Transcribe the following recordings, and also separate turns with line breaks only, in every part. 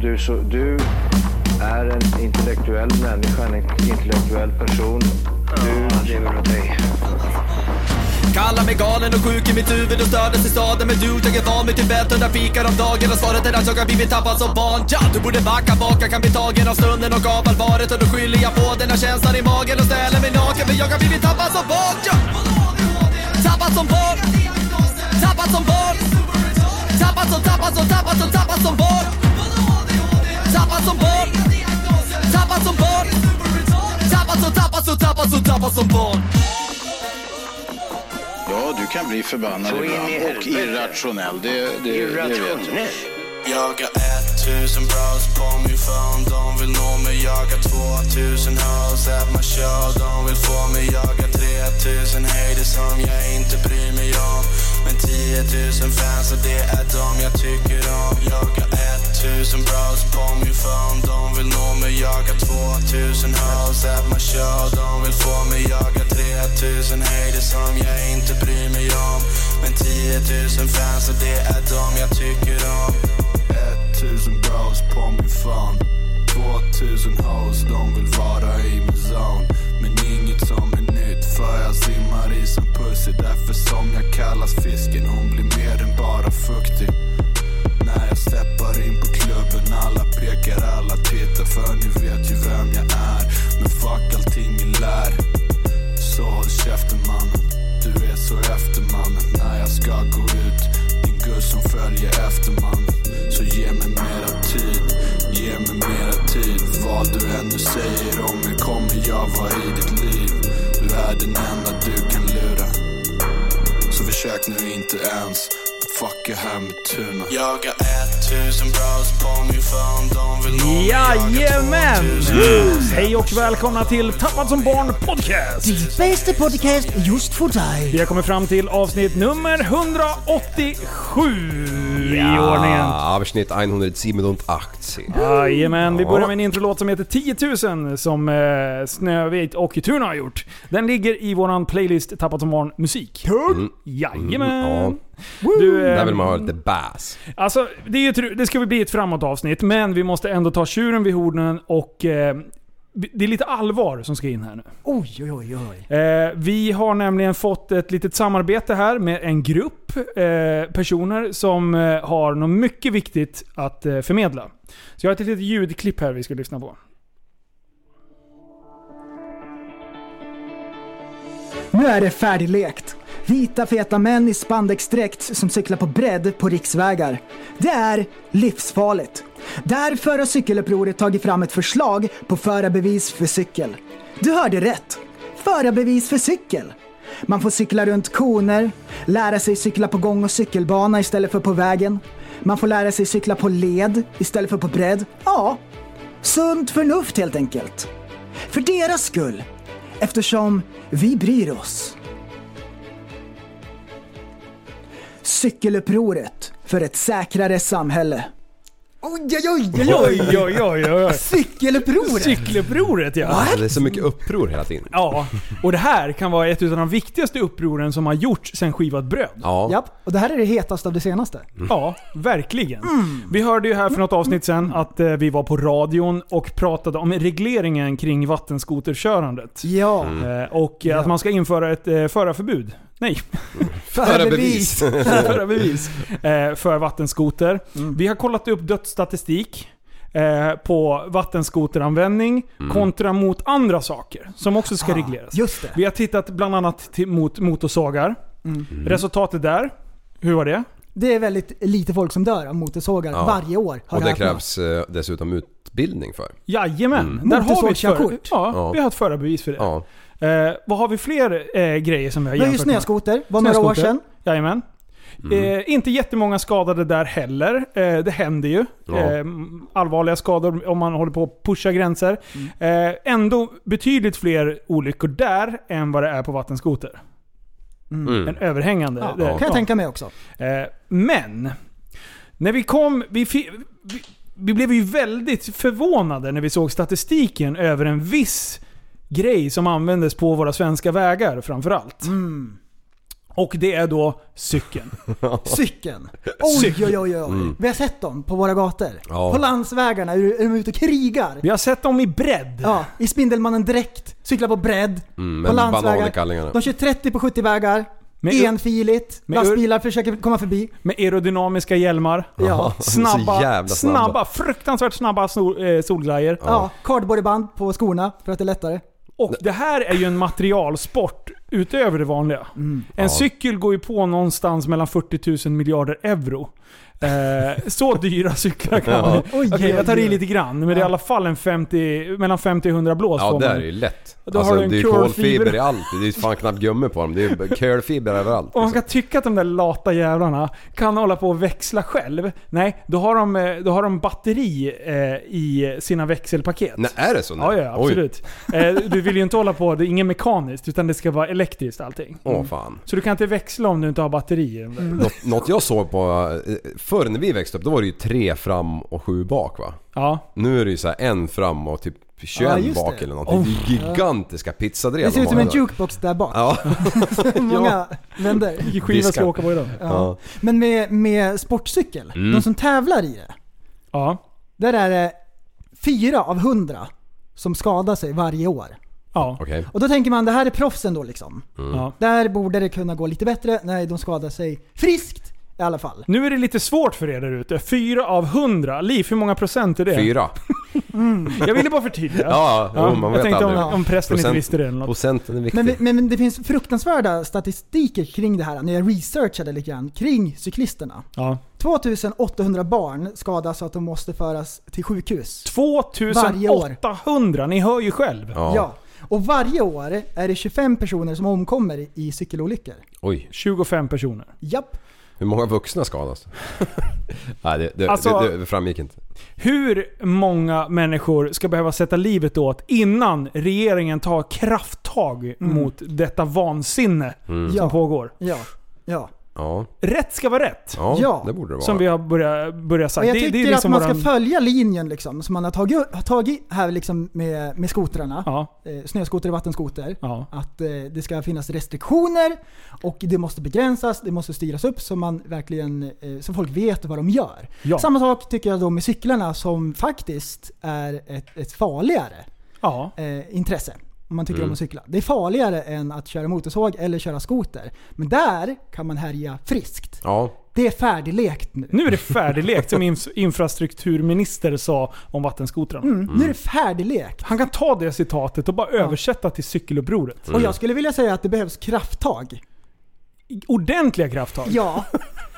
du, så, du är en intellektuell människa, en intellektuell person. Du lever av dig.
Kallar mig galen och sjuk i mitt huvud och stördes i staden Men du, jag är van vid Tibet och där fikar om dagen Och svaret är att jag har blivit tappad som barn ja, Du borde backa bak, jag kan bli tagen av stunden och av allvaret Och då skyller jag på den här känslan i magen och ställer mig naken För jag har blivit tappad som barn ja. Tappad som barn Tappad som barn Tappad som, tappad som, tappad som, tappad som barn Tappad som barn Tappad som barn Tappad som, tappad som, tappad som, tappad som barn
Ja, du kan bli förbannad
Så in i
ibland och
helvete.
irrationell. Det, det, det vet jag.
Irrationell.
Jag har 1000 browse på min phone De vill nå mig, jag har 2000 hoes att man kör De vill få mig, jag har 3000 haters som jag inte bryr mig om Men 10 000 fans och det är de jag tycker om Jag har 1000 browse på min phone De vill nå mig, jag har 2000 hoes att man kör De vill få mig, jag har 3000 haters som jag inte bryr mig om Men 10 000 fans och det är de jag tycker om 1000 bros på min fan 2000 hoes, de vill vara i min zone Men inget som är nytt för jag simmar i som pussy Därför som jag kallas fisken, hon blir mer än bara fuktig När jag steppar in på klubben alla pekar, alla tittar för ni vet ju vem jag är Men fuck allting är lär så håll käften mannen, du är så efter mannen När jag ska gå ut, din gud som följer efter mannen Så ge mig mera tid, ge mig mera tid Vad du ännu säger om mig kommer jag vara i ditt liv Du är den enda du kan lura så försök nu inte ens Fuck jag här med Tuna Jag har 1000 bros på min phone De vill nå mig, jag har
Jajamän!
2000
Hej och välkomna till Tappad som barn podcast!
Bästa podcast just för dig.
Vi har kommit fram till avsnitt nummer 187 i ordningen.
Abschnitt 187.
Jajamän, vi
Ja.
börjar med en introlåt som heter 10 000 som eh, Snövit och Tuna har gjort. Den ligger i våran playlist Tappat som barn musik. Mm. Jajamän!
Mm,
Du,
Där
eh,
vill man ha lite bass.
alltså, det, är ju, ett- det ska väl bli ett framåt avsnitt, men vi måste ändå ta tjuren vid hornen och eh, det är lite allvar som ska in här nu.
Oj, oj, oj, oj.
Eh, vi har nämligen fått ett litet samarbete här med en grupp eh, personer som eh, har något mycket viktigt att eh, förmedla. Så jag har ett litet ljudklipp här vi ska lyssna på.
Nu är det färdiglekt. Vita feta män i spandexdräkt som cyklar på bredd på riksvägar. Det är livsfarligt. Därför har cykelupproret tagit fram ett förslag på förarbevis för cykel. Du hörde rätt. Förarbevis för cykel. Man får cykla runt koner, lära sig cykla på gång och cykelbana istället för på vägen. Man får lära sig cykla på led istället för på bredd. Ja, sunt förnuft helt enkelt. För deras skull. Eftersom vi bryr oss. Cykelupproret för ett säkrare samhälle. Oj, oj, oj, oj, oj.
Oj, oj, oj, oj.
Cykelupproret!
Cykelupproret ja.
Alltså, det är så mycket uppror hela tiden.
Ja, och det här kan vara ett av de viktigaste upproren som har gjorts sedan skivat bröd.
Ja. Mm.
Japp, och det här är det hetaste av det senaste.
Ja, verkligen. Vi hörde ju här för något avsnitt sen att eh, vi var på radion och pratade om regleringen kring vattenskoterkörandet.
Ja,
Mm.
Eh, och eh, att man ska införa ett eh, förarförbud. Nej,
Förarbevis.
förarbevis eh, för vattenskoter.
Mm.
Vi har kollat upp dödsstatistik eh, på vattenskoteranvändning kontra mot andra saker som också
Ah.
ska regleras.
just det.
Vi har tittat bland annat till, mot motorsågar.
Mm.
Resultatet där, hur var det?
Det är väldigt lite folk som dör av motorsågar
Ja.
varje år. har
Och det
jag hört.
krävs eh, dessutom utbildning för.
Jajamän, där har vi ett, för,
Motorsågskörkort.
ja,
Mm. Ja.
Vi har ett förarbevis för det.
Ja.
Eh, vad har vi fler eh, grejer som vi har
Det var ju
jämfört med?
snöskoter, var några år
Snöskoter.
sedan.
Jajamän.
Mm.
Eh, inte jättemånga skadade där heller. Eh, det händer ju.
Ja.
Eh, allvarliga skador om man håller på att pusha gränser.
Mm.
Eh, ändå betydligt fler olyckor där än vad det är på vattenskoter. En
Mm.
överhängande.
Ja,
det-
kan jag
ja.
tänka mig också.
Eh, men, när vi kom... Vi, fi- vi, vi blev ju väldigt förvånade när vi såg statistiken över en viss grej som användes på våra svenska vägar framförallt. Och det är då cykeln.
Cykeln. Oj,
Cykeln.
oj, oj, oj. Vi har sett dem på våra gator.
Mm. Ja.
På landsvägarna är de är de ute och krigar.
Vi har sett dem i bredd.
Ja, i Spindelmannen direkt. Cyklar på bredd.
Mm,
på
med banan i
landsvägar.
kallingarna.
De kör 30 på 70-vägar.
Med-
Enfiligt.
med-
Lastbilar försöker komma förbi.
Med aerodynamiska hjälmar.
Ja.
Snabba,
Så jävla
snabba.
snabba.
fruktansvärt snabba sol, eh, solglajjor.
Ja, cardboardband på skorna för att det är lättare.
Och det här är ju en materialsport utöver det vanliga.
Mm.
En cykel går ju på någonstans mellan 40 000 miljarder euro. Eh, så dyra cyklar kan man
Oj,
Okej, jag tar i
oj, oj.
lite grann. Men det är i alla fall en 50, mellan 50 och 100 blås
Ja
får
det
man.
är ju lätt.
Då
alltså,
har du en
det är ju
curlfiber.
kolfiber i allt. Det är ju fan knappt gumme på dem. Det är ju curlfiber överallt.
Om man ska
liksom.
tycka att de där lata jävlarna kan hålla på och växla själv. Nej, då har de, eh, då har de batteri eh, i sina växelpaket.
Nej, är det så nu?
Ja, ja,
Oj.
absolut. Eh, du vill ju inte hålla på, det är inget mekaniskt, utan det ska vara elektriskt allting.
Åh fan.
Så du kan inte växla om du inte har batterier. Mm.
Något, något jag såg på... eh, Förr när vi växte upp då var det ju tre fram och sju bak va?
Ja.
Nu är det ju så här en fram och typ 21
Ja, just det.
bak eller någonting. Det är ju gigantiska pizzadrev
Det ser
de
ut som
har
en
där.
jukebox där bak.
Ja.
Många vänder.
Vilken skiva ska
Diskar.
jag åka på idag?
Ja. Men med, med sportcykel,
Mm.
de som tävlar i det.
Ja.
Där är det fyra av hundra som skadar sig varje år.
Ja.
Okej.
Och då tänker man, det här är proffsen då liksom.
ja.
Där borde det kunna gå lite bättre. Nej, de skadar sig friskt i alla fall.
Nu är det lite svårt för er där ute. Fyra av hundra. Liv, hur många procent är det?
Fyra.
Jag ville bara förtydliga.
Ja, jo, man
jag
vet
tänkte om,
aldrig.
om prästen inte visste det eller något.
Procenten är viktig.
Men, vi- men det finns fruktansvärda statistiker kring det här när jag researchade lite grann kring cyklisterna.
Ja.
2800 barn skadas så att de måste föras till sjukhus.
2800, ni hör ju själv.
ja.
Ja. Och varje år är det 25 personer som omkommer i cykelolyckor.
Oj.
25 personer.
Japp.
Hur många vuxna skadas? Nej, det, det,
Alltså-
det, det framgick inte.
Hur många människor ska behöva sätta livet åt innan regeringen tar krafttag mot detta vansinne
Mm.
som
Ja.
pågår?
Ja. Ja.
Ja,
Rätt ska vara rätt.
ja,
Ja.
det borde det vara.
Som vi har börjat, börjat säga.
Och jag
Det- det är
tycker
liksom
att man ska
våran-
följa linjen liksom, som man har tagit, har tagit här liksom med, med skotrarna.
Ja,
Eh, snöskoter och vattenskoter.
ja.
Att eh, det ska finnas restriktioner och det måste begränsas, det måste styras upp så man verkligen, eh, så folk vet vad de gör.
Ja.
Samma sak tycker jag då med cyklarna som faktiskt är ett, ett farligare
ja.
eh, intresse. Om man tycker om att cykla. Det är farligare än att köra motorsåg eller köra skoter. Men där kan man härja friskt.
Ja,
Det är färdiglekt nu.
Nu är det färdiglekt som inf- infrastrukturminister sa om vattenskotrarna.
Mm. Nu är det färdiglekt.
Han kan ta det citatet och bara översätta till cykelupproret.
Och jag skulle vilja säga att det behövs krafttag.
Ordentliga krafttag.
Ja,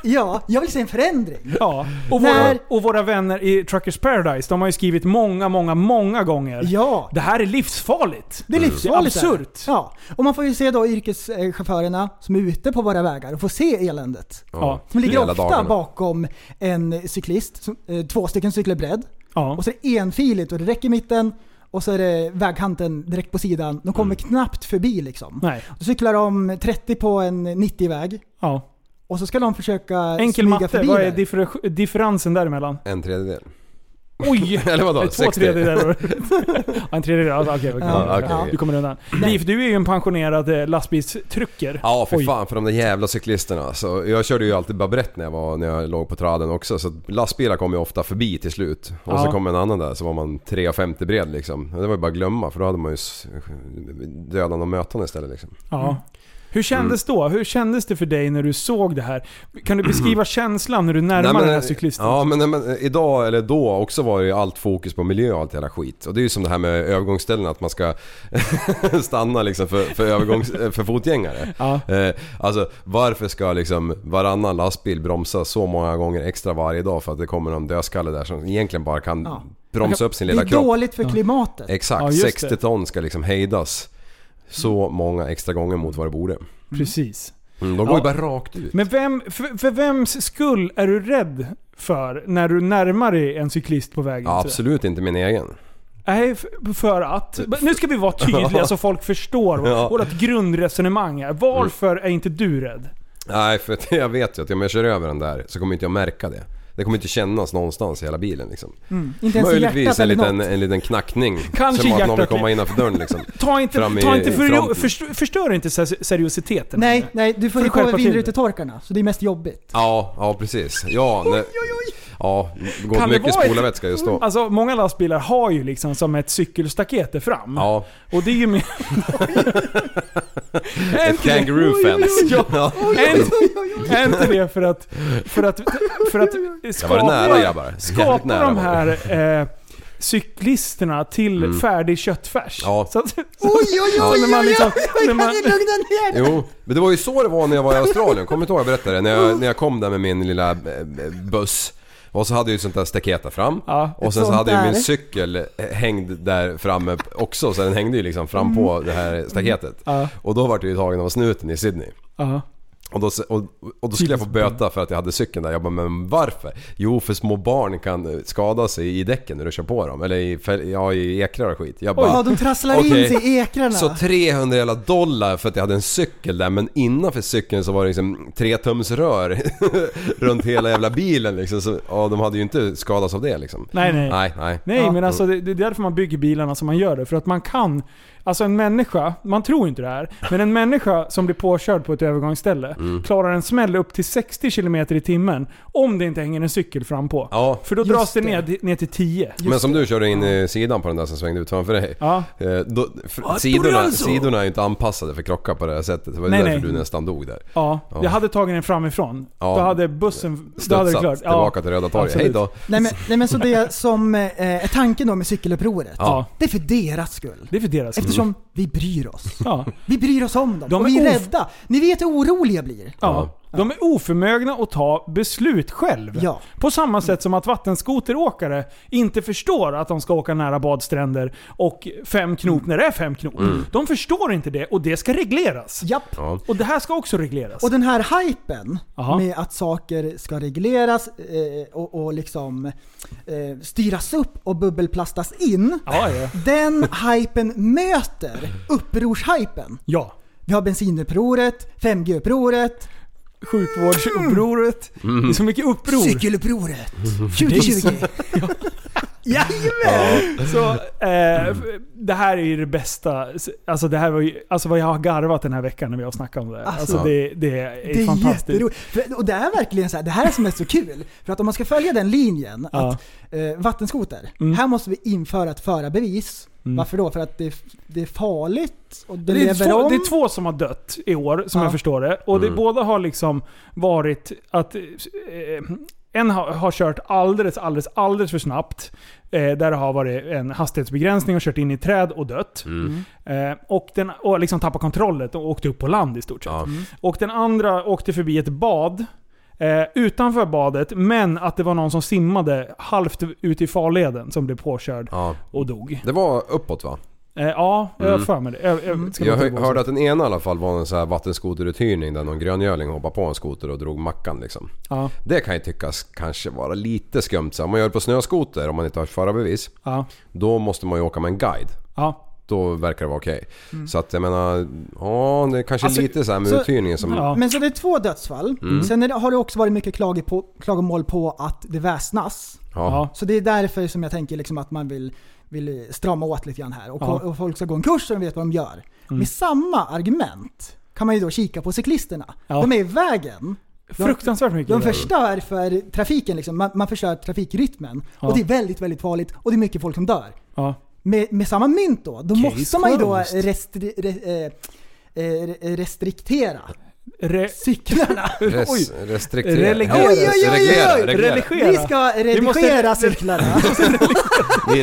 ja jag vill se en förändring.
Ja, och våra,
När-
och våra vänner i Truckers Paradise, de har ju skrivit många, många, många gånger.
Ja.
Det här är livsfarligt.
Det är
Mm.
livsfarligt.
Det är absurt.
Ja. Och man får ju se då yrkeschaufförerna som är ute på våra vägar och får se eländet.
Ja.
De ligger
Hela
ofta
dagarna.
bakom en cyklist, som- eh, två stycken cyklar bredd.
Ja.
Och så är det enfiligt och det räcker i mitten. Och så är det vägkanten direkt på sidan. De kommer
Mm.
knappt förbi liksom.
Nej.
Då cyklar de 30 på en 90-väg.
Ja.
Och så ska de försöka
Enkel
smyga
matte,
förbi
vad är
där.
differ- differensen däremellan?
en tredjedel.
Oj!
Eller vadå?
Två
60?
tredjedelar. ja, en tredjedel. Alltså, Okej, okej.
Ja,
okej, okej.
Du kommer undan. Liv, du är ju en pensionerad eh, lastbilstrucker.
Ja, för
Oj.
fan för de där jävla cyklisterna. alltså. jag körde ju alltid babrett när jag, var, när jag låg på traden också. Så lastbilar kom ju ofta förbi till slut. Och
Ja.
så kom en annan där så var man 3,50 bred liksom. Och det var ju bara att glömma för då hade man ju s- dödande och mötande istället liksom.
Ja. Hur
Mm.
kändes då? Hur kändes det för dig när du såg det här? Kan du beskriva känslan när du närmar den här cyklisten?
Ja men, nej, men eh, idag, eller då också var det ju allt fokus på miljö och allt jävla skit. Och det är ju som det här med övergångsställen att man ska stanna liksom för, för, övergångs, eh, för fotgängare.
Ja.
Eh, alltså varför ska liksom varannan lastbil bromsa så många gånger extra varje dag för att det kommer någon dödskalle där som egentligen bara kan
Ja.
bromsa upp sin
Det
lilla
är
kropp.
dåligt för klimatet.
Exakt,
Ja, just det.
60 ton ska liksom hejdas. Så många extra gånger mot vad det borde.
Precis.
Mm, de går ju bara rakt ut.
Men vem, för, för vems skull är du rädd för när du närmar dig en cyklist på vägen? Typ?
Ja, absolut inte min egen.
Nej, f- för att... Nu ska vi vara tydliga så folk förstår
Ja. Mm.
vårt grundresonemang här. Varför är inte du rädd?
Nej, för att jag vet ju att om jag kör över den där så kommer inte jag märka det. Det kommer inte kännas någonstans i hela bilen liksom.
Inte ens i hjärtat
Möjligtvis en
eller
liten, eh,
något.
en liten knackning.
Kanske
som att någon vill
hjärtat.
komma innanför dörren liksom.
Ta inte,
Fram i-
ta inte
i
för,
fronten.
förstör, förstör inte se- seriositeten.
Nej, nej, du får
För
ju
att
komma med
skärpa till det.
vindrutetorkarna. Så det är mest jobbigt.
Ja, ja precis. Ja, nej. ja det går
Kan det
mycket
vara ett-
spolarvätska just då.
Alltså många lastbilar har ju liksom som ett cykelstaket där fram.
Ja,
Och det är ju mer... Är
ett
inte det-
kangaroo fence. Ja.
är inte- Är inte det för att... För att, för att
Jag
skapa,
var nära grabbar.
skapa
Jävligt nära
de
var det. Mm.
här eh, cyklisterna till färdig köttfärs.
Ja.
Så att,
Oj, oj, oj,
Ja,
oj,
när
oj,
man
oj,
liksom- när
kan
man-
ni lugna ner dig?
Jo, men det var ju så det var när jag var i Australien. Kommer inte ihåg jag berättade det? När jag, när jag kom där med min lilla eh, buss. Och så hade jag ju sånt där staket där fram.
Ja,
och sen så
sånt
hade ju
där.
min cykel eh, hängd där framme också. Så den hängde ju liksom fram på det här staketet.
Ja.
Och då vart jag ju tagen av snuten i Sydney.
ja.
Och då, och, och då skulle jag få böta för att jag hade cykeln där. Jag bara, men varför? Jo, för små barn kan eh, skada sig i däcken när du kör på dem. Eller i, fäl- ja, i ekrar och skit. Jag bara,
Ja, de trasslar in
Okej.
sig i ekrarna.
Så 300 jävla dollar för att jag hade en cykel där men innanför cykeln så var det liksom tretumsrör runt hela jävla bilen liksom. Så, ja, de hade ju inte skadats av det liksom.
Nej, nej.
Nej, nej.
Nej, men alltså det, det är därför man bygger bilarna som man gör det. För att man kan, alltså en människa, man tror inte det här, men en människa som blir påkörd på ett övergångsställe
Mm.
klarar en smäll upp till 60 km i timmen om det inte hänger en cykel fram på.
Ja.
För då
Just
dras det,
det.
ner, ner till 10.
Men som du körde in i sidan på den där som svängde ut framför dig.
Ja.
Eh, Då, för, sidorna, sidorna är ju inte anpassade för krockar på det här sättet. Det var ju
Nej,
därför
nej.
du nästan dog där.
Ja,
Ja.
jag hade tagit den framifrån.
Ja.
Då hade bussen... Då hade det
Studsat
klart.
tillbaka till Röda torget.
Absolut.
Hej då.
Nej men, nej men så det som eh, är tanken då med cykelupproret.
Ja.
Det är för deras skull.
Det är för deras
Mm.
skull.
Eftersom vi bryr oss.
Ja.
Vi bryr oss om dem.
De
och
är
vi är
of-
rädda. Ni vet hur oroliga jag blir.
Ja. De är oförmögna att ta beslut själv.
Ja.
På samma sätt som att vattenskoteråkare inte förstår att de ska åka nära badstränder och fem knop när det är fem knop.
Mm.
De förstår inte det och det ska regleras.
Japp.
Ja.
Och det här ska också regleras.
Och den här hypen
Aha.
med att saker ska regleras eh, och, och liksom eh, styras upp och bubbelplastas in.
Ja, ja.
Den hypen möter upprorshypen.
ja.
Vi har bensinupproret, 5G-upproret,
Mm. Sjukvårdsupproret.
Mm.
Det är så mycket uppror.
cykelupproret
Mm.
2020. Jajamän!
Så, eh, det här är ju det bästa. Alltså, det här var ju, alltså vad jag har garvat den här veckan när vi har snackat om det. Alltså,
Alltså,
det, det är
Det är
fantastiskt.
jätteroligt. För- Och det är verkligen så här, det här är som är så kul. För att om man ska följa den linjen,
Ja. Mm.
att eh, vattenskoter, här måste vi införa ett förarbevis. Varför då? För att det, det är farligt och det,
Det är,
lever
två,
om.
det är två som har dött i år, som
Ja.
jag förstår det. Och
Mm.
det, båda har liksom varit att... Eh, en har, har kört alldeles, alldeles, alldeles för snabbt. Eh, där det har varit en hastighetsbegränsning och kört in i träd och dött.
Mm.
Eh, och den och liksom tappat kontrollen och åkte upp på land i stort sett.
Ja.
Mm.
Och den andra åkte förbi ett bad. Eh, utanför badet, men att det var någon som simmade halvt ut i farleden som blev påkörd
Ja.
och dog.
Det var uppåt va?
Eh, ja, jag har för mig det. typ Jag, jag, ska
Jag
nog
hö-
inte gå så.
hörde att den ena i alla fall var en sån här vattenskoteruthyrning där någon gröngöling hoppade på en skoter och drog mackan liksom.
Ja,
Det kan ju tyckas kanske vara lite skumt. Så om man gör det på snöskoter, om man inte har ett förarbevis,
ja,
då måste man ju åka med en guide.
ja.
Då verkar det vara okej.
Mm.
Så att jag menar, ja det är kanske
Alltså,
lite så här med
så-
uthyrningen som... Mm.
Ja.
Men så det är två dödsfall. Sen är det, har det också varit mycket klage på, klagomål på att det väsnas.
Ja.
Ja.
Så det är därför som jag tänker liksom att man vill, vill strama åt lite grann här. Och,
Ja. Mm.
och folk ska gå en kurs så de vet vad de gör. Med samma argument kan man ju då kika på cyklisterna.
Ja.
De är i vägen. De-
Fruktansvärt mycket.
De
grejer.
förstör för trafiken liksom. Man, man förstör trafikrytmen.
Ja.
Och det är väldigt, väldigt farligt och det är mycket folk som dör.
Ja.
Med, med samma mynt då, då måste man ju då
closed.
restri, re, eh, eh, restriktera
Re,
cyklarna.
Res-
oj.
restriktera.
Relegera. Oj, oj,
oj, oj, oj.
Reglera, reglera.
Religera.
Vi ska
Vi måste-
redigera cyklarna.
Vi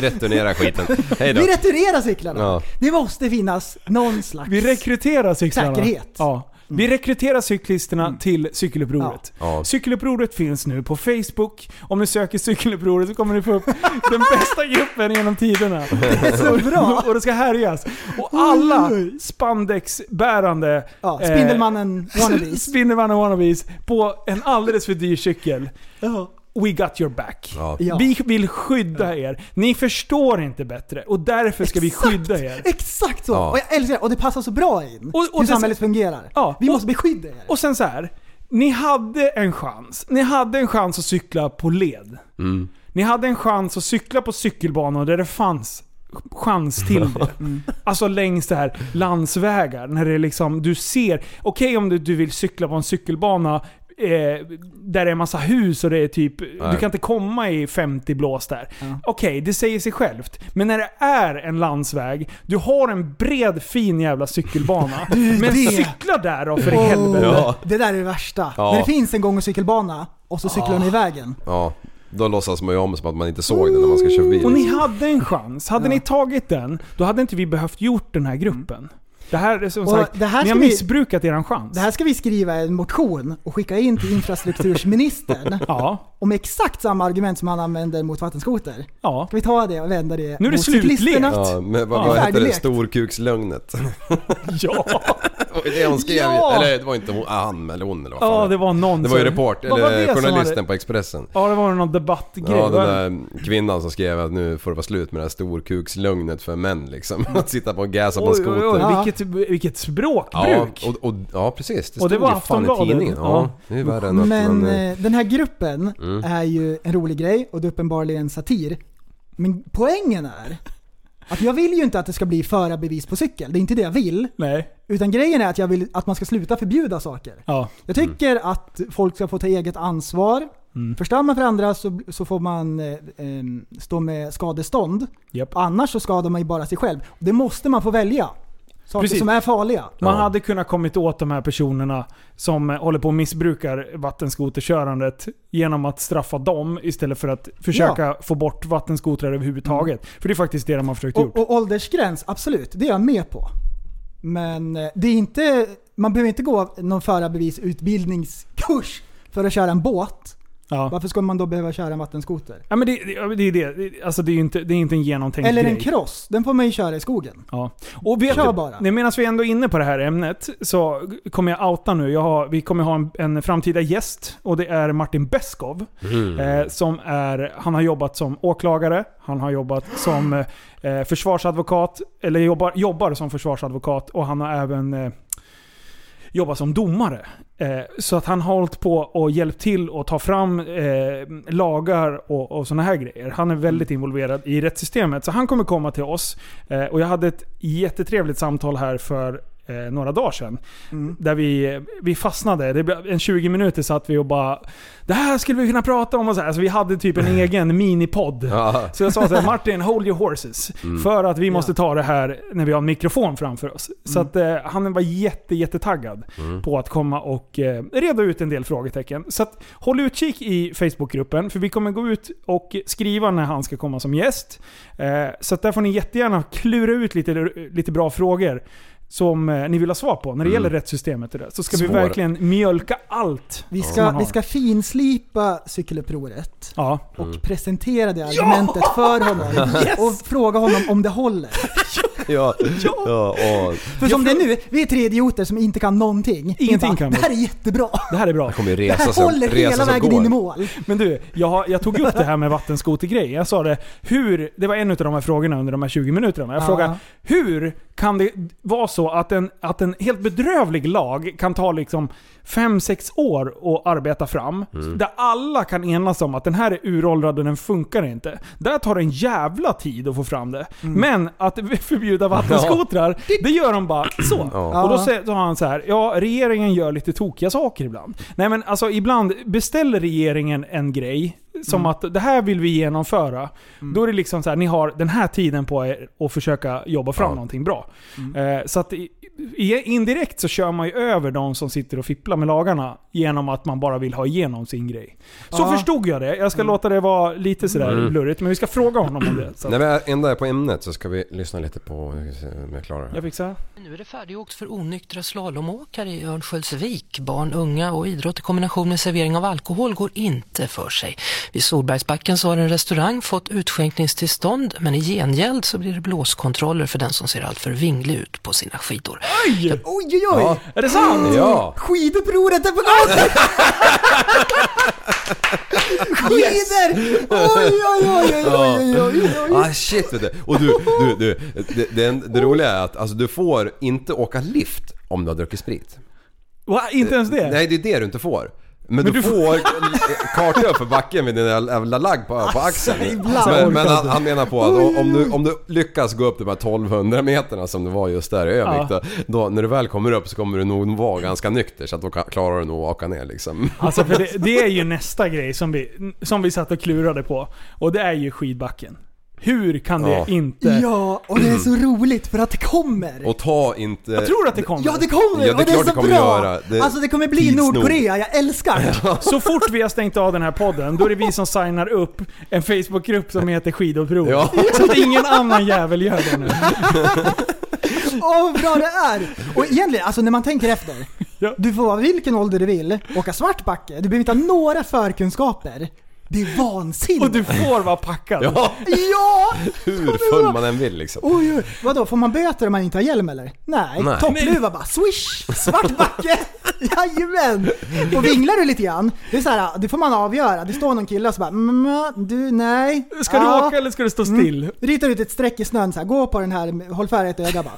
returnerar skiten. Hej då.
Vi returerar cyklarna.
Ja.
Det måste finnas någon slags...
vi rekryterar cyklarna.
Säkerhet.
Ja. Vi rekryterar cyklisterna till cykelupproret.
Ja. Ja.
Cykelupproret finns nu på Facebook. Om ni söker cykelupproret så kommer ni få upp den bästa gruppen genom tiderna.
Det är så bra!
Och det ska härjas. Och alla spandexbärande
Ja,
eh,
Spindelmannen wannabes.
Spindelmannen wannabes på en alldeles för dyr cykel.
Ja.
We got your back.
Ja.
Ja.
Vi vill skydda er. Ni förstår inte bättre och därför ska vi
Exakt.
skydda er.
Exakt så!
Ja.
Och jag älskar det. Och det passar så bra in
Och- och
hur
det-
samhället fungerar.
Ja,
Vi
och-
måste beskydda er.
Och sen så här. Ni hade en chans. Ni hade en chans att cykla på led. Ni hade en chans att cykla på cykelbanor där det fanns chans till det. Alltså längs det här landsvägar. När det är liksom, du ser. Okej om du, du vill cykla på en cykelbana eh, där det är massa hus och det är typ... Du kan inte komma i 50 blås där. Okej, det säger sig självt. Men när det är en landsväg, du har en bred fin jävla cykelbana. men
det-
cykla där då för i
Åh,
helvete.
Ja.
Det där är det värsta.
Ja.
När det finns en gång och cykelbana och så cyklar ni i vägen.
Ja, då låtsas man ju om som att man inte såg det när man ska köra bil.
Och ni hade en chans. Hade ni tagit den, då hade inte vi behövt gjort den här gruppen. Det här är som
Mm. Och
sagt,
det här
ni
ska
har
vi-
missbrukat eran chans.
Det här ska vi skriva en motion och skicka in till infrastruktursministern.
Ja,
Om exakt samma argument som han använder mot vattenskoter.
ja.
Ska vi ta det och vända det
Nu är det
mot
slutlekt.
cyklisterna?
Ja, men vad,
Ja.
vad heter det?
Färdiglekt.
Storkukslögnet.
Ja,
Det var ju det hon skrev
Ja!
ju. Eller det var inte hon, ah, han eller hon eller vad
ja
fan
det var någon
Det var ju
som-
report,
Vad var det
eller
som
journalisten
hade-
på Expressen.
Ja, det var någon debattgrej.
Ja,
va?
den där kvinnan som skrev att nu får det vara slut med det här storkukslögnet för män liksom. Att sitta på och gasa på en
Oj, oj, oj,
skoter.
vilket, vilket
Ja,
språkbruk!
och, och, ja precis. Det
Och
stod
det
det
var
var ju fan i
Aftonbladet.
tidningen. Ja, det är ju värre än att
Men
man... eh, Mm.
eh, den här gruppen är ju en rolig grej och det är uppenbarligen satir. Men poängen är att jag vill ju inte att det ska bli förarbevis på cykel. Det är inte det jag vill.
Nej.
Utan grejen är att jag vill att man ska sluta förbjuda saker.
Ja.
Jag
Mm.
tycker att folk ska få ta eget ansvar.
Mm.
Förstör man för andra så, så får man eh, eh, stå med skadestånd.
Japp.
Annars så skadar man ju bara sig själv. Det måste man få välja. Saker
Precis.
som är farliga.
Man
Ja.
hade kunnat kommit åt de här personerna som eh, håller på och missbrukar vattenskoterkörandet genom att straffa dem istället för att försöka få bort vattenskotrar överhuvudtaget. För det är faktiskt det de har försökt gjort.
Mm. Och, och åldersgräns, absolut. Det är jag med på. Men eh, det är inte, man behöver inte gå någon förarbevisutbildningskurs för att köra en båt.
ja.
Varför ska man då behöva köra en vattenskoter?
Ja, men det, det, ja, det är det. Det- Alltså, det är ju inte, det är inte en genomtänkt
Eller en
grej.
cross, den får man ju köra i skogen.
Ja. Och vet
Kör
du,
bara.
nej, medan vi ändå är inne på det här ämnet så kommer jag outa nu. Jag har, vi kommer ha en, en framtida gäst och det är Martin Beskov. Eh, som är, han har jobbat som åklagare, han har jobbat som eh, försvarsadvokat, eller jobbar, jobbar som försvarsadvokat och han har även eh, jobbat som domare. Eh, så att han har hållit på och hjälpt till att ta fram eh, lagar och, och sådana här grejer. Han är väldigt involverad i rättssystemet. Så han kommer komma till oss. Eh, och jag hade ett jättetrevligt samtal här för eh, några dagar sedan. Där vi, vi fastnade. Det blev en 20 minuter satt vi och bara Det här skulle vi kunna prata om och så här. Så vi hade typ en egen minipodd.
Ja.
Så jag sa så här, Martin, hold your horses. För att vi måste ta det här när vi har en mikrofon framför oss. Så att, eh, han var jätte, jättetaggad på att komma och eh, reda ut en del frågetecken. Så att, håll utkik i Facebookgruppen, för vi kommer gå ut och skriva när han ska komma som gäst. Eh, så att där får ni jättegärna klura ut lite, lite bra frågor som eh, ni vill ha svar på när det gäller rättssystemet. Och det. Så ska vi
Svår.
verkligen mjölka allt.
Vi
som
ska,
man har.
vi ska finslipa cykelupproret
Ja.
och presentera det argumentet för honom. Och fråga honom om det håller.
Ja, ja, åh.
För som det är nu, vi är tre idioter som inte kan någonting. Vi
Ingenting kan vi.
Det här är jättebra.
Det här är bra.
Jag kommer ju
Det
resa
här
som,
håller hela
resa som
vägen in i
går.
mål.
Men du, jag, har- jag tog upp det här med vattenskotergrejen. Jag sa det, hur, det var en av de här frågorna under de här 20 minuterna. Jag
Ja.
frågade, hur kan det vara så att en, att en helt bedrövlig lag kan ta liksom 5-6 år att arbeta fram? Där alla kan enas om att den här är uråldrad och den funkar inte. Där tar det en jävla tid att få fram det.
Mm.
Men att förbjuda vattenskotrar, det gör de bara så.
Ja.
Och då säger då har han så här, ja regeringen gör lite tokiga saker ibland. Nej men alltså ibland beställer regeringen en grej som
Mm.
att det här vill vi genomföra. Då är det liksom så här, ni har den här tiden på er att försöka jobba fram
Ja. Mm.
någonting bra. Eh, så att i, i, indirekt så kör man ju över de som sitter och fipplar med lagarna genom att man bara vill ha igenom sin grej. Så
Ja.
förstod jag det. Jag
Mm.
ska låta det vara lite sådär blurrigt, men vi ska fråga honom om det. Så
När
att,
vi ändå är på ämnet så ska vi lyssna lite på, vi ska se om jag klarar det här.
jag fixar.
Nu är det färdigåkt för onyktra slalomåkare i Örnsköldsvik. Barn, unga och idrott i kombination med servering av alkohol går inte för sig. Vid Solbergsbacken så har en restaurang fått utskänkningstillstånd men i gengäld så blir det blåskontroller för den som ser alltför vinglig ut på sina skidor.
Oj, oj, oj.
Ja.
Är det sant?
Ja!
Skidupproret är på gång! Skidor! Oj, oj, oj, oj, oj, oj, oj.
Ah shit vet du. Och du, du, du det, det, det roliga är att alltså, du får inte åka lift om du har druckit sprit.
Va? Inte ens
Eh,
det?
Nej, det är det du inte får. Men, du,
du
får karta för backen med din jävla lagg på, på axeln.
ibland
men
orkar
men han,
inte.
han menar på att om- om du, om du lyckas gå upp de här 1200 meterna som det var just där i Övik då, då, när du väl kommer upp så kommer du nog vara ganska nykter så att då ka- klarar du nog att åka ner liksom.
Alltså för det, det är ju nästa grej som vi, som vi satt och klurade på. Och det är ju skidbacken. Hur kan det
Ja.
inte...
Ja, och det är så roligt för att det kommer!
Och ta inte...
Jag tror att det kommer.
Ja, det kommer!
Ja, det är
och det är
klart
så
det kommer
bra!
göra. Det-
alltså det kommer bli
tids nog.
Nordkorea, jag älskar det!
Så fort vi har stängt av den här podden, då är det vi som signar upp en Facebookgrupp som heter Skidåprovet.
Ja.
Så att ingen annan jävel gör det nu.
Åh, vad bra det är! Och egentligen, alltså när man tänker efter.
Ja.
Du får vara vilken ålder du vill, åka svart backe, du behöver inte ha några förkunskaper. Det är vansinnigt!
Och du får vara packad.
Ja,
Ja!
hur full man än vill liksom.
Oj, oj. Vadå, får man böter om man inte har hjälm eller? Nej,
Nej.
toppluva bara. Swish! Svart backe! Jajamän! Och vinglar du lite grann, det är så här, det får man avgöra. Det står någon kille och så bara mm, du, nej.
Ska du
Ja. Mm.
åka eller ska du stå still?
Ritar ut ett streck i snön så här, gå på den här, håll för ett öga bara.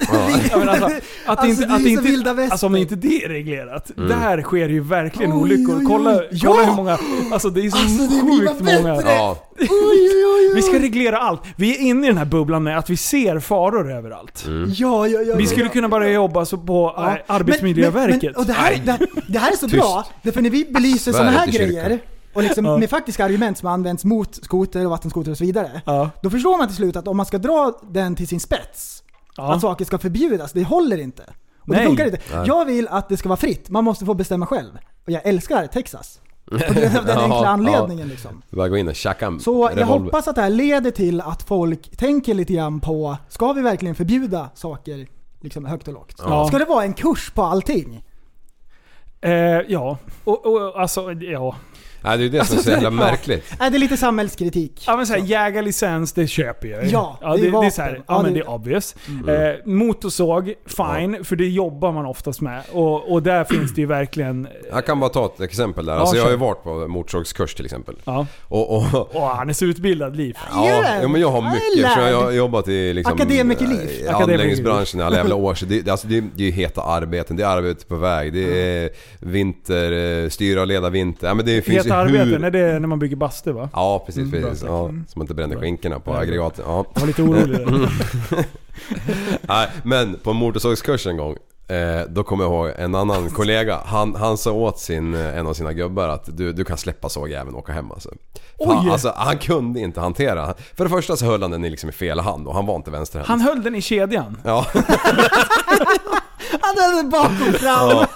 Ja, men alltså, att
Alltså,
inte,
det är
att
ju
inte,
så vilda västern.
alltså om inte det är reglerat. Där sker ju verkligen
Oj,
olyckor.
oj, oj.
Kolla,
Ja!
kolla hur många... Alltså det är så
Alltså, det blir
sjukt
bara
många.
bättre.
Ja,
Oj, oj, oj, oj.
Vi ska reglera allt. Vi är inne i den här bubblan med att vi ser faror överallt.
Mm.
ja, ja, ja,
Vi
ja,
skulle
ja.
kunna börja jobba så på
Ja.
eh, Arbetsmiljöverket.
Men, men, och det, här, det, det här är så
Tyst.
bra, därför när vi
Svär
belyser sådana här
inte i
grejer
kyrkan.
och liksom
Ja.
med faktiska argument som används mot skoter och vattenskoter och så vidare.
Ja.
Då förstår man till slut att om man ska dra den till sin spets,
Ja.
att saker ska förbjudas, det håller inte. Och
Nej.
det funkar inte. Jag vill att det ska vara fritt, man måste få bestämma själv. Och jag älskar Texas. På grund av den
Ja,
enkla
ja.
anledningen liksom.
bara gå in och tjacka en
Så jag
revolver.
hoppas att det här leder till att folk tänker lite grann på, ska vi verkligen förbjuda saker liksom högt och lågt?
Ja.
Ska det vara en kurs på allting?
Eh, ja, och, och alltså ja.
Nej, det är ju det som är så jävla märkligt.
Nej, Äh, det är lite samhällskritik.
Ja men såhär, jägarlicens det köper jag ju.
Ja,
ja
det
det,
är
det, är
vapen.
så här, ja,
Ja,
men
det-
det är obvious.
Mm.
Eh, motorsåg, fine, för det jobbar man oftast med. Och, och där finns det ju verkligen...
Jag kan bara ta ett exempel där. Alltså jag har ju
kör.
varit på motorsågskurs till exempel.
Ja.
Och, och,
eh, Åh, han är så utbildad, Liv.
Gör
Ja,
det?
ja, men jag har
Jag är
mycket. För
lärd.
jag har jobbat i liksom,
Akademikerliv.
eh, i
Akademikerliv.
Anläggningsbranschen i alla jävla år. Så det, det- alltså, det, det är ju heta arbeten. Det är arbete på väg. Det är vinter, eh, styra och leda vinter. Ja, men det finns
Heta
ju hur...
arbeten, är det när man bygger bastu va?
Ja, precis.
Mm, bra
precis.
sagt.
Ja, så man inte bränner
Bra.
skinkorna på
Ja.
aggregaten. Ja.
Jag var lite orolig där.
Nej, men på en motorsågskurs en gång. Eh, då kommer jag ihåg en annan kollega. Han, han sa åt sin, eh, en av sina gubbar att du, du kan släppa sågjäveln och åka hem alltså. För Han,
Oj!
alltså. Han kunde inte hantera. För det första så höll han den i liksom i fel hand och han var inte vänsterhänt.
Han höll den i kedjan.
Ja.
Han hade bakom fram.
Ja.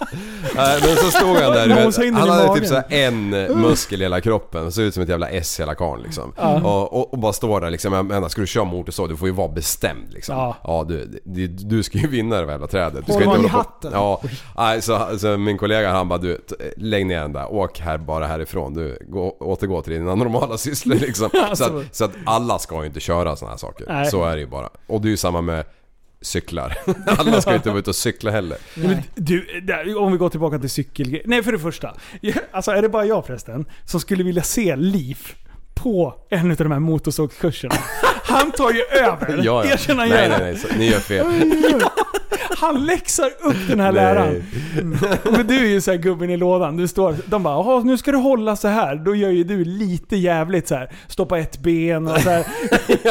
Nej, Men så stod han där, du
Någon sa in
vet,
den
han
i
hade
magen.
typ så här en muskel i hela kroppen, såg ut som ett jävla S hela karln liksom. Och, och, och bara står där liksom, jag menar, ska du köra motorsåg, du får ju vara bestämd liksom.
Ja.
Ja, du, du, du ska ju vinna det här jävla trädet. Du
Håll
ska
honom i
hålla på-
hatten.
Ja, nej, så, så min kollega han bara du, t- lägg ner den där, åk här bara härifrån, du gå, återgå till dina normala sysslor liksom. Så att, så att alla ska ju inte köra sådana här saker,
Nej.
så är det ju bara. Och det är ju samma med cyklar. Alla ska ju inte vara ute och cykla heller.
Men Du, där, om vi går tillbaka till cykel... Nej, för det första. Alltså är det bara jag förresten som skulle vilja se Liv på en av de här motorsågskurserna? Han tar ju över.
Ja, ja.
Erkänn han
nej,
gör
nej,
det.
nej, så, ni gör fel.
Han läxar upp den här
Nej.
läraren. Mm. Men du är ju så här gubben i lådan. Du står, de bara "Jaha, nu ska du hålla så här. Då gör ju du lite jävligt så här. Stoppa ett ben och så här.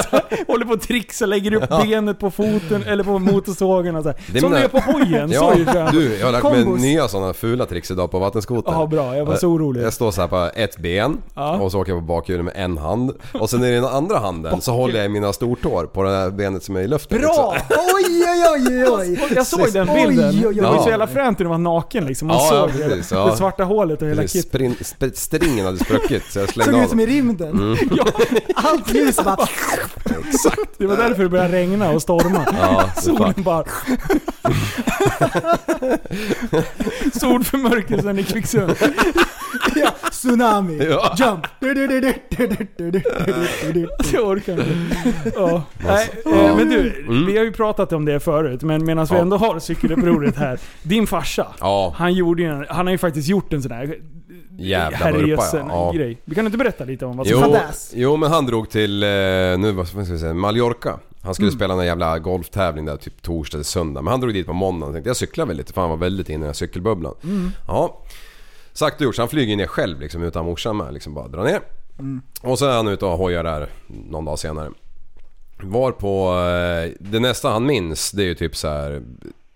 Så här, håller på och trixar, lägger upp benet på foten eller på motorsågen och så här.
Det är
Som du
mina-
gör på hojen.
Ja,
Så gör jag.
du, jag har lärt mig
Kombos.
nya sådana fula tricks idag på vattenskoter.
Ja, bra. Jag var så orolig.
Jag står så här på ett ben
Ja.
och så åker jag på bakhjulet med en hand. Och sen i den andra handen så håller jag i mina stortår på det här benet som är i luften.
Bra!
liksom.
Oj, oj, oj, oj.
Jag såg den
Oj,
bilden.
oj, oj.
Det var ju
Ja.
så jävla fränt när du var naken liksom. Man
Ja,
såg
ja,
hela-
precis, ja.
det svarta hålet och hela
Precis,
kit.
Sprin, sp- stringen hade spruckit så jag
Såg
slängde
ut
av
som
den.
i rymden.
Mm.
Allt ljus bara...
Det var därför det började regna och storma.
Ja,
Solen
fan.
bara... Solförmörkelsen i Kvicksund.
Ja, tsunami.
Ja.
Jump. Du, du, du, du, du, du, du, du, du, du, du.
Jag orkar inte. Ja. Nej, eh, men du, vi har ju pratat om det förut, men medan vi
Mm. Ja.
ändå har cykelupproret här. Din farsa,
Ja.
han, gjorde ju en, han har ju faktiskt gjort en sån här
Jävla vurpa ja. ja.
herrejössen-grej. Vi kan inte berätta lite om vad som
Jo,
Alltså, fadäs.
jo men han drog till, eh, nu vad vad ska vi säga, Mallorca. Han skulle spela någon jävla golftävling där typ torsdag till söndag. Men han drog dit på måndagen och tänkte jag cyklar väl lite för han var väldigt inne i den här cykelbubblan. Ja. Sagt och gjort, så han flyger ner själv liksom utan morsan med. Liksom bara drar ner. Och så är han ute och hojar där någon dag senare. Var på... eh, Det nästa han minns det är ju typ så här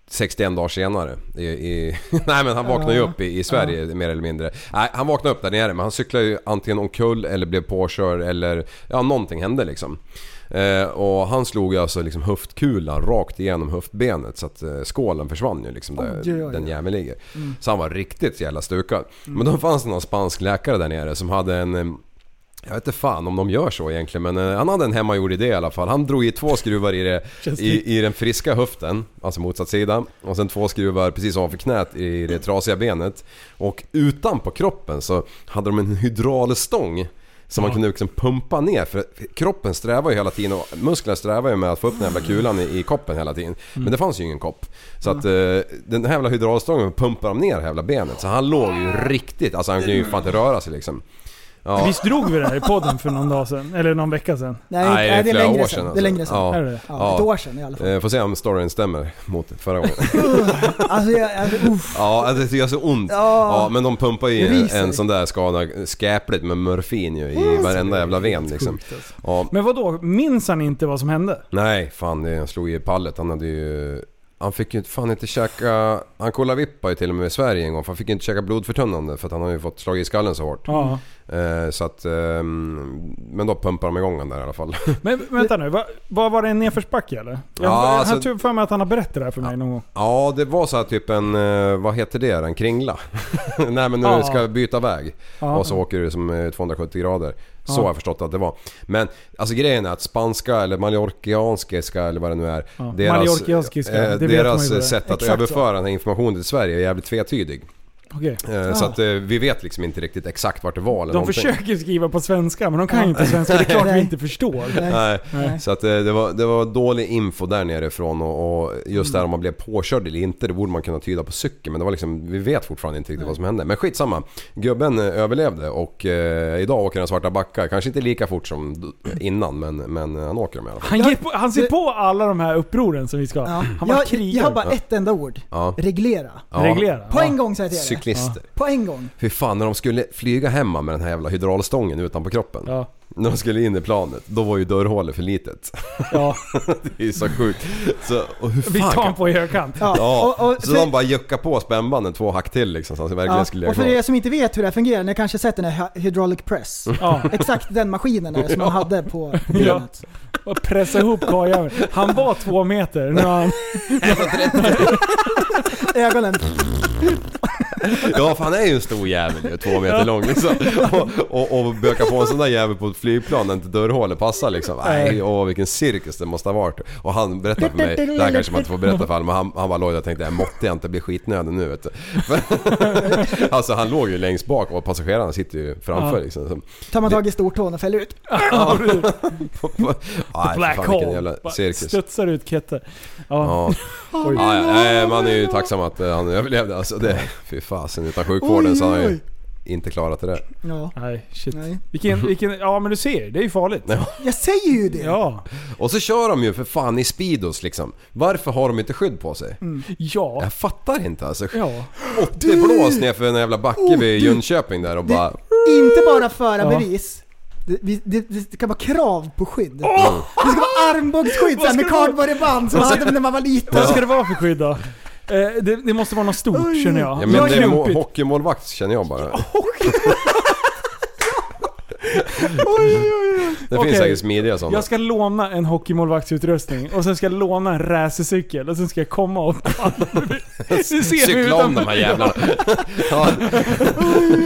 61 dagar senare. I, i, nej men han vaknade ju upp i, i Sverige mer eller mindre. Nej, han vaknade upp där nere men han cyklade ju antingen omkull eller blev påkörd eller ja någonting hände liksom. Eh, och han slog ju alltså liksom höftkulan rakt igenom höftbenet så att eh, skålen försvann ju liksom där
Oj, Mm. oj, oj.
den jäveln ligger. Så han var riktigt jävla stukad. Men då fanns det någon spansk läkare där nere som hade en eh, jag vet inte fan om de gör så egentligen men eh, han hade en hemmagjord idé i alla fall. Han drog i två skruvar i, det, i, i den friska höften, alltså motsatt sida. Och sen två skruvar precis ovanför knät i det trasiga benet. Och utanpå kroppen så hade de en hydraulstång som man kunde liksom pumpa ner för kroppen strävar ju hela tiden och musklerna strävar ju med att få upp den jävla kulan i, i koppen hela tiden. Men det fanns ju ingen kopp. Så att eh, den här jävla hydraulstången pumpade de ner det jävla benet. Så han låg ju riktigt, alltså han kunde ju fan inte röra sig liksom. Ja.
Visst drog vi det här i podden för någon dag sedan? Eller någon vecka sedan?
Nej, nej, det är
flera
längre
år
sedan.
sedan,
Det är längre sedan.
alltså.
Är det det?
Ja,
Ja.
Ett år sedan i alla fall.
Eh, Får se om storyn stämmer mot förra gången.
Alltså, jag, alltså, uff.
ja, det gör så ont.
Ja.
Ja, men de pumpar
Det
ju
ryser.
en sån där skada skräpligt med morfin ju
Mm.
i varenda jävla ven liksom.
alltså.
Ja,
Men vad då? minns han inte vad som hände?
nej fan det- han slog ju i pallet. Han hade ju... Han fick ju fan inte käka... Han kolavippa ju till och med i Sverige en gång för han fick ju inte käka blodförtunnande för att han har ju fått slag i skallen så hårt.
Ja.
Eh, så att... ehm, men då pumpar de igång han där i alla fall.
Men vänta nu, vad, vad var det en nedförsbacke eller? Jag,
Ja,
jag
alltså-
har typ för mig att han har berättat det här för mig någon gång.
Ja, det var så här typ en, eh, vad heter det, en kringla. Nej men nu
Ja.
ska jag byta väg.
Ja.
Och så åker du som eh, 270 grader. Så har jag förstått att det var. Men alltså grejen är att spanska eller mallorquianska eller vad det nu är.
Ja,
Deras,
mallorquianskiska, det
eh,
vet man ju
deras
vad det är.
sätt att
Exakt så.
överföra den här informationen till Sverige är jävligt tvetydig.
Okej.
Eh, Så att eh, vi vet liksom inte riktigt exakt vart det var eller
De
någonting.
försöker skriva på svenska, men de kan ju inte svenska. Det är klart vi
Nej.
inte förstår.
Nej.
Nej.
Så att eh, det var, det var dålig info där nerifrån och, och just
Mm.
där om man blev påkörd eller inte det borde man kunna tyda på cykeln men det var liksom, vi vet fortfarande inte riktigt vad som hände. Men skitsamma. Gubben eh, överlevde och eh, idag åker han svarta backar. Kanske inte lika fort som d- innan men, men eh, han åker dem i alla fall.
Han, ger på, han ser på alla de här upproren som vi ska...
Ja.
Han bara
Jag, jag
krigar.
har bara ett enda ord.
Ja.
Reglera.
Ja.
Reglera.
På en gång säger jag till er.
Cyklister.
På en gång.
Fy fan när de skulle flyga hemma med den här jävla hydraulstången utanpå kroppen.
Ja.
När de skulle in i planet, då var ju dörrhålet för litet.
Ja.
det är ju så sjukt. Så, och hur fan
Vi tar
kan-
honom på i högkant.
Ja.
Ja,
och, och,
så
för,
de bara juckade på spännbanden två hack till liksom så att det verkligen
ja,
skulle
och för
ligga
er
kvar.
som inte vet hur det här fungerar, ni har kanske sett den här hy- hydraulic press.
Mm.
Ja.
Exakt den maskinen är det som man hade på benet.
Och pressa ihop karljäveln. Han var två meter. Nu har han...
Ögonen.
Ja för han är ju en stor jävel ju, två meter lång liksom. Och, och, och böka på en sån där jävel på ett flygplan när inte dörrhålet passar liksom. Nej, åh vilken cirkus det måste ha varit. Och han berättade för mig, det här kanske man inte får berätta för alla, men han, han bara låg där och tänkte jag måtte jag inte bli skitnödig nu vet du. Men- alltså han låg ju längst bak och passagerarna sitter ju framför
Ja.
liksom. Som,
Tar man tag i stortån och fäller ut.
nej, för
Black
fan, vilken
hole.
jävla
Bara
cirkus.
Studsar ut ketter. Ja.
Ja.
Oj.
Ja, ja, ja, man är ju tacksam att eh, han överlevde alltså. Det, fy fasen, utan sjukvården så har han ju inte klarat det där.
Ja.
Nej, shit.
Nej.
Vilken, vilken... Ja men du ser, det är ju farligt.
Jag säger ju det!
Ja.
Och så kör de ju för fan i Speedos liksom. Varför har de inte skydd på sig?
Ja.
Jag fattar inte alltså.
Mm. Ja. Oh,
80 blås ner för en jävla backe vid Jönköping där och bara...
Inte bara föra
Ja.
bevis. Det, vi- det, det ska vara krav på skydd.
Mm.
Det ska vara armbågsskydd så här,
Vad
med
ska det vara?
kardborreband som man hade när man var liten.
Vad ska det vara för skydd då? Eh, det, det måste vara något stort
Oj.
känner jag.
Ja men det
jag
är må-
klumpigt.
hockeymålvakt känner jag bara. Det
Okej.
finns säkert smidiga sådana.
Jag ska låna en hockeymålvaktsutrustning och sen ska jag låna en racercykel och sen ska jag komma och Du ser hur
Cykla om de
utanför...
här jävlarna. Ja.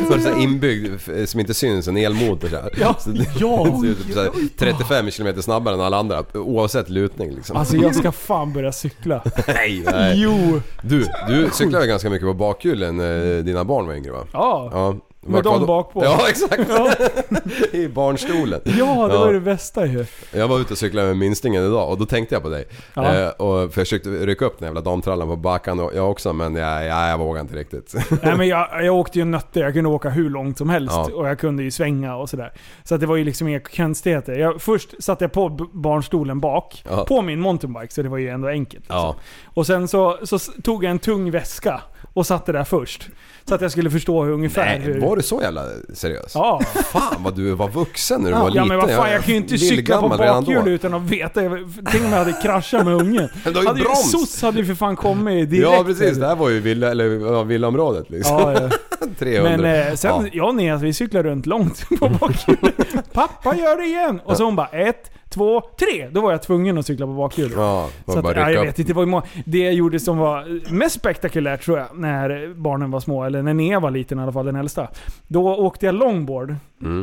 Så det är så här inbyggd f- som inte syns, en elmotor så här.
Ja,
Så det-
ja.
det ser ut som så här 35 km snabbare än alla andra oavsett lutning liksom.
Alltså jag ska fan börja cykla.
nej, nej.
Jo!
Du, du cyklade ganska mycket på bakhjulen eh, dina barn var yngre va?
Ja.
Ja.
Med
Vart var
dem
då-
bak på.
Ja, exakt.
Ja.
I barnstolen.
Ja, det
Ja.
var ju det bästa ju.
Jag var ute och cyklade med minstingen idag och då tänkte jag på dig.
Ja.
Eh, och försökte rycka upp den jävla damtrallan på backan och jag också men jag, jag, jag vågade inte riktigt.
Nej, men jag, jag åkte ju nötter, jag kunde åka hur långt som helst
Ja.
och jag kunde ju svänga och sådär. Så att det var ju liksom inga konstigheter. Jag, först satte jag på b- barnstolen bak,
Ja.
på min mountainbike, så det var ju ändå enkelt. Liksom.
Ja.
Och sen så, så s- tog jag en tung väska och satte där först. Så att jag skulle förstå hur, ungefär
Nej,
hur...
eh, var du så jävla seriös?
Ja.
Fan vad du var vuxen när du
Ja,
var liten.
men vad fan, jag kan ju inte cykla på
lillgammal redan då.
bakhjul utan att veta. Jag, tänk om jag hade kraschat med ungen.
Men du har ju
hade
broms.
SOS hade ju för fan kommit direkt.
Ja precis, det här var ju villa, eller, ja, villaområdet liksom.
Ja, ja.
300.
Men eh, sen,
Ja.
jag och Nia, vi cyklar runt långt på bakhjulet. Pappa gör det igen! Och så hon bara ett, två, tre! Då var jag tvungen att cykla på bakhjulet.
Ja,
Så
man
att,
bara
ja, jag
rycka upp.
vet inte, det var ju många, Det jag gjorde som var mest spektakulärt tror jag, när barnen var små, eller när Nea var liten i alla fall, den äldsta. Då åkte jag longboard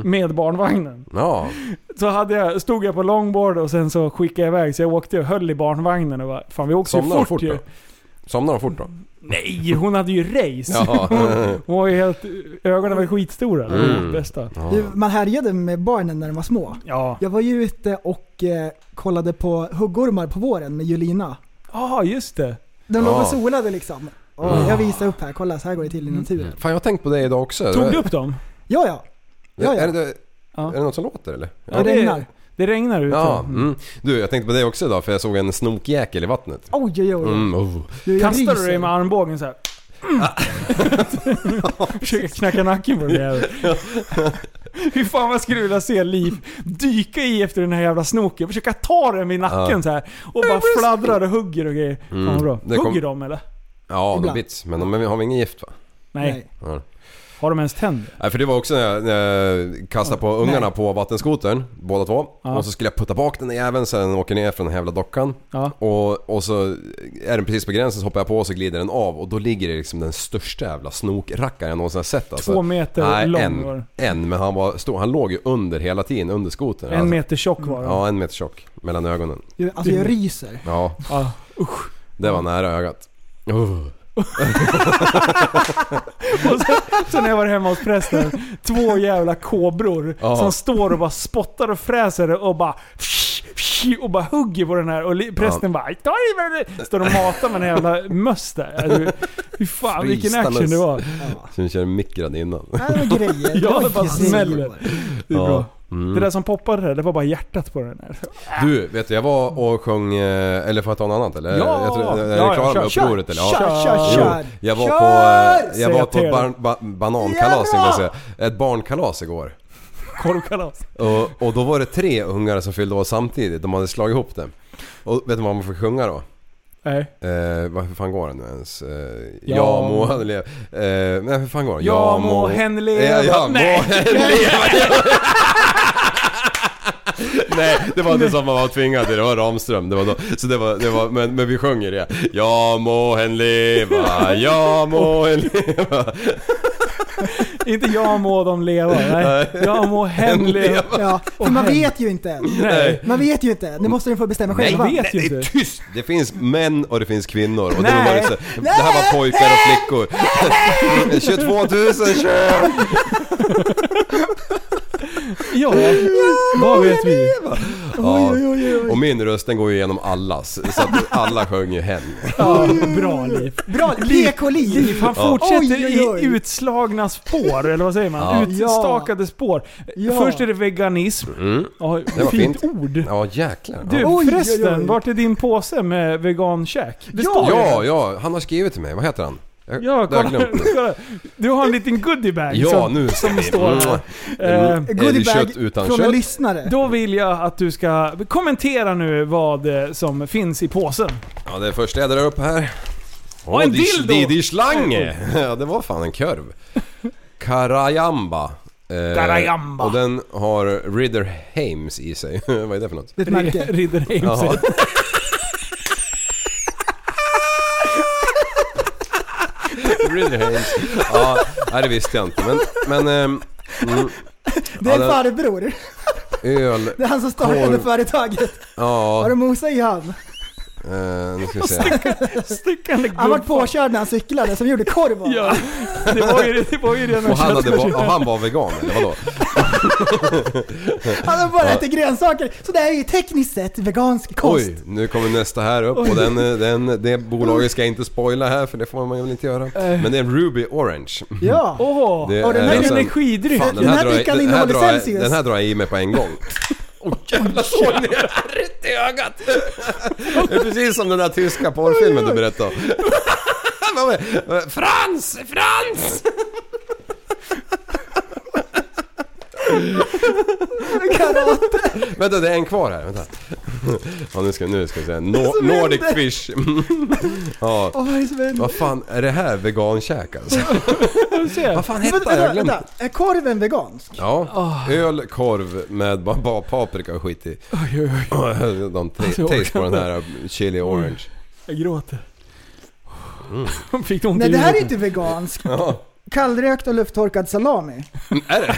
med barnvagnen.
Mm. Ja,
Så hade jag, stod jag på longboard och sen så skickade jag iväg, så jag åkte och höll i barnvagnen och bara, fan vi åkte ju
somnade de
fort,
fort
ju.
då? Somnade de fort då?
Nej, hon hade ju race.
Ja.
Hon var ju helt, ögonen var ju skitstora. Det var
Mm.
det bästa.
Du, man härjade med barnen när de var små.
Ja,
Jag var ju ute och eh, kollade på huggormar på våren med Julina.
ah, just det.
De låg
Ja.
och solade liksom. Och Jag visar upp här, kolla så här går det till i naturen.
Fan jag har tänkt på det idag också.
Tog
Det-
du upp dem?
Ja, ja. ja, ja.
Är, det,
Ja.
är det något som låter eller?
Det regnar.
Det regnar ute.
Ja, mm. Du jag tänkte på det också idag för jag såg en snokjäkel i vattnet.
Oj, oj, oj.
Mm, oh.
Du, jag
Kastar du
ryser.
dig med armbågen så här? Mm. Försöker knacka nacken på den där jäveln. Hur fan vad skulle du vilja se Liv dyka i efter den här jävla snoken? Försöka ta den vid nacken
Ja.
så här och bara fladdrar och hugger och grejer. Fan vad bra.
Mm. Det kom-
Hugger de eller?
Ja, de
Ibland.
bits. Men de har väl inget gift va?
Nej.
Nej.
Har de ens tänder?
Nej för det var också när jag, när jag kastade på ungarna
Nej.
på vattenskotern, båda två.
Ja.
Och så skulle jag putta bak den där jäveln så den åker ner från den här jävla dockan.
Ja.
Och, och så är den precis på gränsen så hoppar jag på och så glider den av och då ligger det liksom den största jävla snokrackaren jag någonsin har sett alltså.
Två meter lång var
en,
den.
en, men han var stor. Han låg ju under hela tiden, under skotern.
En meter tjock var de. Mm.
Ja, en meter tjock. Mellan ögonen.
Du, alltså jag ryser.
Ja,
Ja.
det var nära ögat. Uh.
Och sen, sen när jag var hemma hos prästen, två jävla kobror
Ja.
som står och bara spottar och fräser och bara och bara hugger på den här och li- prästen bara "Ta i med det!" Står och matar med en jävla möss där. Alltså, Fy fan vilken
Frysta
action
möss.
det var.
Ja.
Så den körde mikrad innan.
Nej, det var grejer.
Ja,
var
det bara
grejer.
smäller. Det, är
Ja.
bra.
Mm. Eh,
det där som poppade där, det var bara hjärtat på den här.
Du, vet du, jag var och sjöng... eh, Eller får jag ta något annat eller?
Ja!
Jag tror,
Ja,
är
ja,
ni klara
kör,
med upproret
kör,
eller?
Kör, kör,
Jo,
kör.
jag var
Kör!
på, eh,
Säger
jag var
jag
på
till
ban, ba, banankalas tänkte jag säga. Ett barnkalas igår.
Korvkalas.
Och, och då var det tre ungar som fyllde år samtidigt. De hade slagit ihop det. Och vet du vad man får sjunga då?
Nej.
Eh, vad, hur fan går den nu ens? Eh,
Ja.
ja må han leva. Eh, nej hur fan går den?
Ja må hen leva.
Ja, ja, må
Nej.
hen leva. Nej, det var inte som man var tvingad till. Det var Ramström. Det var då. Så det var, det var, men, men vi sjöng ju det. Ja må hen leva, ja må hen leva.
Inte jag må de leva. Nej. Jag må hen leva.
Ja, för man vet ju inte än.
Nej.
Man vet ju inte. Nu måste de få bestämma
Nej,
själva.
vet ju
Det är
inte.
tyst! Det finns män och det finns kvinnor. Och det,
Nej.
var inte, det här var pojkar och flickor. 22 000 kön!
Ja, vad vet vi?
Ja. Och min röst den går ju igenom allas. Så att alla sjöng ju hen.
Ja, bra liv.
Bra, PK-liv.
Han
Ja.
fortsätter
Oj, oj, oj.
i utslagna spår, eller vad säger man? Utstakade spår.
Ja.
Först är det veganism. Ja,
Mm. Det var
fint,
fint.
ord.
Ja jäklar.
Du
Ja.
Oj,
förresten,
oj, oj.
vart är din påse med vegankäk? Det står ju
ja,
där.
ja, han har skrivit till mig. Vad heter han? Jag,
Ja,
det har jag
kolla,
glömt nu.
kolla. Du har en liten goodiebag
Ja,
som,
nu ska
som
vi. Mm.
står här. Eh,
Mm.
kött
Goodiebag
utan
från
kött?
en lyssnare.
Då vill jag att du ska kommentera nu vad eh, som finns i påsen.
Ja, det är första jag drar upp här. Åh,
en
det-
dildo!
Det, det är slange! Ja, det var fan en kurv. Karajamba. Eh,
Karajamba.
Och den har Ridder Hames i sig. Vad är det för något?
Det är ett märke.
Ridder
Jaha.
Heimsey.
Ridder Hames. Ja, nej, det visste jag inte. Men, men ehm, mm,
Det är
Ja,
en
det-
farbror.
öl...
Det är han som startade
Korv.
företaget.
Ja,
Har du mosat i han?
Eh, nu ska vi se.
Stickande
Han vart påkörd när han cyklade som gjorde korv av.
Ja, det var ju, det var ju det när
Och han, hade,
köttfärsen-
va- och han var vegan eller vadå?
Han har bara ätit grönsaker. Så det här är ju tekniskt sett vegansk kost.
Oj, nu kommer nästa här upp och den, eh, den, det bolaget ska jag inte spoila här för det får man väl inte göra. Men det är Ruby Orange.
Ja.
Åh!
Det
och den här
en
är
sån-
energidryck.
Fan,
Den här
drar jag-
drickan
den här
innehåller
drar jag-
Celsius.
Den här drar jag i mig på en gång. Åh jävlar, såg ni det? Rätt i ögat! Det är precis som den där tyska porrfilmen du berättade om. Vad var det? Frans! Frans!
Karate.
Vänta, det är en kvar här. Vänta. Ja, nu ska, nu ska vi se. No, Nordic Fish. Ja.
Åh, vad är det som händer?
Vad fan, är det här vegankäk alltså? Vad fan hette
Vänta,
det? Jag
vänta,
glömde.
vänta. Är korven vegansk?
Ja, öl, korv med bara, bara paprika och skit i.
Oj, oj, oj.
De
Alltså, jag
taste på
orkar
den här um, chili orange.
Jag gråter.
Mm.
Fick du ont
Nej,
i
det här är
huvudet?
inte veganskt.
Ja.
Kallrökt och lufttorkad salami.
Är det?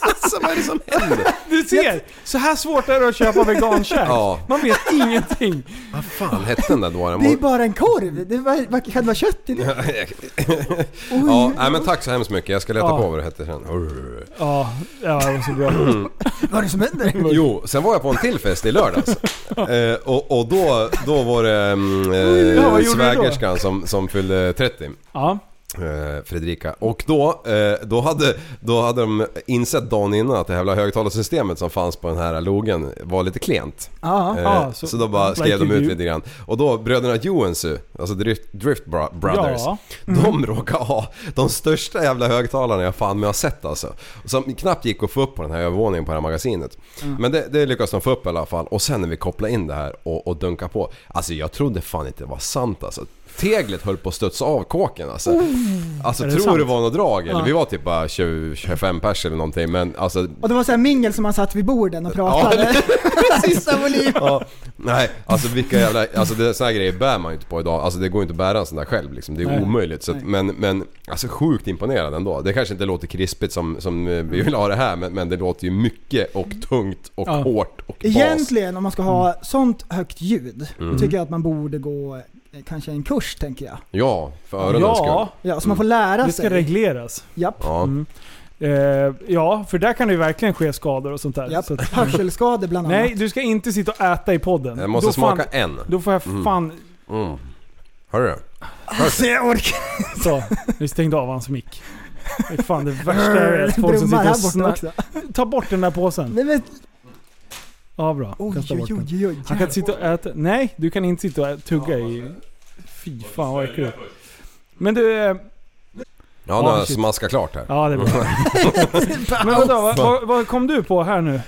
alltså vad är det som händer?
Du ser! Så här svårt är det att köpa vegankäk.
Ja.
Man vet ingenting.
Vad fan hette den där dåren?
Det är ju bara en korv. Det var, vad kan det vara kött i det?
Ja, nej, men tack så hemskt mycket. Jag ska leta
Ja.
på vad det hette sen. Urr.
Ja, ja det var så bra.
Vad är det som händer?
Jo, sen var jag på en till fest i lördags. eh, och, och då, då var det mm, eh,
Ja, vad gjorde du då?
svägerskan som, som fyllde 30.
Ja.
eh, Fredrika. Och då, eh, då, hade, då hade de insett dagen innan att det jävla högtalarsystemet som fanns på den här logen var lite klent.
Ja.
Eh,
Ah,
så,
så-
då bara
like
skrev de
you
ut
do.
lite grann. Och då bröderna Joensuu, alltså Drift, Drift Bro- Brothers,
Ja. Mm.
de råkar ha de största jävla högtalarna jag fan med har sett alltså. Som knappt gick att få upp på den här övervåningen på det här magasinet.
Mm.
Men det, det lyckades de få upp i alla fall och sen när vi kopplade in det här och, och dunkade på. Alltså jag trodde fan inte det var sant alltså. Teglet höll på att studsa av kåken alltså. alltså
Oh. Är det
tror
sant?
det var något drag eller vi var typ bara 20, 25 pers eller någonting men alltså
Och det var så här mingel som man satt vid borden och pratade. Sista volym.
Ja, nej, alltså vilka jävla... Alltså det, såna här grejer bär man ju inte på idag. Alltså det går ju inte att bära en sån där själv liksom. Det är
Nej.
omöjligt. Så att, men, men alltså sjukt imponerad ändå. Det kanske inte låter krispigt som, som eh, vi vill ha det här men, men det låter ju mycket och tungt och
Ja.
hårt och bas.
Egentligen om man ska ha
Mm.
sånt högt ljud, tycker jag att man borde gå eh, kanske en kurs tänker jag.
Ja, för öronens
ja,
skull.
Ja, så man får lära
det
sig.
ska regleras.
Japp.
Ja.
Mm. Eh, ja, för där kan det ju verkligen ske skador och sånt där.
Japp.
Så att,
Hörselskador bland annat.
nej, du ska inte sitta och äta i podden.
Jag måste
då
smaka
Fan,
en.
då får jag fan...
Mm. Hör du?
Alltså, jag orkar
Så, vi stängde av hans mick. Det är fan det värsta jag vet. Folk som
Brummar
sitter
här
och
borta
snackar.
också.
Ta bort den där påsen.
Nej, men,
Ja, bra.
oj,
Kasta
oj,
bort den.
oj, oj.
Han kan sitta och äta. Nej, du kan inte sitta och ä- tugga i... Fy fan vad äckligt. Men du... eh,
Ja, nu har
Ah,
jag
shit.
smaskat klart här.
Ja, det är bra. Men vänta, vad, vad, vad kom du på här nu?
Eh,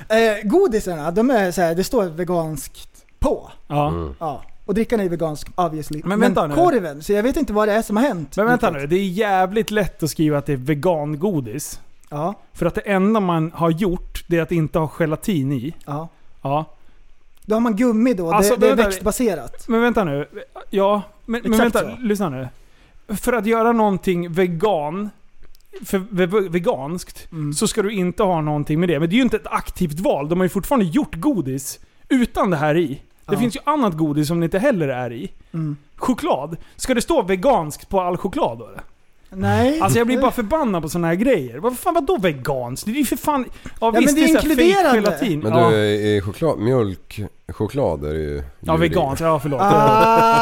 godisarna, de är så här, det står veganskt på.
Ja.
Ja. Och drickan är ju vegansk obviously.
Men vänta nu.
korven, så jag vet inte vad det är som har hänt.
Men vänta nu, det är jävligt lätt att skriva att det är vegangodis.
Ja,
För att det enda man har gjort, det är att inte ha gelatin i.
ja.
Ja.
Då har man gummi då,
Alltså,
det, det är
vänta,
växtbaserat.
Men vänta nu. Ja, men, men
Exakt
vänta.
så.
Lyssna nu. För att göra någonting vegan, för, ve- veganskt, så ska du inte ha någonting med det. Men det är ju inte ett aktivt val. De har ju fortfarande gjort godis utan det här i. Det
Ja.
finns ju annat godis som det inte heller är i.
Mm.
Choklad. Ska det stå veganskt på all choklad då? eller?
Nej.
Alltså jag blir bara förbannad på såna här grejer. Vad fan vadå veganskt? Det är ju för fan... Ja,
men
visst,
det är
så här fake
inkluderande.
gelatin.
Men
ja.
du, eh, choklad, mjölk, choklad är det ju...
ja,
djur i.
veganskt. Ja, förlåt.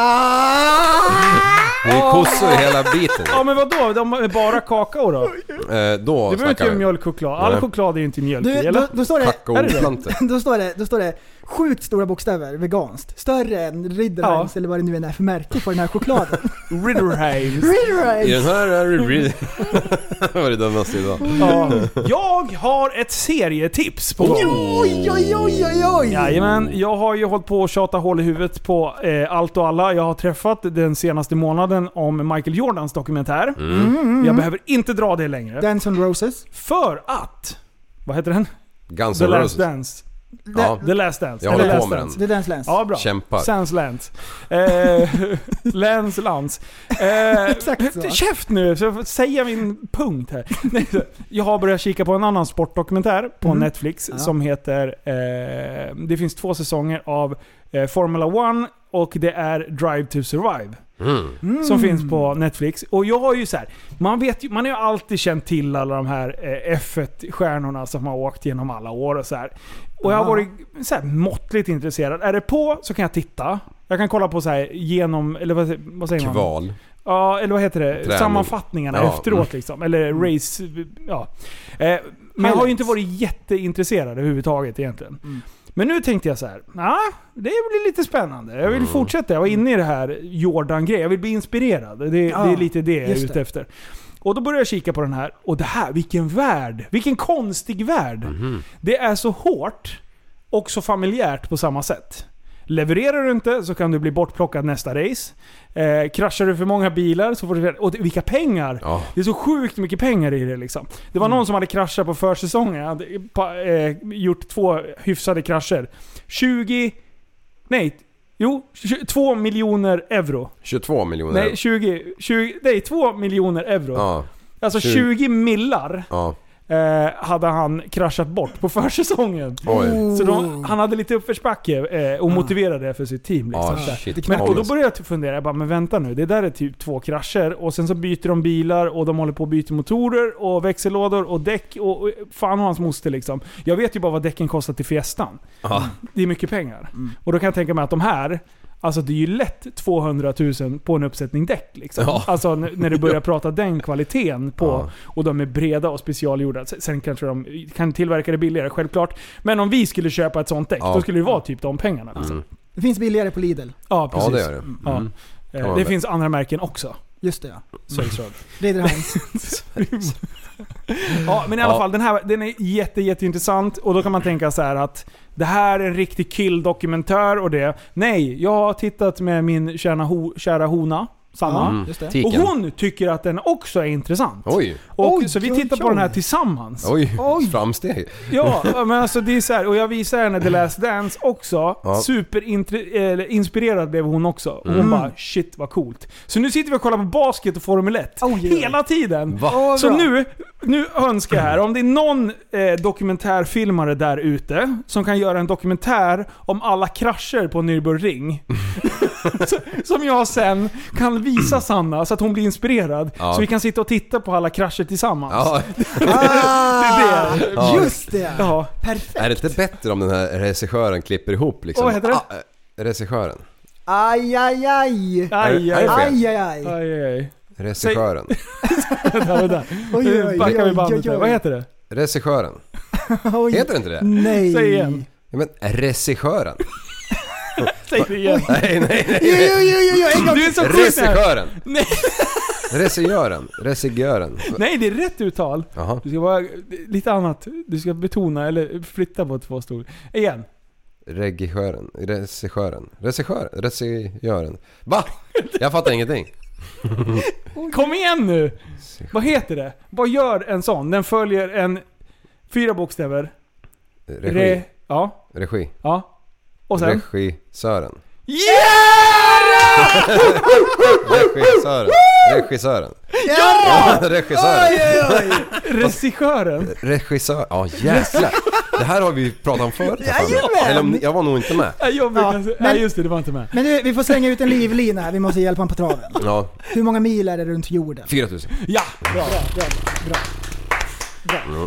Ah.
Det är kossor i hela biten.
Ja men vadå? De är bara kakao då?
Eh, då
Det behöver inte
snackar
vara
vi.
mjölkchoklad. All
Nej.
choklad är ju inte mjölk i,
Du,
eller?
då, då, står det,
Kakaoplantor.
då, står det, då står det sjukt stora bokstäver, veganskt. Större än Ridderheims
Ja.
eller vad det nu än är för märke på den här chokladen.
Ritterheims.
I
Ridderheims!
den här är det... det var det dummaste idag.
ja. Jag har ett serietips på gång.
Oj, oj, oj, oj, oj!
Jajamän, jag har ju hållit på och tjata hål i huvudet på eh, allt och alla. Jag har träffat den senaste månaden om Michael Jordans dokumentär.
Mm.
Jag behöver inte dra det längre.
Mm. Dance on Roses.
För att... Vad heter den?
Guns
The
N'
Last
Roses.
Dance.
Ja,
The Last Dance.
Jag
The
håller på
Last
med
Dance.
Det är Dance Lance.
Ja, bra.
kämpar.
Sans Lantz. Eh, Lens Lantz. Eh,
Exakt så.
Käft nu, så jag får säga min punkt här. Nej, så- jag har börjat kika på en annan sportdokumentär på Netflix
Mm. Ja.
som heter... Eh, det finns två säsonger av eh, Formula One och det är Drive to Survive.
Mm.
Som finns på Netflix. Och jag har ju så här, man, vet ju, man har ju alltid känt till alla de här eh, F1-stjärnorna som har åkt genom alla år och så här. Och jag har
Ah.
varit så här måttligt intresserad. Är det på så kan jag titta. Jag kan kolla på så här genom, eller vad, vad säger man?
Kval.
Ja, eller vad heter det?
Träning.
Sammanfattningarna
Ja, Mm.
efteråt liksom. Eller race... Ja. Eh, men jag har ju inte varit jätteintresserad överhuvudtaget egentligen.
Mm.
Men nu tänkte jag så här. Ja, det blir lite spännande. Jag vill
Mm.
fortsätta. Jag var inne i det här Jordan-grejen. Jag vill bli inspirerad. Det,
Ja,
det är lite det jag är
just
ute
det.
efter. Och då började jag kika på den här. Och det här, vilken värld! Vilken konstig värld! Det är så hårt och så familjärt på samma sätt. Levererar du inte så kan du bli bortplockad nästa race. Eh, kraschar du för många bilar så får du... Och det- vilka pengar!
Ja.
Det är så sjukt mycket pengar i det liksom. Det
Mm.
var någon som hade kraschat på försäsongen. Hade, pa, eh, gjort två hyfsade krascher. 20... Nej. Jo, 20 2 miljoner euro.
22 miljoner.
Nej, 20... 20 nej, 2 miljoner euro.
ja,
alltså
20.
20 millar
ja.
eh, hade han kraschat bort på försäsongen.
Oj.
Mm.
Så
Oh.
de, han hade lite uppförsbacke eh, och motiverade det för sitt team. Liksom.
Ah. Ja,
Så här.
Ah, shit.
Men, och då
Ångest.
började jag typ fundera, jag bara, men vänta nu. Det där är typ två krascher och sen så byter de bilar och de håller på att byta motorer och växellådor och däck och, och fan och hans moster liksom. Jag vet ju bara vad däcken kostar till Fiestan.
Ja.
Det är mycket pengar. Och då kan jag tänka mig att de här, alltså det är ju lätt 200 000 på en uppsättning däck liksom.
Ja.
Alltså n- när du börjar prata den kvaliteten på,
Ja.
och de är breda och specialgjorda. S- Sen kanske de kan tillverka det billigare, självklart. Men om vi skulle köpa ett sånt däck,
Ja.
då skulle det vara typ de pengarna. Liksom.
Det finns billigare på Lidl.
Ja,
ja,
precis.
det är det.
Ja.
Mm.
Eh,
Kan man
Det
väl.
finns andra märken också.
Just det ja.
Sägs det.
Ridderholms.
Ja, men i alla
Ja.
fall, den här den är jätte, jätteintressant. Och då kan man tänka så här att det här är en riktig kill-dokumentär och det. Nej, jag har tittat med min kära, ho, kära hona, Sanna.
Ja, just det.
Och
Tiken.
hon tycker att den också är intressant.
Oj,
Och,
Oj,
så vi
oj,
tittar på
oj.
den här tillsammans.
oj,
Oj.
framsteg.
Ja, men alltså det är så här, och jag visar henne The Last Dance också.
Ja. Mm.
Superinspirerad blev hon också. Och hon bara shit vad coolt. Så nu sitter vi och kollar på basket och Formel 1.
Oj, oj, oj.
Hela tiden!
Va?
Åh, vad
Så
bra.
nu, nu önskar jag här, om det är någon eh, dokumentärfilmare där ute som kan göra en dokumentär om alla krascher på Nürburgring. Så- som jag sen kan visa Sanna så att hon blir inspirerad.
Ja.
Så vi kan sitta och titta på alla krascher tillsammans.
Ja.
Ah,
Det
Ja.
Just det!
Ja.
Perfekt!
Är det inte bättre om den här regissören klipper ihop liksom?
Vad heter det?
Ah, eh, regissören.
Aj, aj, aj!
Aj,
Är
aj,
det- är
aj.
det
Aj, aj, aj!
aj, aj.
Regissören.
Där, där.
Oj,
Nu
oj,
backar vi
oj,
bandet
oj,
där. Vad
oj.
heter det?
Regissören.
Oj.
Heter det inte det?
Nej!
Säg igen.
Ja, men regissören.
Säg det igen.
Nej, nej, nej.
Jo, jo, jo, jo, jo, en gång
Du
till!
är så sjuk här.
Regissören.
Nej.
Regissören. Regissören.
Nej, det är rätt uttal.
Jaha.
Du ska vara lite annat. Du ska betona eller flytta på två stol. Igen.
Regissören. Regissören. Regissören. Regissören. Va? Jag fattar ingenting.
Kom igen nu! Vad heter det? Vad gör en sån? Den följer en... Fyra bokstäver.
Regi.
ja.
Regi.
Ja. Och sen...
Regissören.
yeah!
Regissören. Regissören.
Ja! Ah,
Regissören.
Regissören.
Regissör. Ja jäklar. Det här har vi pratat om förut. här för mig.
Jajamän.
Eller om, ni- jag var nog inte med.
Nej, jag brukar säga-
men-
Nej, just det. Det var inte med.
Men nu, vi får slänga ut en livlina här, vi måste hjälpa honom på traven.
Ja,
Hur många mil är det runt jorden?
4000.
Ja! Bra.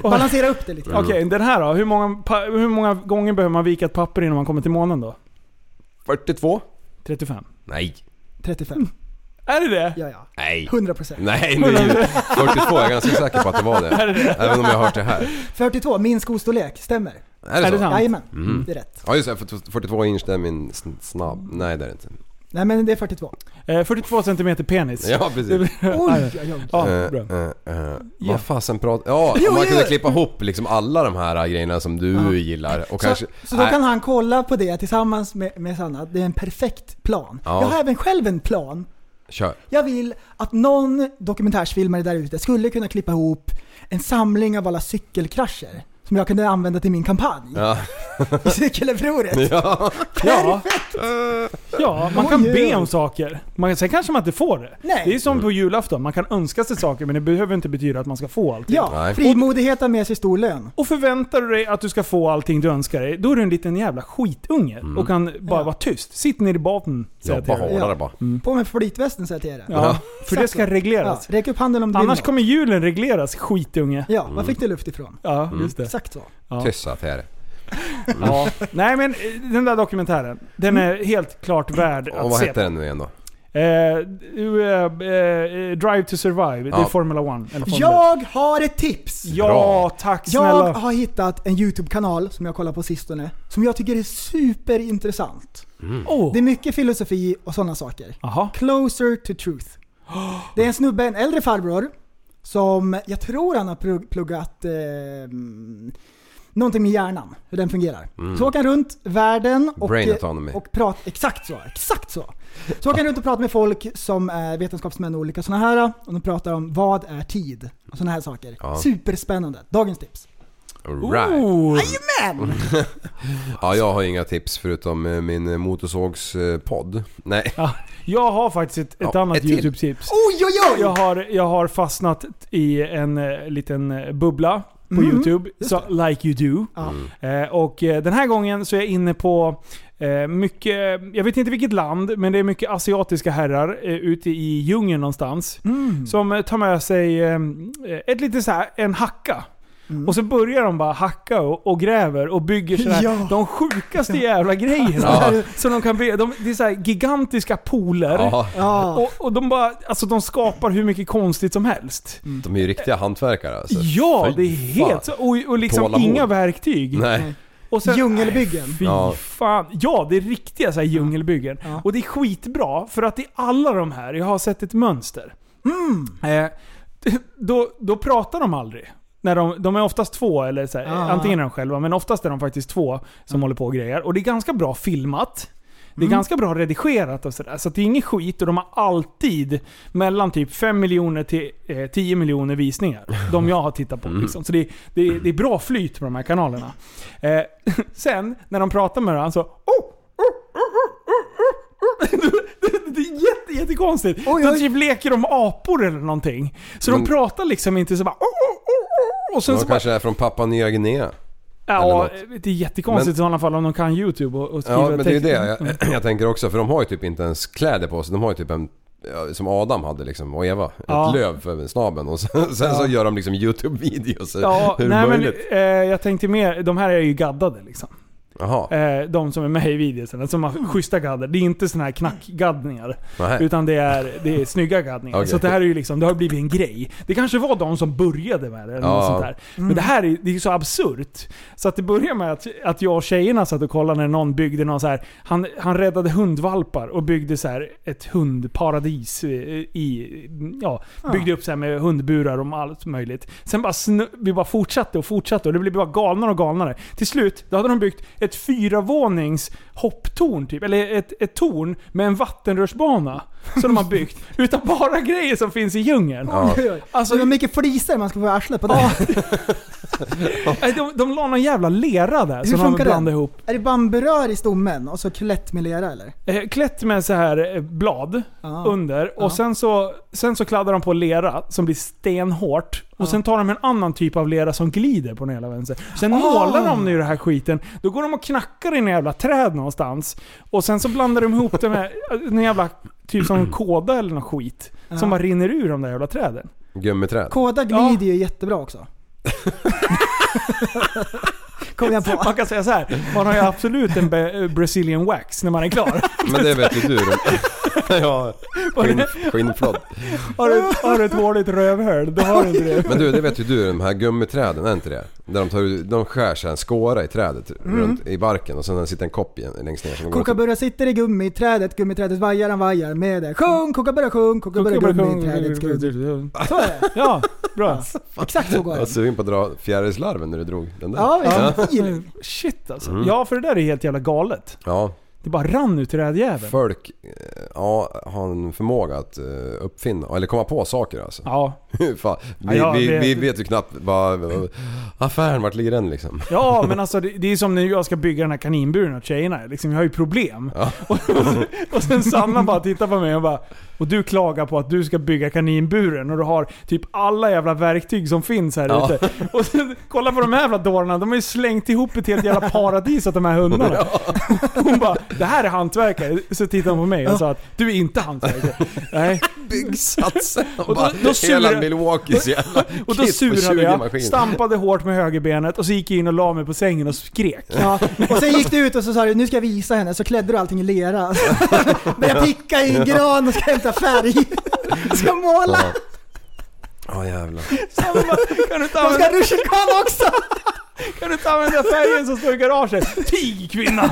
Balansera upp det lite.
Mm.
Okej, den här då. Hur många, pa- hur många gånger behöver man vika ett papper innan man kommer till månen då?
42?
35.
Nej.
35.
Är det det?
Ja, ja.
Nej.
100 procent.
Nej, nu, 42. Jag är ganska säker på att det var det. Även om jag har hört det här.
42, min skostorlek. Stämmer?
Är det,
Är det
så? Mm.
sant?
Jajamän, det är rätt.
Ja just det, 42 inch det är min sn- snabb. Nej det är det inte.
Nej men det är 42.
Eh, 42 cm penis.
Ja precis.
Oj, oj, oj.
Ja,
Eh,
bra.
eh, eh,
Ja.
Vad fasen pratar... Ja,
Jo,
om man
jo.
kunde klippa ihop liksom alla de här grejerna som du gillar och kanske...
Så, så då
Nej.
kan han kolla på det tillsammans med, med Sanna. Det är en perfekt plan.
Ja.
Jag har även själv en plan.
Kör.
Jag vill att någon dokumentärsfilmare där ute skulle kunna klippa ihop en samling av alla cykelkrascher. som jag kunde använda till min kampanj.
Ja.
I cykelupproret.
Ja.
Ja. ja, man kan
Oj, oj,
be
oj.
om saker. Man, sen kanske man inte får det.
Nej.
Det är
Mm.
som på julafton, man kan önska sig saker men det behöver inte betyda att man ska få allting.
Ja,
Nej.
frimodighet har med sig stor lön.
Och förväntar du dig att du ska få allting du önskar dig, då är du en liten jävla skitunge och kan bara
Ja.
vara tyst. Sitt ner i baten, säger jag
Mm. Jobba
till dig.
hårdare bara.
På med flytvästen säger jag till er.
Ja, för det ska
Exakt.
regleras.
Ja, räck upp handen om du vill
Annars
något.
kommer julen regleras, skitunge.
Ja,
Mm.
var fick du luft ifrån?
Ja, Mm. just det.
Exakt så.
Ja.
Tyssat här.
Ja. Nej men eh, den där dokumentären, den är helt klart värd
Mm. Och
att
vad
se.
hette den nu igen då?
Eh, du, eh, eh, Drive to Survive, det är
Ja.
Formula One. Eller Formula ett.
Jag har ett tips!
Ja, tack snälla.
Jag har hittat en YouTube-kanal som jag kollar på sistone, som jag tycker är superintressant.
Oh.
Mm.
Det är mycket filosofi och sådana saker.
Aha.
Closer to truth. Det är en snubbe, en äldre farbror, som jag tror han har plugg- pluggat eh, någonting med hjärnan, hur den fungerar. Så åker han runt världen och,
Mm. Brain autonomy.
och pratar, exakt så, exakt så. Så åker han runt och pratar med folk som är vetenskapsmän och olika sådana här, och de pratar om vad är tid? Och sådana här saker.
Ja.
Superspännande. Dagens tips.
Right.
Oh.
Jajamän!
Ja, jag har inga tips förutom eh, min eh, motorsågspodd. Nej.
Ja, jag har faktiskt ett, ett
Ja,
annat
ett till.
YouTube-tips.
Oj, oj, oj!
Jag har, jag har fastnat i en eh, liten eh, bubbla på
Mm.
Mhm,
YouTube, så, like you do.
Ja.
Eh, och eh, den här gången så är jag inne på eh, mycket, jag vet inte vilket land, men det är mycket asiatiska herrar eh, ute i djungeln någonstans.
Mm.
Som eh, tar med sig eh, ett lite så här, en hacka. Och så börjar de bara hacka och, och gräver och bygger sådär,
Ja.
de sjukaste jävla grejerna.
Ja.
Som de kan be, de, det är så här gigantiska pooler.
Ja,
Ja.
Och, och de bara, alltså de skapar hur mycket konstigt som helst.
de är ju riktiga hantverkare alltså.
Ja,
Fy
det är
fan.
helt så. Och, och liksom
Tålamod.
inga verktyg.
Nej.
Och sen,
Djungelbyggen.
Fy
Ja.
fan. Ja, det är riktiga så här djungelbyggen.
Ja.
Och det är skitbra, för att i alla de här, jag har sett ett mönster. Eh, då, då pratar de aldrig. När de, de är oftast två, eller så här,
Ah.
antingen är de själva, men oftast är de faktiskt två som håller på och grejer. Och det är ganska bra filmat. Det är ganska bra redigerat och sådär. Så att det är inget skit och de har alltid mellan typ 5 miljoner till eh, 10 miljoner visningar. De jag har tittat
Mm.
på. Liksom. Så det, det, det är bra flyt på de här kanalerna. Eh, sen när de pratar med varandra så... Oh, oh, oh, oh, oh, oh. Det- det är jätte, jättekonstigt.
Oj,
De
oj.
typ leker de apor eller någonting. Så de
Men-
pratar liksom inte så bara... Oh, oh, oh, oh. Och sen
De
så bara,
kanske är från Papua Nya Guinea.
ja,
eller
det är jättekonstigt i sådana fall om de kan YouTube och, och skriva
Ja, men det är ju
text.
det jag, jag tänker också. För de har ju typ inte ens kläder på sig. De har ju typ en... ja, Som Adam hade liksom, och Eva. Ett
Ja.
löv för snabben. Och sen, sen så gör de liksom YouTube-videos.
Ja,
Hur
nej, men,
möjligt?
eh, jag tänkte mer, de här är ju gaddade liksom.
Jaha.
Eh, de som är med i videorna, som har schyssta gadder. Det är inte såna här knackgaddningar.
Mm. Nej.
Utan det är, det är snygga gaddningar.
Okej.
Så att det här är ju liksom, det har blivit en grej. Det kanske var de som började med det eller något
Ja.
sånt där. Men det här är det är ju så absurt. Så att det börjar med att, att jag och tjejerna satt och kollade när någon byggde någon så här. Han, han räddade hundvalpar och byggde så här ett hundparadis eh, i... Ja,
Ah.
byggde upp så här med hundburar och allt möjligt. Sen bara snö, vi bara fortsatte och fortsatte och det blev bara galnare och galnare. Till slut, då hade de byggt ett fyravånings hopptorn typ. Eller ett, ett torn med en vattenrörsbana. Som de har byggt. Utan bara grejer som finns i djungeln.
Ja.
Oj, oj.
Alltså,
Så det är mycket fliser man ska få i arslet på det.
Nej, De, de la någon jävla lera där
Hur
som de
funkar
blandade
den?
ihop.
Är det bamburör i stommen och så klätt med lera eller?
Eh, Klätt med så här eh, blad
Ja.
under och
Ja.
sen, så, sen så kladdar de på lera som blir stenhårt. Och sen tar de en annan typ av lera som glider på den hela vänster.
Ah!
Sen målar de nu den här skiten. Då går de och knackar i en jävla träd någonstans. Och sen så blandar de ihop det med eh, en jävla typ som kåda eller någon skit. Som bara rinner ur de där jävla träden.
Gummiträd.
Koda glider ju jättebra också. Kom jag på.
Man kan säga så här. man har ju absolut en be- eh, Brazilian wax när man är klar.
Men det vet ju du. ja, skinn, skinnflod.
Har du, har du ett håligt rövhål, då har du inte det.
Men du, det vet ju du, de här gummiträden, är inte det? Där de, tar, ut- de skär sig en skåra i trädet
Mm.
runt i barken och sen sitter en kopp igen- längst ner. Som går åt-
Kokaburra sitter i gummiträdet, gummiträdet vajar, han vajar med det. Sjung, kokaburra sjung, kokaburra gummiträdet gummi. Så är det.
Ja, bra.
Alltså. Exakt så går
jag var
det.
sugen på att dra fjärilslarven när du drog den där.
Ja, vilken feeling.
Shit alltså. Ja, för det där är helt jävla galet.
Ja,
Det bara rann ut rädjäveln.
folk eh, ja, har en förmåga att eh, uppfinna, eller komma på saker alltså.
Ja,
Fan, vi,
Ja,
vi,
det-
vi vet ju knappt vad... vad- Affären, vart ligger den liksom?
Ja, men alltså det, det är som när jag ska bygga den här kaninburen åt tjejerna. Liksom, jag har ju problem. Och, och, sen- och sen Sanna bara tittar på mig och bara Och du klagar på att du ska bygga kaninburen och du har typ alla jävla verktyg som finns här
Ja.
ute. Och sen, kolla på de här jävla dårarna. De har ju slängt ihop ett helt jävla paradis åt de här hundarna. Hon bara Det här är hantverkare. Så tittar hon på mig och sa att Du är inte hantverkare. Nej.
Byggsatsen!
då-
Och bara,
då
hela
surar-
Milwaukees jävla
Och då
kit på
surade
20
jag,
maskiner.
stampade hårt med högerbenet och så gick jag in och la mig på sängen och skrek.
Ja. Och sen gick du ut och så sa du nu ska jag visa henne, så klädde du allting i lera. Började picka i en gran och ska hämta färg. Ska måla.
Ja. Ja jävlar.
Kan du inte
De
använda
ska rutschkana också!
Kan du inte använda färgen som står i garaget? Tig kvinna!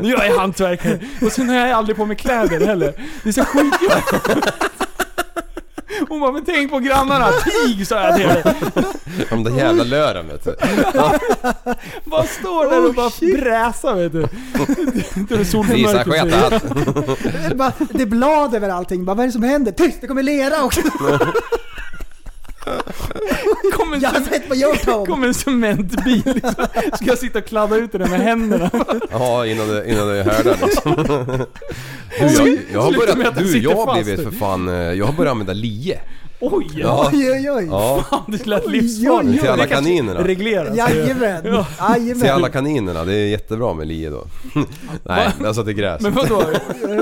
Jag är hantverkare. Och sen har jag aldrig på mig kläder heller. Det är så skitjobbigt. Hon bara, men tänk på grannarna. Tig sa jag till dig.
Ja, De där jävla lören vet du.
Bara står där
Oh,
och bara bräsar vet du. Det är
Visa
solförmörkelse.
sketat.
Bara, det är blad över allting. Bara, vad är det som händer? Tyst, det kommer lera också.
Kommer
Jag har sett på Youtube.
kom en cementbil liksom. Ska jag sitta och kladda ut den med händerna?
Ja, innan du, innan du härdar liksom. Du, jag, jag har
Sluta med att
börjat,
den
du,
sitter
jag har
fast.
blivit för fan, eh, jag har börjat använda lie.
Oj!
Ja.
Oj, oj, oj.
Ja,
Det lät livsfarligt.
till alla alltså.
Det kanske
kaninerna.
Regleras.
Jajamän.
Ja.
Till alla
Jajamän.
kaninerna, det är jättebra med lie då. Nej, alltså till gräs.
Men vadå?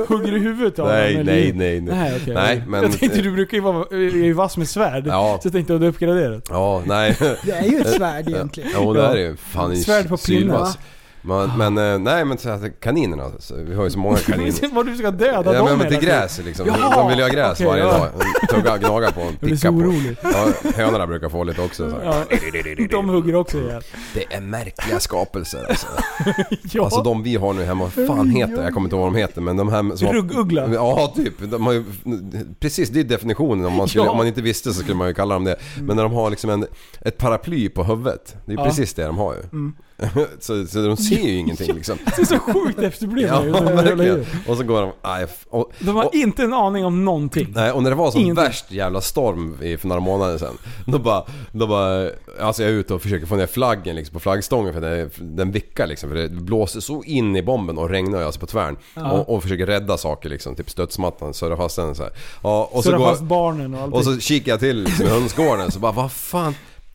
Hugger du huvudet av den,
Nej,
eller?
nej, nej, nej.
Nej, okej.
Nej, men-
Jag tänkte du brukar ju vara eh, är ju vass med svärd.
Ja.
Så jag tänkte att du uppgraderat.
Ja, nej.
Det är ju ett svärd egentligen.
Ja, det här är ju fan det är alltså. ju
Svärd på pinne,
sylvass. Men, men eh, nej men så här, kaninerna, alltså, vi har ju så många kaniner.
Vad du ska döda
Ja,
dem alltså.
men, men
hela
till
tiden.
gräs liksom.
Jaha!
De vill ju ha gräs
Okej,
varje
ja.
dag. Tugga, gnaga på,
Jag blir
ticka
så
på.
orolig.
Ja, hönorna brukar få lite också. Så här.
Ja. De hugger också ihjäl.
Det är märkliga skapelser alltså.
Ja.
Alltså de vi har nu hemma, vad fan heter det? Jag kommer inte ihåg vad de heter men de här som... har-
Rugguggla.
Ja, typ. De har ju, precis, det är definitionen. Om man, skulle,
Ja. Mm.
om man inte visste så skulle man ju kalla dem det. Men när de har liksom en, ett paraply på huvudet. Det är
Ja. Mm.
precis det de har ju. så, så de ser ju ingenting liksom.
Det är så sjukt efterblivna
Ja,
ju, de här jävla
verkligen.
djuren.
Och så går de... Aj, f- och,
De har
och,
inte en aning om någonting.
Nej, och när det var som
Ingenting.
värst jävla storm i- för några månader sedan. Då bara, då bara... Alltså jag är ute och försöker få ner flaggen liksom på flaggstången för det, den vickar liksom. För det blåser så in i bomben och regnar ju alltså på tvären. Och, och försöker rädda saker liksom. Typ stödsmattan, surra fast den så här. Ja, och
Så
så
där
går,
fast barnen och allting.
och så kikar jag till liksom, i hönsgården så bara vad fan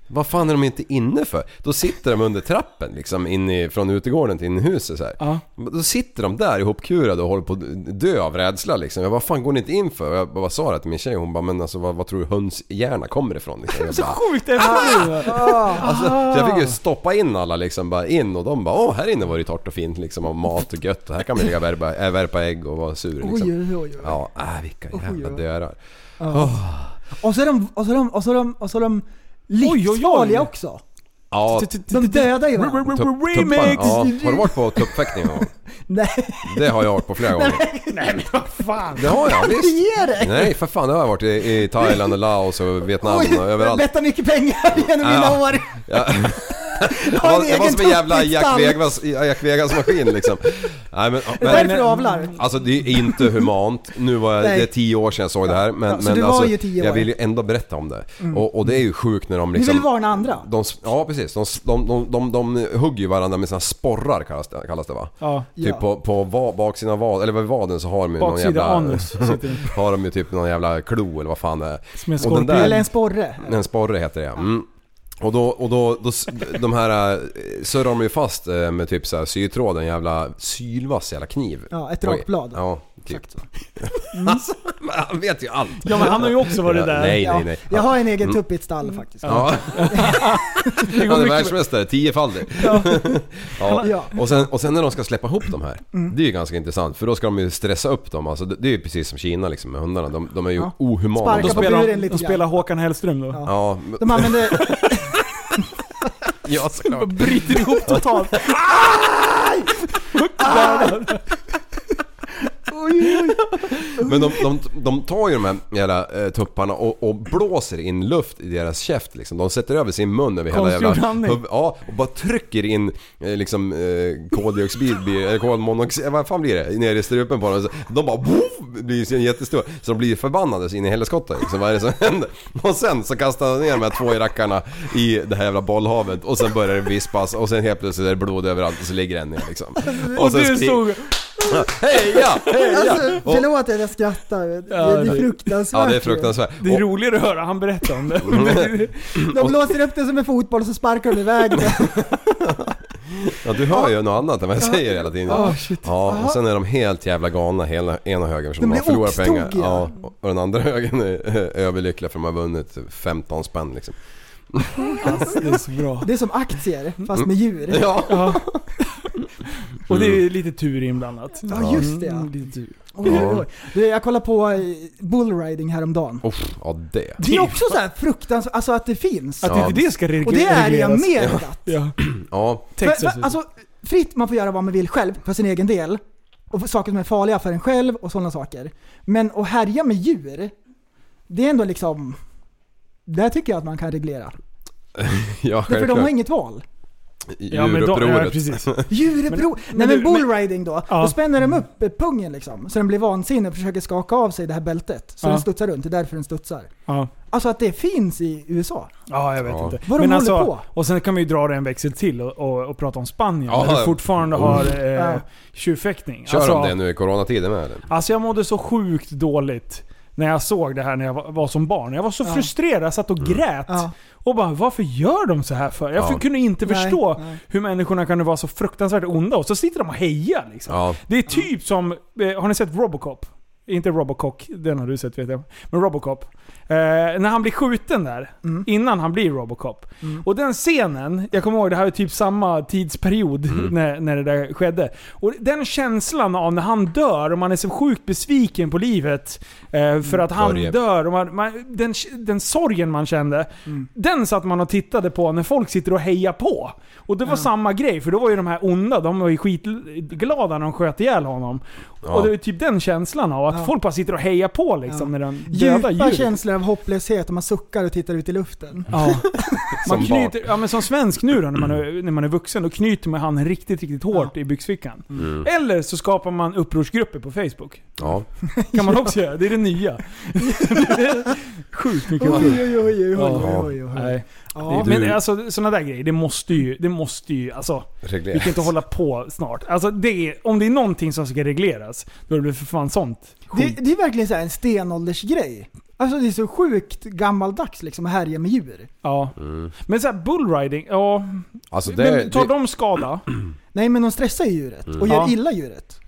vad fan är de inte inne för? Då sitter de under trappen liksom in i, från utegården till inhuset så här.
Ja.
Då sitter de där ihopkurade och håller på att dö av rädsla liksom. Jag bara, vad fan går ni inte in för? Jag bara sa det till min tjej hon bara, men alltså vad, vad tror du hönshjärna kommer ifrån? Liksom. Jag
Så
bara,
sjukt efterblivna.
alltså, så jag fick ju stoppa in alla liksom bara in och de bara, åh här inne var det torrt och fint liksom och mat och gött och här kan man ligga och värpa, äh, värpa ägg och vara sur liksom.
Oj, oj, oj. oj.
Ja, äh, vilka jävla
oj.
dörar.
Och så är de, och så är de, och så är de, och så är de
oj.
livsfarliga också.
Ja,
Ah! De dödar ju varandra.
Tupp- tupparna.
Remix!
Ja, har du varit på tuppfäktning någon gång?
Nej,
Det har jag varit på flera gånger.
Fan.
Det har jag, visst.
ge dig!
Nej för fan, det har jag varit i, i Thailand och Laos och Vietnam
Oj,
och
jag
överallt.
bettar mycket pengar genom mina
Ja.
år.
Ja. Jag
Har en
var, jag var
egen
som en jävla Jack
tuppistall.
Vegas, Jack Vegas maskin liksom. Nej, men,
Det är därför
men,
du avlar.
alltså det är inte humant. Nu var jag,
Nej.
det är tio år sedan jag såg det här. Men,
Ja, så
men
du var
alltså,
ju tio år.
jag vill ju ändå berätta om det. Och, och det är ju sjukt när de
Du
liksom...
vill varna andra.
De, ja precis, de, de, de, de, de hugger ju varandra med sina sporrar kallas det, kallas det va?
Ja.
Typ
Ja.
på, på va, baksidan av vad, eller vid vaden så har de ju någon
Baksida
jävla...
anus sitter det.
har de ju typ någon jävla klo eller vad fan det är.
Som en
Och den
skorpion.
där-
Eller en sporre.
en sporre heter det mm. Och då, och då, då s- de här eh, surrar de ju fast eh, med typ så här sytråd, en jävla sylvass jävla kniv.
Ja, ett
Oj.
rakblad.
Ja, typ.
Exakt så.
Alltså, men han vet ju allt.
Ja men han har ju också varit där.
Nej,
Ja,
nej, nej. Mm.
jag har en egen tupp i ett stall faktiskt.
Ja.
Det går
Han är
mycket-
världsmästare, tiofaldig. Ja.
Ja. Mm.
Och, sen, och sen när de ska släppa ihop de här, det är ju ganska intressant för då ska de ju stressa upp dem. Alltså, det det är ju precis som Kina liksom, med hundarna, de, de är ju ohumana.
Sparka
Då
de
på
spelar...
spelar,
buren
de,
lite
de spelar Håkan Hellström då.
Ja, men-
De använder...
ja såklart.
Bryter ihop totalt.
Oj, oj, oj.
Men de, de, de tar ju de här jävla eh, tupparna och, och blåser in luft i deras käft liksom. De sätter över sin mun över hela
Konstgjord
jävla...
andning.
Ja, och bara trycker in eh, liksom eh, koldioxid, blir- eller kolmonoxid, vad fan blir det? Ner i strupen på dem. Så De bara woof, blir så jättestora. Så de blir förbannade så in i helskotta liksom. Vad är det som händer? Och sen så kastar de ner de här två i rackarna i det här jävla bollhavet och sen börjar det vispas och sen helt plötsligt är det blod överallt och så ligger en ner liksom.
Och
sen
du
skri-
stod...
Heja! Heja!
Alltså,
Och-
förlåt att jag skrattar. Det,
Ja,
det är
det-
fruktansvärt.
Ja det är
ju.
fruktansvärt.
Det är roligare att höra han berätta om det.
De blåser upp det som en fotboll och så sparkar de iväg det.
Ja, du hör ju något annat än vad jag säger hela tiden.
Ah, shit.
Ja, och sen är de helt jävla galna, hela, ena högen för
De
de har
blir
förlorat pengar.
oxtokiga.
Ja, och den andra högen är överlyckliga för de har vunnit 15 spänn liksom.
Det är så bra.
Det är som aktier, fast med djur.
Ja,
Ja. Och det är lite tur inblandat.
Ja, just det, ja.
Mm, lite tur.
Oj,
Ja.
oj, oj. Du, jag kollade på eh, bullriding häromdagen.
Uff, ja det.
Det är också så här fruktansvärt, alltså att det finns.
Att
Ja.
inte det ska regleras.
Och det är i Amerika.
Ja.
Ja,
Texas.
För- för- Alltså, fritt man får göra vad man vill själv, för sin egen del. Och för saker som är farliga för en själv och sådana saker. Men att härja med djur, det är ändå liksom... Där tycker jag att man kan reglera.
ja
Därför de har
självklart.
inget val.
ja, men då, ja,
Djurupproret.
precis.
Djuruppror. Nej
du,
men bullriding då.
Ja.
Då spänner de upp eh, pungen liksom. Så den blir vansinnig och försöker skaka av sig det här bältet. Så
Ja.
den studsar runt. Det är därför den studsar.
Ja.
Alltså att det finns i USA.
Ja, jag vet
Ja.
inte. alltså,
Vad de håller på.
Och sen kan vi ju dra det en växel till och, och, och prata om Spanien.
Ja,
där
ja.
du fortfarande
Oh.
har eh,
Ja.
tjurfäktning.
Kör
alltså,
de det nu i coronatiden med eller?
Alltså jag mådde så sjukt dåligt när jag såg det här när jag var, var som barn. Jag var så
Ja.
frustrerad, jag satt och grät.
Ja.
Och bara, varför gör de så här för? Jag
Mm. Ja.
kunde inte
Nej,
förstå
nej.
hur människorna kan vara så fruktansvärt onda. Och så sitter de och hejar liksom.
Ja.
Det är typ som, eh, har ni sett Robocop? Inte Robocock, den har du sett vet jag. Men Robocop. Eh, när han blir skjuten där,
Mm.
innan han blir Robocop. Och den scenen, jag kommer ihåg det här är typ samma tidsperiod när, när det där skedde. Och den känslan av när han dör och man är så sjukt besviken på livet eh, för att han
Sorgen.
dör. Och man, man, den, den sorgen man kände,
Mm.
den satt man och tittade på när folk sitter och hejar på. Och det var samma grej, för då var ju de här onda, de var ju skitglada när de sköt ihjäl honom. Och det är typ den känslan av att
Ja.
folk bara sitter och hejar på liksom
Ja.
när den döda
Djupa
djuret.
känslor av hopplöshet och man suckar och tittar ut i luften.
Ja. Man
Som Mm.
knyter, ja, men som svensk nu då, när man är, när man är vuxen, då knyter man handen riktigt, riktigt hårt i byxfickan. Eller så skapar man upprorsgrupper på Facebook.
Mm. Ja.
Kan man också göra. Det är det nya. Det är Sjukt mycket
Oj,
roligt.
oj, oj, oj, oj,
Ja.
oj, oj, oj.
Nej.
Ja.
Du-
Men alltså sådana där grejer, det måste ju, det måste ju, alltså vi kan
Reglerat.
inte hålla på snart. Alltså det är, om det är någonting som ska regleras, då är det väl för fan sånt
Det,
skit.
det är verkligen så här en stenåldersgrej. Alltså det är så sjukt gammaldags liksom att härja med djur.
Ja. Men såhär bullriding, ja.
Mm. Alltså
Men
det...
tar
det
de skada?
Nej men de stressar ju djuret och
Mm. Ja.
gör illa djuret.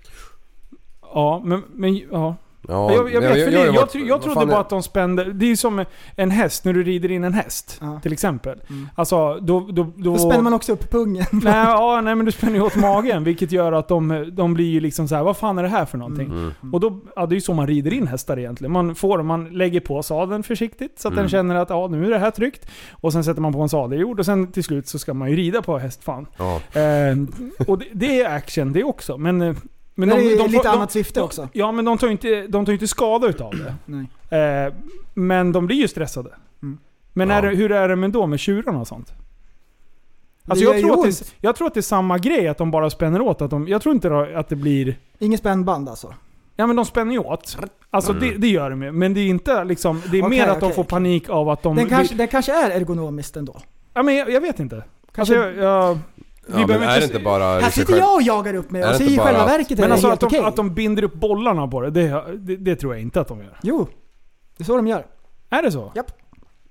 Ja, men, men ja.
ja,
jag, jag vet, för
har
det,
ju
jag,
varit-
tro- jag
vad
trodde
fan
bara
är-
att de spände... Det är ju som en häst, när du rider in en häst.
Ja. Mm.
Till exempel. Alltså, då... Då,
Då spänner man också upp pungen.
nej, ja, nej, men du spänner ju åt magen, vilket gör att de, de blir ju liksom så här: vad fan är det här för någonting?
Mm.
Och då, ja, det är ju så man rider in hästar egentligen. Man, får, man lägger på sadeln försiktigt så att
Mm.
den känner att ja, nu är det här tryggt. Och sen sätter man på en sadeljord och sen till slut så ska man ju rida på hästfan.
Ja.
Eh, och det, det är action det också. Men, eh, men
Men det är ju
får-
lite annat syfte också.
Ja, men de tar ju inte, de tar ju inte skada utav det.
Nej.
Eh, men de blir ju stressade.
Mm.
Men är
Ja.
det, hur är det med då med tjurarna och sånt? Alltså
Det
jag,
gör
tror
ju
att
ont.
det, jag tror att det är samma grej, att de bara spänner åt. Att de, jag tror inte då att det blir...
Inget spännband alltså.
Ja men de spänner ju åt. Alltså
Mm.
det, det gör de ju. Men det är inte liksom... Det är
Okej,
mer att de
okej,
får
okej.
panik av att de...
Den kanske,
vi,
den kanske är ergonomiskt ändå.
ja, men jag, jag vet inte.
Kanske-
alltså, jag, jag, vi
Ja, men
behöver
är det
inte
inte bara...
Här
liksom
sitter
själv-
jag och jagar upp mig
Är
och
det
säger i
inte
själva
bara att-
verket är
men
det
alltså att
helt
de,
okej.
att de binder upp bollarna på det det, det, det tror jag inte att de gör.
Jo, det är så de gör.
Är det så?
Japp.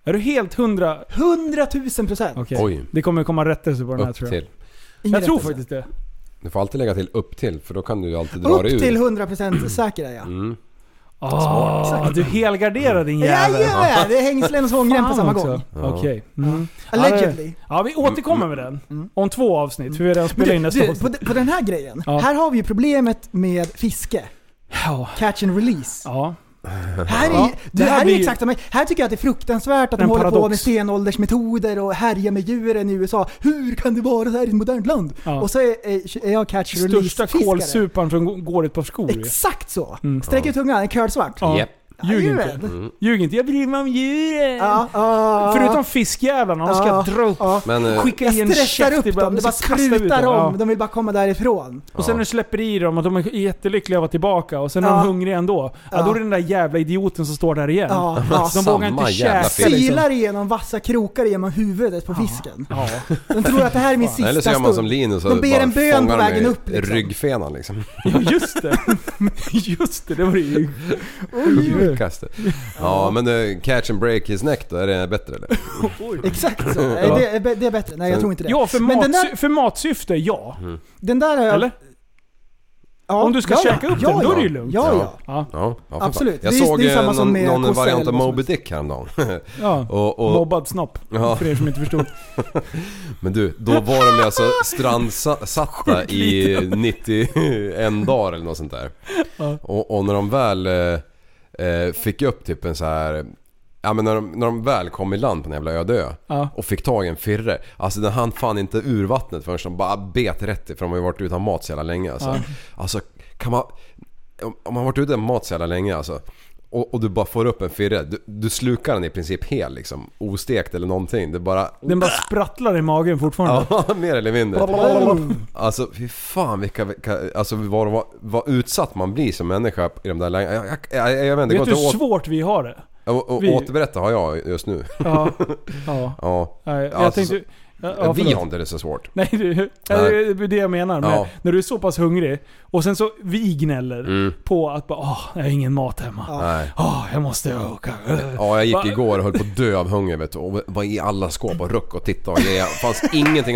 Är du helt hundra...
100 000 procent.
Okej.
Oj.
Det kommer komma rättelse på den här
Upp
tror jag.
till.
Jag tror faktiskt det.
Du får alltid lägga till upp till för då kan du ju alltid dra det ur.
Upp till 100 procent säker är jag.
Mm. Ah, du helgarderar din jävel.
Jajamän! Det är hängslen och svångrem på
Fan
samma
också.
gång.
Okej. Mm.
Allegedly.
Ja, vi återkommer med den.
Mm.
Om två avsnitt, för vi har redan
Men
spelat in
du,
nästa
du, på,
avsnitt.
de- på den här grejen.
Ja.
Här har vi ju problemet med fiske.
Ja.
Catch and release.
Ja.
Här är,
Ja,
ju- det
det här
här är
blir
ju
ju-
exakt samma. Här tycker jag att det är fruktansvärt att de
En
håller på
paradox.
med stenåldersmetoder och härjar med djuren i USA. Hur kan det vara så här i ett modernt land?
Ja.
Och så är, är- är jag catch and
Största
release-fiskare.
kålsuparen som g- går ett par skor ju.
Exakt så!
Mm.
Sträck ut tungan, en curlsvart.
Ja.
Japp.
Ljug inte.
Jajamän.
Ljug inte. Jag bryr mig om djuren.
Ja, ja.
Förutom fiskjävlarna. De ska
Ja.
dra upp.
Ja.
Men eh,
Skicka i en
Jag stressar
käft
upp
ibland,
dem, det
så
bara
kastar vi ut
sprutar
dem.
om.
Ja.
De vill bara komma därifrån.
Och sen när du släpper i dem och de är jättelyckliga av att tillbaka och sen är de
Ja.
hungriga ändå. Ja.
Ja.
då är det den där jävla idioten som står där igen.
Ja, ja.
De vågar inte
Samma jävla
käka
fisk.
liksom.
Silar igenom vassa krokar genom huvudet på fisken.
Ja.
De tror att det här är min sista
Eller så gör man som
stund.
Linus och
De ber
bara
en bön
fångar
på
dem
vägen
i
upp, liksom.
ryggfenan liksom.
ja, just det. Just det, det var det ju.
Sjukaste. Ja men eh, catch and break his neck då, är det bättre eller?
Exakt så. Nej, det, är, det är bättre. Nej, jag tror inte det.
Ja, för,
Men
mat,
den där-
för matsyfte, ja.
Den där har jag...
Eller?
Ja,
Om du ska
ja,
käka
ja,
upp
ja,
den, då är det ju
ja.
lugnt.
Ja,
Ja.
ja.
Ja.
Ja, ja för
Absolut.
Fan. Jag
Det är-
såg
det är samma
eh,
som
någon,
med
någon
kossa
variant av
eller vad som
Moby Dick häromdagen.
ja.
och, och,
Mobbad snopp.
Ja.
För er som inte förstod.
men du, då var de ju alltså strandsatta i 91 dagar eller något sånt där. Och, och när de väl eh, eh, fick upp typ en så här... Ja men när de, när de väl kom i land på en jävla öde ö
Ja.
och fick tag i en firre. Alltså den hann fan inte ur vattnet förrän de bara bet rätt i för de har ju varit utan mat så jävla länge alltså. Alltså kan man... Om om man har varit utan mat så jävla länge alltså. Och, och du bara får upp en firre. Du, du slukar den i princip hel liksom. Ostekt eller någonting. Det bara...
Den bara sprattlar i magen fortfarande.
Ja, mer eller mindre.
Mm.
Alltså fy fan vilka, vilka alltså vad, vad, vad utsatt man blir som människa i de där lägena. Jag, jag, jag, jag vet inte, det
Vet du
går
hur
inte
svårt vi har det?
att å, å,
vi-
återberätta har jag just nu.
Ja. ja.
Ja.
Nej, Jag
Alltså,
tänkte... Ja, ja,
vi
förlåt.
har inte det så svårt.
Nej, du, det är det jag menar. Med,
Ja.
När du är så pass hungrig och sen så vi gnäller
Mm.
på att bara åh, jag har ingen mat hemma. Åh,
Nej.
jag måste åka.
Ja, jag
Va?
gick igår och höll på att dö av hunger vet du. Och var i alla skåp och ruck och tittade och grejer. fanns ingenting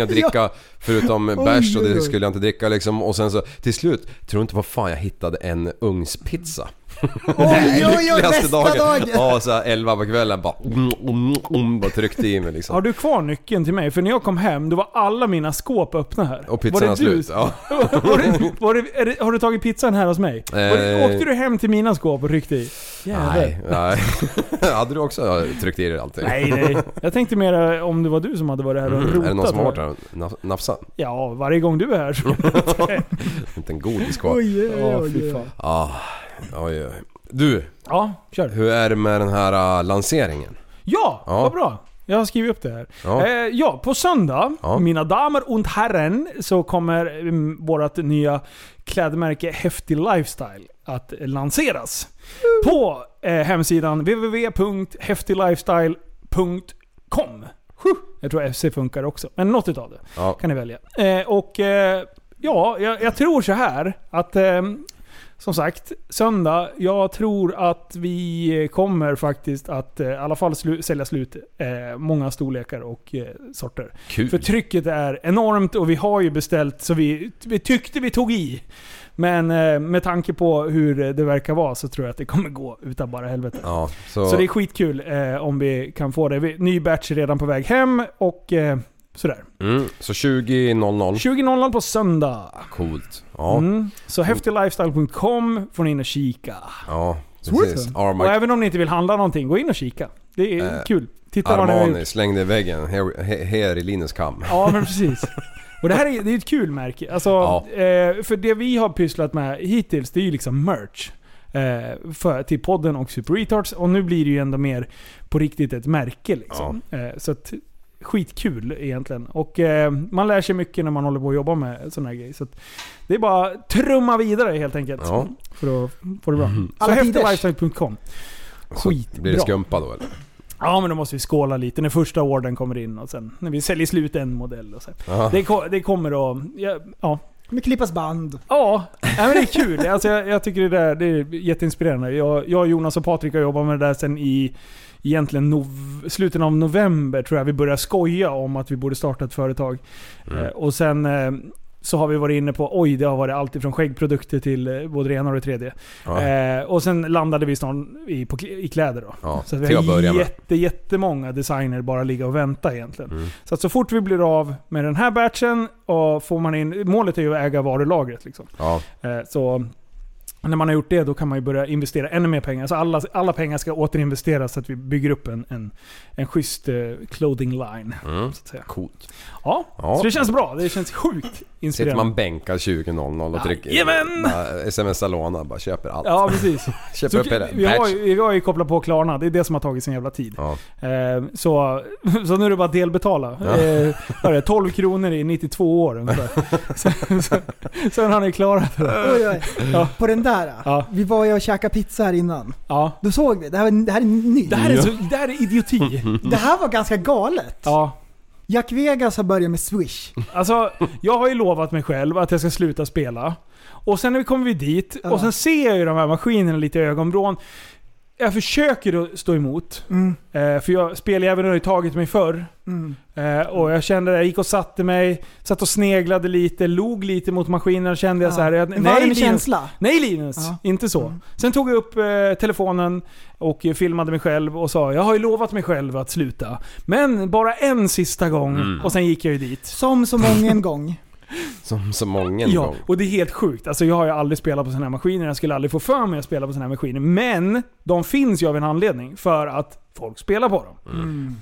att dricka förutom bärs och
oj,
det
oj.
skulle jag inte dricka liksom. Och sen så till slut, tror inte vad fan jag hittade en ugnspizza.
Oj, oj, oj,
Lyckligaste
nästa dag!
Ja, så här 11 på kvällen bara... Mm, mm, mm, bara tryckte i mig liksom.
Har du kvar nyckeln till mig? För när jag kom hem, då var alla mina skåp öppna här.
Och pizzan är
var det du-
slut. Ja.
var det, var det, är det, har du tagit pizzan här hos mig? Var det,
Eh.
åkte du hem till mina skåp och ryckte i? Jävlar.
Nej, nej. Hade du också tryckt i dig allting?
Nej, nej. Jag tänkte mer om det var du som hade varit här och
Mm.
rotat.
Är det någon som har varit
tror jag.
där och naf- nafsat?
Ja, varje gång du är här så...
Inte en godis kvar.
Oj, oj,
Ja,
oj,
fy
oj.
fan.
Ah, oj, oj. Du,
Ja, kör.
hur är det med den här äh, lanseringen?
Ja,
Ja.
vad bra. Jag har skrivit upp det här. Ja,
Ja.
eh, ja på söndag,
Ja.
mina damer och herren, så kommer mm, vårt nya klädmärke Häftig Lifestyle att lanseras. På eh, hemsidan www.häftiglifestyle.com. Jag tror FC funkar också, men något utav det
Ja.
kan ni välja. Eh, och eh, ja, jag, jag tror så här att ehm, som sagt, söndag. Jag tror att vi kommer faktiskt att eh, i alla fall slu- sälja slut eh, många storlekar och eh, sorter.
Kul.
För trycket är enormt och vi har ju beställt så vi, vi tyckte vi tog i. Men eh, med tanke på hur det verkar vara så tror jag att det kommer gå utan bara helvete.
Ja, så...
Så det är skitkul eh, om vi kan få det. Vi, ny batch är redan på väg hem och eh, sådär.
mm, så 20.00.
20.00 på söndag.
Coolt. Ja,
Mm. Så häftiglifestyle.com får ni in och kika.
ja. Precis.
Sweet. Och
Arma-
även om ni inte vill handla någonting, gå in och kika. Det är
Eh,
kul. Titta vad ni har
Armani
gjort.
slängde i väggen. Här- he- Här i Linus kam.
Ja, men precis. Och det här är, det är ett kul märke. Alltså,
Ja.
eh, för det vi har pysslat med hittills, det är ju liksom merch. Eh, för, till podden och Super Retards. Och nu blir det ju ändå mer på riktigt ett märke liksom. Eh, så att, skitkul egentligen. Och eh, man lär sig mycket när man håller på och jobbar med sådana här grejer. Så att, det är bara att trumma vidare helt enkelt.
Ja. Mm.
För att få det bra. Så
Alla tiders.
häftiglifestyle.com.
Så
Skitbra.
Blir det skumpa då eller?
Ja, men då måste vi skåla lite när första ordern kommer in och sen när vi säljer slut en modell. Och så.
Ja.
Det, ko- det kommer att... Ja, ja.
Kommer klippas band.
ja nej, men det är kul. Alltså, jag, jag tycker det där det är jätteinspirerande. Jag, jag, Jonas och Patrik har jobbat med det där sen i egentligen nov, slutet av november tror jag vi började skoja om att vi borde starta ett företag. Eh, och sen eh, så har vi varit inne på oj, det har varit allt ifrån skäggprodukter till eh, både det ena och det tredje.
Ja.
Eh, och sen landade vi snart i, på, kl- i kläder då.
Ja,
så att vi
till att
har
börja med. Mm.
jätte, jättemånga designer bara ligga och vänta egentligen. Så att så fort vi blir av med den här batchen, och får man in, målet är ju att äga varulagret. Liksom.
ja.
Eh, så Men när man har gjort det, då kan man ju börja investera ännu mer pengar. Så alla, alla pengar ska återinvesteras så att vi bygger upp en, en, en schysst eh, clothing line.
Mm.
Så att säga.
Coolt.
Ja,
Ja.
så det känns bra. Det känns sjukt
Sitter
inspirerande.
man bänkad 20.00 och trycker...
Jajamän!
Bara SMS Alona, bara köper allt.
Ja, precis.
Köper
Så,
upp hela
vi, har,
patch.
ju- vi har ju kopplat på Klarna, det är det som har tagit sin jävla tid.
Ja.
Eh, så, så nu är det bara att delbetala.
Ja.
Eh, vad är det, 12 kronor i 92 år ungefär. sen, sen, sen har ni klarat det.
Oj, oj.
Ja.
På den där.
Ja.
Vi var ju och käkade pizza här innan.
Ja.
Då såg vi. Det här, det här är nytt.
Det här är, så, det här är idioti.
Mm-hmm.
Det här var ganska galet.
Ja.
Jack Vegas har börjat med Swish.
Alltså, jag har ju lovat mig själv att jag ska sluta spela. Och sen när vi kommer vi dit,
Ja.
och sen ser jag ju de här maskinerna lite i ögonvrån. Jag försöker att stå emot.
Mm.
Eh, för jag spelar även har ju tagit mig förr.
Mm.
Eh, och jag kände det, jag gick och satte mig, satt och sneglade lite, log lite mot maskinen och kände jag så här, jag,
en varm
nej, Linus,
känsla.
nej Linus,
Ja. Mm.
inte så. Sen tog jag upp eh, telefonen och eh, filmade mig själv och sa jag har ju lovat mig själv att sluta. Men bara en sista gång och sen gick jag ju dit.
Som så många en gång.
Som så många
Ja,
gång.
och det är helt sjukt. Alltså, jag har ju aldrig spelat på sådana här maskiner. Jag skulle aldrig få för mig att spela på sådana här maskiner. Men de finns ju av en anledning. För att folk spelar på dem.
Mm.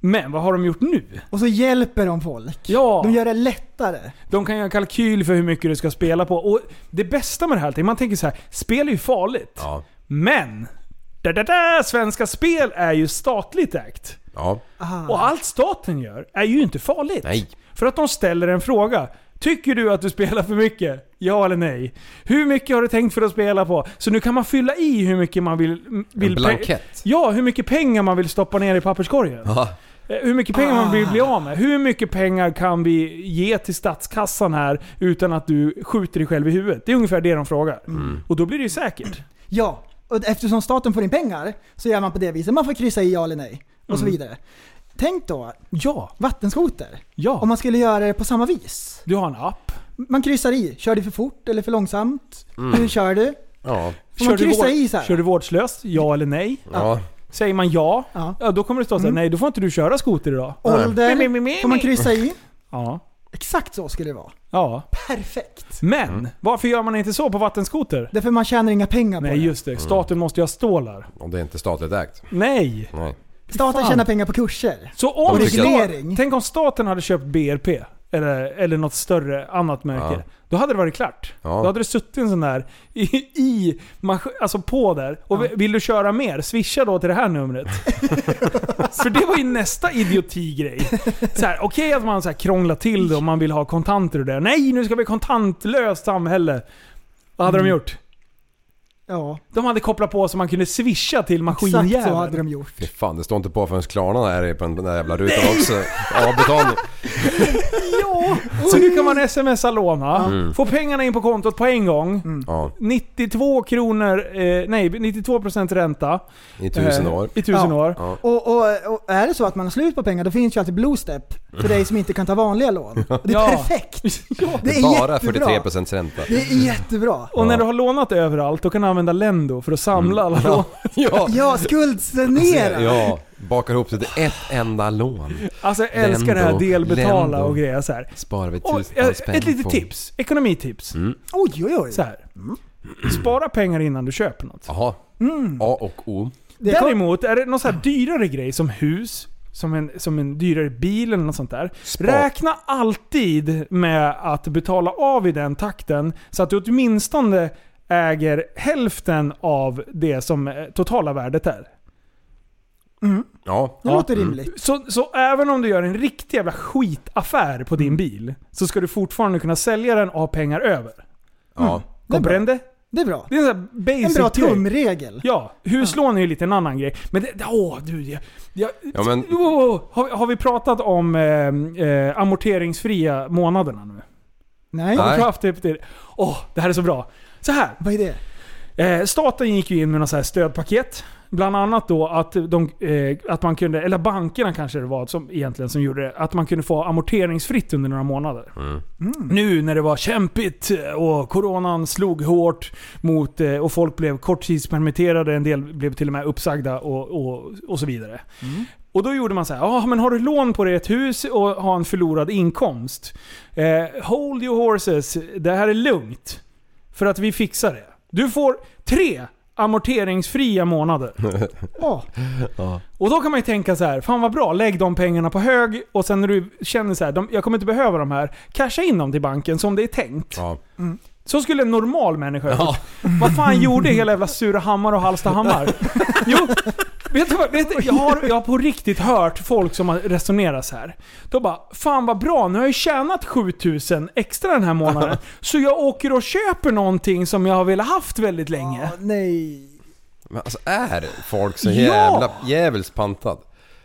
Men vad har de gjort nu?
Och så hjälper de folk.
Ja,
De gör det lättare.
de kan göra kalkyl för hur mycket du ska spela på. Och det bästa med det här, är att man tänker så här, spel är ju farligt.
Ja.
Men! Da, da, da, svenska Spel är ju statligt ägt.
Ja.
Och allt staten gör är ju inte farligt.
Nej.
För att de ställer en fråga. Tycker du att du spelar för mycket? Ja eller nej? Hur mycket har du tänkt för att spela på? Så nu kan man fylla i hur mycket man vill... vill
En blankett.
Ja, hur mycket pengar man vill stoppa ner i papperskorgen.
Ja.
Eh, Hur mycket pengar man
Ah.
vill bli av med. Hur mycket pengar kan vi ge till statskassan här utan att du skjuter dig själv i huvudet? Det är ungefär det de frågar.
Mm.
Och då blir det ju säkert.
Ja, och eftersom staten får in pengar så gör man på det viset. Man får kryssa i ja eller nej och så vidare. Tänk då,
Mm. Ja,
vattenskoter.
ja.
Om man skulle göra det på samma vis.
Du har en app.
Man kryssar i. Kör du för fort eller för långsamt? Hur kör du?
Ja.
Får man kryssa
vård-
i så här?
Mm. kör du vårdslöst? Ja eller nej?
Ja.
Säger man ja,
Ja.
ja då kommer det stå såhär, nej då får inte du köra skoter idag.
Ålder?
Mi, mi, mi, mi.
Får man kryssa i?
Ja.
Exakt så skulle det vara.
ja.
Perfekt.
Men, varför gör man inte så på vattenskoter?
Därför man tjänar inga pengar på
Nej just det, staten måste ju ha stålar.
Om det inte är statligt ägt.
Nej!
Nej.
det. Staten
Fan.
tjänar pengar på kurser.
Så om
De tycker-
sta- Tänk om staten hade köpt BRP, eller, eller något större annat märke.
Ja.
Då hade det varit klart.
Ja.
Då hade det suttit en sån där i, i mas- alltså på där. Och vi- vill du köra mer, swisha då till det här numret. För det var ju nästa idiotigrej. Så här, Okej att man så här krånglar till det om man vill ha kontanter och det. Nej, nu ska vi ha kontantlöst samhälle. Vad hade
Mm.
de gjort?
Ja,
De hade kopplat på så man kunde swisha till
exakt så hade
maskinjäveln.
de gjort.
Fy fan, det står inte på förrän Klarna är på den där jävla rutan också. Avbetalning.
Ja! Så nu kan man smsa låna, få pengarna in på kontot på en gång.
Mm. Ja.
92 kronor, eh, nej 92% ränta.
I tusen
eh,
år.
I tusen
Ja.
år.
Ja.
Och, och, och är det så att man har slut på pengar, då finns ju alltid Bluestep för dig som inte kan ta vanliga lån. Och det är
Ja.
perfekt! Det är
Bara
jättebra.
43% ränta.
Det är jättebra.
Och när du har lånat överallt, då kan du använda Lendo för att samla alla lån.
Mm. Ja.
Ja, skuldsanera!
Ja. Bakar ihop det till ett enda lån.
Alltså jag älskar det här
Lendo,
delbetala
Lendo.
och grejer så här.
Sparar vi
Och,
tusen
eh,
spänn
ett litet
på- Mm.
tips, ekonomitips.
Oj, oj, oj.
Så här. Spara pengar innan du köper något.
Jaha.
Mm.
A och O.
Det kom-
Däremot, är det någon så här dyrare grej som hus, som en, som en dyrare bil eller något sånt där.
Spar.
Räkna alltid med att betala av i den takten så att du åtminstone äger hälften av det som eh, totala värdet är.
Ja. Mm.
Det låter rimligt.
Så, så även om du gör en riktig jävla skitaffär på
Mm.
din bil så ska du fortfarande kunna sälja den och ha pengar över.
Ja.
Comprende?
Det är bra.
Det är en sån här basic
En bra
grej.
tumregel.
Ja, huslån är ju lite en annan grej. Men det, åh du, jag, jag,
Ja, men-
åh, har, har vi pratat om eh, eh, amorteringsfria månaderna nu?
Nej.
Har
Nej.
vi haft det på det? Åh, det här är så bra. Så här.
Vad är det?
Eh, staten gick ju in med något så här stödpaket. Bland annat då att, de, eh, att man kunde, eller bankerna kanske det var som, egentligen som gjorde det, att man kunde få amorteringsfritt under några månader. Mm. Nu när det var kämpigt eh, och coronan slog hårt mot, eh, och folk blev korttidspermitterade, en del blev till och med uppsagda och, och, och så vidare. Och då gjorde man så här, ah, men har du lån på ditt hus och har en förlorad inkomst? Eh, hold your horses, det här är lugnt. För att vi fixar det. Du får tre amorteringsfria månader. Ja. Och då kan man ju tänka så här, fan vad bra, lägg de pengarna på hög och sen när du känner så här, de, jag kommer inte behöva de här, casha in dem till banken som det är tänkt. Mm.
Ja.
Så skulle en normal människa ja. Vad fan gjorde hela jävla Surahammar och Hallstahammar? jo, vet du vad? Vet du, jag, har, jag har på riktigt hört folk som har resonerat så här. De bara, fan vad bra, nu har jag tjänat 7000 extra den här månaden. Så jag åker och köper någonting som jag har velat haft väldigt länge.
Nej.
Men alltså är folk så
Ja!
jävla djävulskt pantad?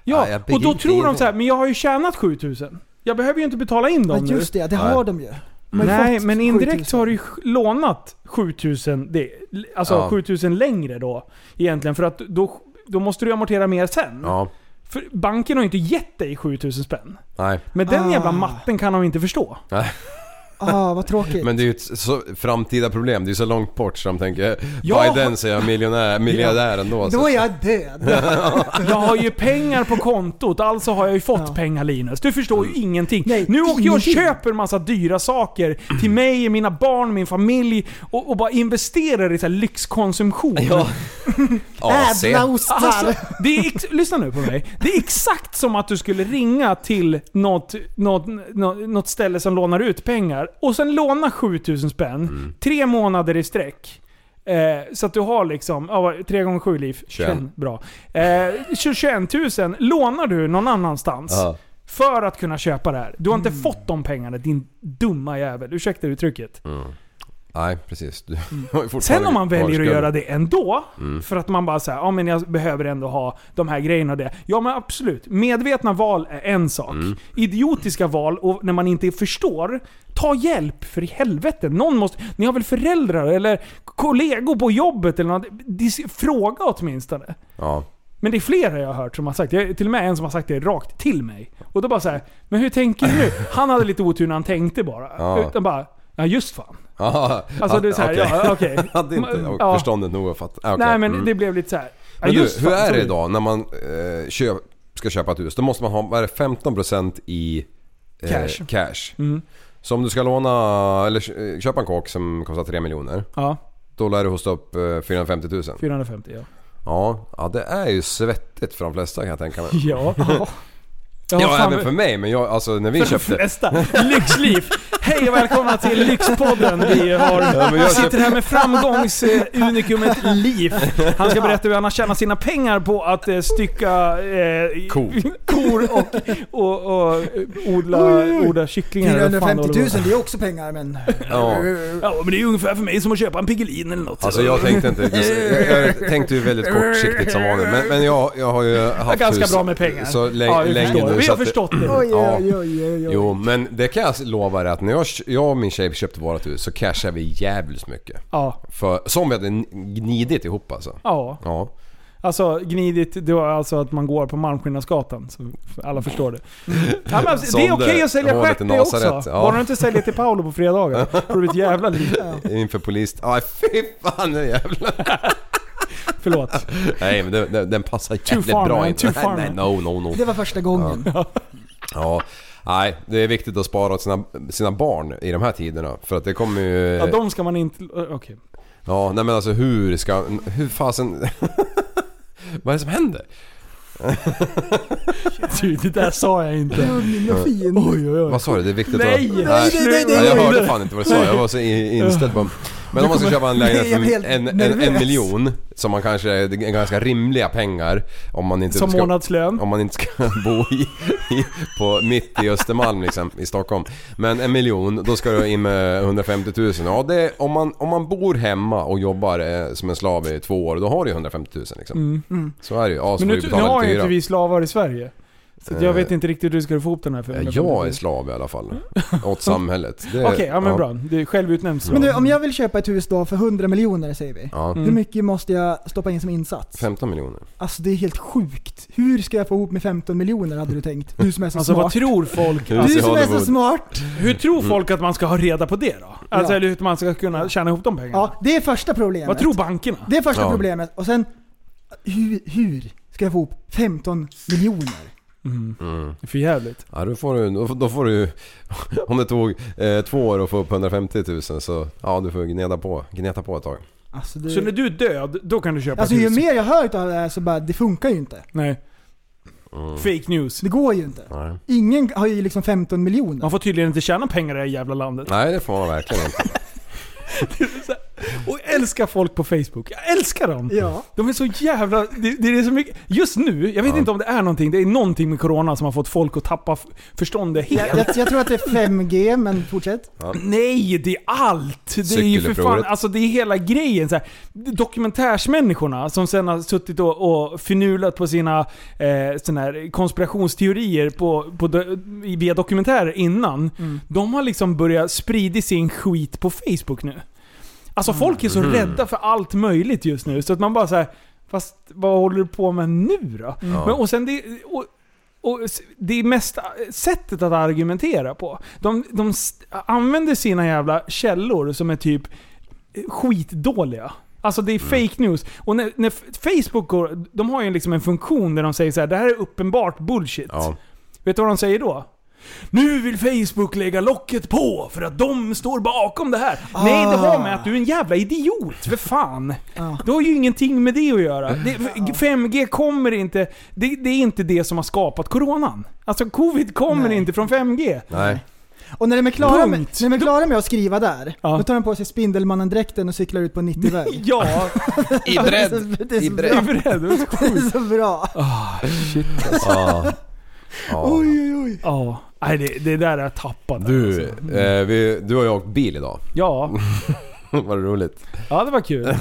Ja,
Nej, jag
och då
begriper
tror de
ingenting.
så här, men jag har ju tjänat 7000. Jag behöver ju inte betala in
Ja,
dem nu.
just det, det
Nej.
har de ju. De har ju
Nej,
fått
men indirekt
7000.
så har du ju lånat 7000, det, alltså
Ja.
7000 längre då egentligen. För att då, då måste du amortera mer sen.
Ja,
För banken har ju inte gett dig 7000 spänn.
nej.
Men den
Ah.
jävla matten kan de inte förstå.
Ah, vad tråkigt.
Men det är ju ett så framtida problem, det är så långt bort så de tänker
Ja.
Biden så är jag miljonär, miljardär ändå.
Då
Så.
är jag död.
Jag har ju pengar på kontot, alltså har jag ju fått
Ja.
pengar Linus. Du förstår ju ingenting.
Nej,
nu åker jag och
ingenting.
köper massa dyra saker till mig, mina barn, min familj och, och bara investerar i så här lyxkonsumtion.
AC.
Ävla ostar.
Alltså, det är ex- lyssna nu på mig. Det är exakt som att du skulle ringa till något, något, något, något ställe som lånar ut pengar och sen låna 7000 spänn, tre månader i sträck. Eh, så att du har liksom, ja, vad- tre gånger sju liv.
21.
21, Bra. Eh, 21 000 lånar du någon annanstans.
Ja.
För att kunna köpa det här. Du har inte fått de pengarna din dumma jävel. Ursäkta uttrycket.
Nej, precis. Du har Mm. ju fortfarande
Sen om man väljer att
kvarskuld.
göra det ändå, för att man bara säger ja men jag behöver ändå ha de här grejerna och det. Ja men absolut, medvetna val är en sak.
Mm.
Idiotiska val, och när man inte förstår, ta hjälp för i helvete. Någon måste, ni har väl föräldrar eller kollegor på jobbet eller något? Dis- Fråga åtminstone.
Ja.
Men det är flera jag har hört som har sagt det. Jag- Till och med en som har sagt det rakt till mig. Och då bara så här, men hur tänker du nu? Han hade lite otur när han tänkte bara.
Ja.
Utan bara, ja just fan.
Aha.
Alltså, det är så här,
okej.
ja, okej.
Hade inte
Ja.
förståndet nog att fatta. Ah, okej.
Nej men
Mm.
det blev lite så här. ja,
Men du,
just
hur
fan,
är
så
det idag när man eh, köp, ska köpa ett hus? Då måste man ha, vad är det, 15% i eh,
Cash. Mm.
cash. Så om du ska låna, eller eh, köpa en kåk som kostar 3 miljoner.
Ja,
Då lär du hosta upp eh, 450 000.
450 ja.
Ja, ja, det är ju svettigt för de flesta kan jag tänka mig.
Ja. Jag har
Ja,
fan-
även för mig. Men jag, alltså när vi
för de
köpte...
flesta. Lyxliv. Hej och välkomna till Lyxpodden. Vi har,
Ja, men jag
sitter
köpte-
här med framgångsunikumet Liv. Han ska berätta hur han har tjänat sina pengar på att eh, stycka eh,
Kor.
kor och, och, och eh, odla, odla kycklingar. eller vad Alltså, fan det
450 000,
håller på med.
det är också pengar men...
Ja.
Ja, men det är ju ungefär för mig som att köpa en Piggelin eller något.
Alltså jag tänkte inte... Jag, jag tänkte ju väldigt kortsiktigt som vanligt. Men, men jag, jag har ju haft
Ganska
hus
bra med pengar.
Så lä-
Ja, vi
länge
förstår.
nu.
Vi
så
har
att det-
förstått det.
Oj,
Ja.
oj, oj, oj, oj.
Jo, men det kan jag lova dig att när jag, jag och min tjej köpte vårt hus så cashade vi jävligt mycket.
Ja.
För, som vi hade gnidit ihop alltså.
Ja.
Ja.
Alltså gnidigt, det var alltså att man går på Malmskillnadsgatan. Så alla förstår det. Ja, men alltså, det är okej
Sålde
att sälja
hålet
stjärt
i
det också.
Nasaret, ja.
Bara du inte säljer till Paolo på fredagar. Får du ett jävla liv.
Inför polis... Aj, fy fan nu jävlar.
Förlåt.
Nej men den- den, den passar jävligt
far,
bra
man.
in.
Too
Nej,
far,
nej,
man.
no, no, no.
Det var första gången.
Ja. Nej, det är viktigt att spara åt sina, sina barn i de här tiderna. För att det kommer ju...
Ja,
Ja,
de ska man inte... Okej.
nej men alltså hur ska... Hur fasen... Vad är det som händer?
Du, det där sa jag inte.
Vad fin. Oj, oj, oj.
Vad sa du? Det är viktigt
Nej!
att...
nej, nej,
Ja,
nej,
jag hörde fan inte vad du sa, jag var så i- inställd på... Men om man ska köpa en lägenhet
Jag blir helt
för en, en, en,
nervös.
miljon, som man kanske, det är ganska rimliga pengar om man inte
Som
ska...
månadslön.
Om man inte ska bo i, i, på, mitt i Östermalm liksom, i Stockholm. Men en miljon, då ska du in med 150 000. Ja, det är, om, man, om man bor hemma och jobbar eh, som en slav i två år, då har du ju 150 000 liksom. Så är det ju. Ja, så
Mm. Men nu, nu
får du betala
har
lite
ju inte
hyra.
vi slavar i Sverige. Så att jag
Eh.
vet inte riktigt hur du ska få ihop den här. för-
Eh, Jag är slav i alla fall. Åt samhället. Det-
Okej, ja men bra. Det är självutnämnd slav.
Men du, om jag vill köpa ett hus då för 100 miljoner säger vi.
Ja.
Mm.
Hur mycket måste jag stoppa in som insats?
15 miljoner.
Alltså det är helt sjukt. Hur ska jag få ihop med 15 miljoner hade du tänkt? Du som är så
Alltså vad
smart.
tror folk?
Hus i
Du som är så
Hollywood.
smart!
Hur tror folk att man ska ha reda på det då? Alltså
Ja.
eller hur man ska kunna tjäna ihop de pengarna?
Ja, det är första problemet.
Vad tror bankerna?
Det är första
Ja.
problemet. Och sen, hur, hur ska jag få ihop 15 miljoner? Mm.
Det är för jävligt.
Ja, då får du, då får- då får du om det tog eh, två år att få upp 150 000 så ja, du får gneta på, gneta på ett tag.
Alltså, det,
Så när du är död, då kan du köpa
alltså
ett
ju
hus.
mer jag hör utav det här så bara, det funkar ju inte.
Nej. Fake news.
Det går ju inte.
Nej.
Ingen har ju liksom 15 miljoner.
Man får tydligen inte tjäna pengar i det här jävla landet.
Nej, det får man verkligen inte.
Och jag älskar folk på Facebook. Jag älskar dem!
Ja.
De är så jävla... Det, det är så mycket... Just nu, jag vet
Ja.
inte om det är någonting. Det är någonting med Corona som har fått folk att tappa f- förståndet helt.
Jag, jag, jag tror att det är 5G, men fortsätt.
Nej, det är allt! Det är ju för fan,
Cykelupproret.
alltså det är hela grejen. Så här, dokumentärsmänniskorna som sen har suttit och, och finulat på sina eh, såna här konspirationsteorier på, på, do- i- via dokumentärer innan. De har liksom börjat sprida sin skit på Facebook nu. Alltså folk är så rädda för allt möjligt just nu så att man bara så här, fast vad håller du på med nu då? Men, och sen det, och, och s- det är mest eh, sättet att argumentera på. De, de st- använder sina jävla källor som är typ skitdåliga. Alltså det är
Mm.
fake news. Och när, när F- Facebook går, de har ju liksom en funktion där de säger så här: det här är uppenbart bullshit.
Ja.
Vet du vad de säger då? Nu vill Facebook lägga locket på för att de står bakom det här. Nej, det har med att du är en jävla idiot. För fan. Det har ju ingenting med det att göra. Det, 5G kommer inte... Det, det är inte det som har skapat coronan. Alltså covid kommer
Nej.
inte från 5G.
Nej.
Och när de är klara, med,
Punkt.
när de är klara med att skriva där,
Ja.
då tar de på sig Spindelmannen-dräkten och cyklar ut på en 90-väg.
Ja,
I
Det är så-
bredd.
det är så
I
jag är
bredd.
beredd. Det är
Det är
sjukt.
så bra.
Ah, alltså.
Ja. Ja.
Oj, oj, oj.
Ja. Nej, det, det där är jag tappat.
Du,
alltså.
eh, vi, du har ju åkt bil idag.
Ja.
Var det roligt?
ja, det var kul.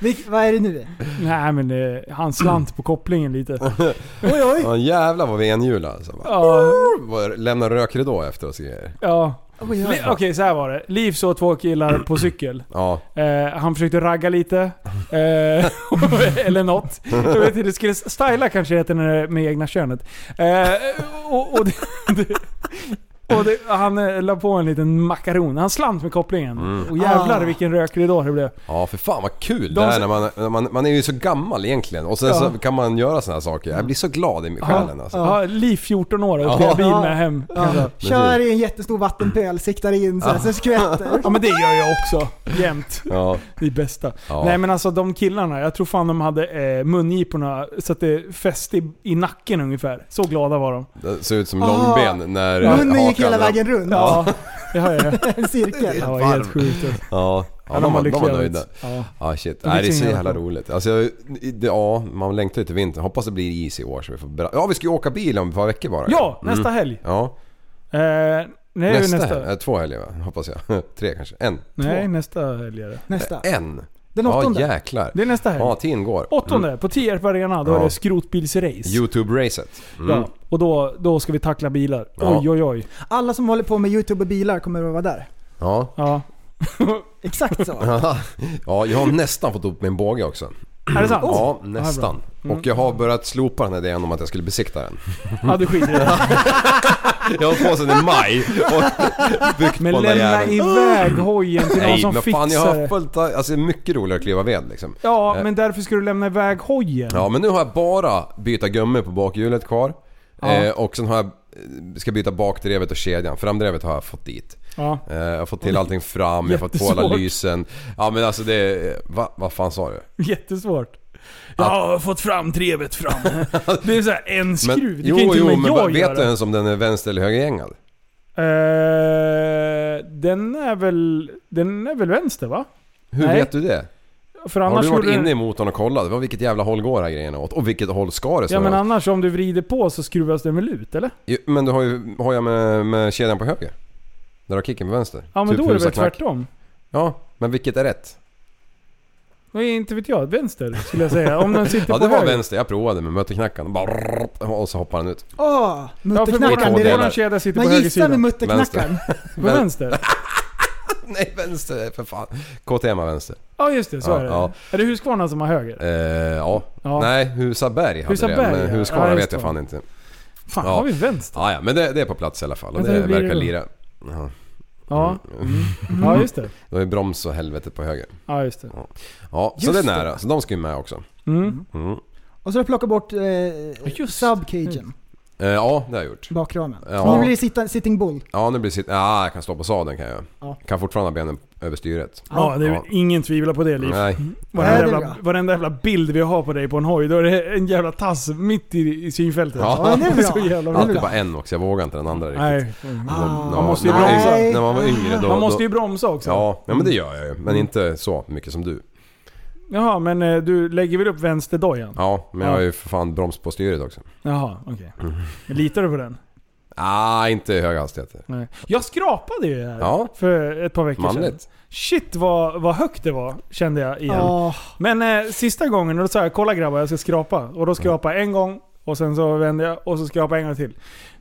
Vilk, vad är det nu?
Nej men eh, han slant på kopplingen lite.
Oj, oj.
Ja jävlar vad vi enhjulade alltså. Bara,
Ja,
Vad- Lämnar rökridå efter oss och grejer.
ja.
oj,
Li-
oj.
Okej, så här var det. Liv såg två killar på cykel.
Ja.
Eh, han försökte ragga lite. Eh, eller något. Jag vet inte, det skulle styla kanske heter när det är med egna könet. Eh, och, och, det, det- och det, han eh, la på en liten makaron. Han slant med kopplingen. Och jävlar
Ah.
vilken rökridå det blev.
Ja för fan vad kul
De
det är
som-
när man, när man, man är ju så gammal egentligen och sen
Ja.
så kan man göra såna här saker. Jag blir så glad i själen alltså.
Ja, Liv 14 år och spelar
Ja.
bil med hem. Ja.
Kör i en jättestor vattenpöl, siktar in så här, sen skvätter.
ja men det gör jag också. Jämt.
Ja.
Det är bästa.
Ja.
Nej men alltså de killarna, jag tror fan de hade eh, mungiporna så att det fäste i, i nacken ungefär. Så glada var de.
Det ser ut som Ah. långben när
Munnen gick
hakan-
hela vägen runt.
Ja, det har jag.
En cirkel.
Det var helt sjukt. alltså.
Ja, ja
Ja,
de, var, de
lyckliga
var
ut.
nöjda.
Ja.
Ja shit,
De
Nej, det är
fick
så
sin
jävla
relation.
roligt. Alltså, jag- det, ja, man längtar ju till vintern. Hoppas det blir is i år så vi får bra... Ja vi ska ju åka bil om ett par veckor bara. Mm.
ja, nästa helg.
Ja,
Eh, nej, nästa.
nästa,
nästa.
helg. Eh, Två helger va? Hoppas jag. Tre kanske. En.
Nej, nästa helg är det.
Nästa.
En.
Den
Ja
åttonde.
jäklar.
Det är nästa helg.
Ja, tiden går.
Åttonde, på Tierp Arena, då
Ja.
är det skrotbilsrace.
Youtube-racet. Mm.
Ja, och då, då ska vi tackla bilar.
Ja.
Oj, oj, oj.
Alla som håller på med YouTube och bilar kommer att vara där.
Ja.
Ja.
Exakt så.
ja, jag har nästan fått upp min båge också.
Är det sant?
Ja, nästan.
Mm.
Och jag har börjat slopa den här idén om att jag skulle besikta den.
Ja, du skiter i det.
Jag har på sedan i maj och byggt
Men
på den där
lämna
jäveln.
iväg hojen till någon
Nej,
som
men fan jag
fixar
har
det.
fullt Alltså det är mycket roligare att kliva ved liksom.
Ja, men därför ska du lämna iväg hojen.
Ja, men nu har jag bara byta gummor på bakhjulet kvar. Eh, och sen har jag, eh, ska byta bakdrevet och kedjan. Framdrevet har jag fått dit.
Ja.
Eh, jag har fått till allting fram, jag har fått på alla
Jättesvårt.
lysen. Ja men alltså det... Va, vad fan sa du?
Jättesvårt. Jag har fått fram trevet fram. Det är så här en
Men,
skruv. det kan ju inte med
men
jag
vet
göra.
du ens om den är vänster eller högergängad?
Eh, den är väl... Den är väl vänster va?
Hur
Nej.
vet du det?
För
Har
annars
du varit
gjorde
inne
den-
i motorn och kollat? Vad, vilket jävla håll går den här grejen åt? Och vilket håll ska det
Ja
snurra
men
åt?
annars om du vrider på så skruvas den väl ut eller?
Jo, men du har ju har jag med, med kedjan på höger. Där har kicken på vänster.
Ja men då är det väl
husaknack.
tvärtom?
Ja, men vilket är rätt?
Nej inte vet jag. Vänster skulle jag säga. Om den sitter
Ja
på
det var
höger.
vänster, jag provade med mötteknackaren. Bara- Och så hoppar den ut.
Åh,
Ja för
mutterknackaren
våran,
två delar.
direkt.
våran kedja sitter på
Man
höger sida.
gissar med
På
mutterknackaren.
Vän,
vänster?
nej vänster, är för fan. KTM har vänster.
Ja just det, så
Ja,
är det.
ja.
Är det Huskvarna som har höger?
Eh, ja.
Ja.
Nej, Husaberg hade
Husaberg,
det.
ja.
Men Huskvarna
Ja, just
vet jag
det.
fan inte.
Fan
ja.
har vi vänster?
Ah, ja, men det, det är på plats i alla fall. Och
Vänta,
det
hur blir
verkar
det då?
lira. Ja.
Ja.
Mm.
Mm. Ja just det.
Då är broms och helvetet på höger.
Ja just det.
Ja, så det är nära. Så de ska ju med också.
Mm.
Mm.
Och så har jag plockat bort eh,
just. Mm.
subcagen.
Eh, ja, det har jag gjort.
Bakramen.
Ja.
Nu blir det sitta, sitting bull.
Ja, nu blir det sitt... Ja, jag kan stå på sadeln kan jag.
Ja.
Kan fortfarande ha benen över styret.
Ja, det är
Ja.
ingen tvivlar på det Liv.
Nej.
Varenda,
Nej, det är
jävla,
bra.
varenda jävla bild vi har på dig på en hoj, då är det en jävla tass mitt i, i synfältet.
Ja.
Ja, det är bra. Ah.
Så jävla bra.
Alltid bara en också, jag vågar inte den andra riktigt.
Nej.
Nå-
man måste ju
när,
bromsa.
man- när man var yngre då...
Man måste ju
då,
bromsa också.
ja, ja, men det gör jag ju.
Mm.
Men inte så mycket som du.
Jaha, men eh, du lägger väl upp vänsterdojan?
Ja, men jag har ju för fan broms på styret också.
Jaha, okej. Litar du på den?
Ah, inte i höga hastigheter.
Nej. Jag skrapade ju här
Ja.
för ett par veckor
Manligt.
sedan. Shit vad, vad högt det var, kände jag igen.
Ja.
Men eh, sista gången, och då sa jag kolla grabbar jag ska skrapa. Och då skrapade jag en gång, och sen så vände jag och så skrapade jag en gång till.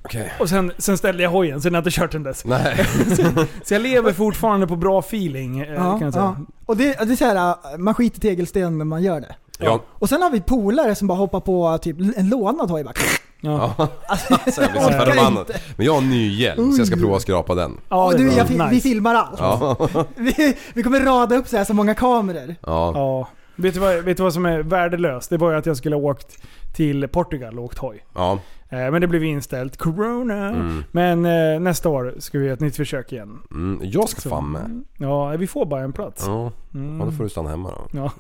Okej.
Och sen, sen ställde jag hojen, sen har jag inte kört den dess.
Nej.
Så jag lever fortfarande på bra feeling eh,
Ja,
kan jag
ja.
säga.
Och det, det är så här, äh, man skiter i tegelsten när man gör det.
Ja.
Och sen har vi polare som bara hoppar på typ en lånad hoj bara.
Ja.
Alltså,
Så jag blir så
Orkar
förbannad.
inte.
Men jag har en ny hjälm så jag ska prova att skrapa den.
Ja,
och
det
du,
var
jag, fi- vi
nice.
filmar allt.
Ja.
Vi, vi kommer rada upp så här så många kameror.
Ja.
Ja. Vet du, vad, vet du vad som är värdelöst? Det var ju att jag skulle ha åkt till Portugal och åkt hoj.
Ja.
Eh, Men det blev inställt. Corona. Men eh, nästa år ska vi göra ett nytt försök igen.
Mm. Jag ska fan med.
Ja, vi får bara en plats.
Ja. ja, då får du stanna hemma då.
Ja.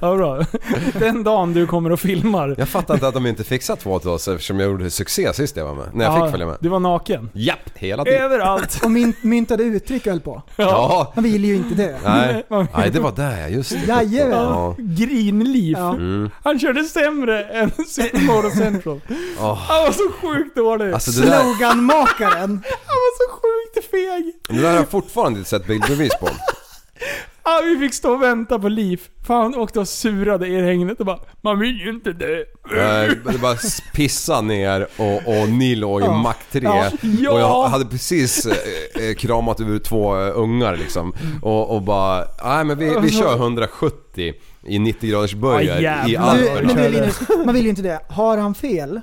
ja, bra. Den dagen du kommer och filmar.
Jag fattar inte att de inte fixar två till oss eftersom jag gjorde succé sist jag var med. När jag
Ja,
fick följa med.
Du var naken.
Japp, hela tiden.
Överallt.
Och mynt, myntade uttryck höll på.
Ja.
Han vill ju inte det.
Nej.
Man-
Nej, det var där ja, just det.
Jajamän.
Ja. Mm.
Grinliv.
Ja.
Han körde sämre än Supermorgon Central.
Åh.
Han var så sjukt dålig.
Alltså det där,
Sloganmakaren.
Han var så sjukt feg.
det där har jag fortfarande inte sett bildbevis på.
Ah, vi fick stå och vänta på Liv. För han åkte och surade i regnet och bara Man vill ju inte dö.
Nej, Eh, Det bara pissa ner och, och ni låg i Mac 3
Ja.
och jag hade precis eh, eh, kramat ur två eh, ungar liksom och, och bara, nej men vi, vi kör 170 i 90 graders
Ja,
böjer i
jävlar.
Du, men
Alperna.
du Linus, man vill ju inte det. Har han fel?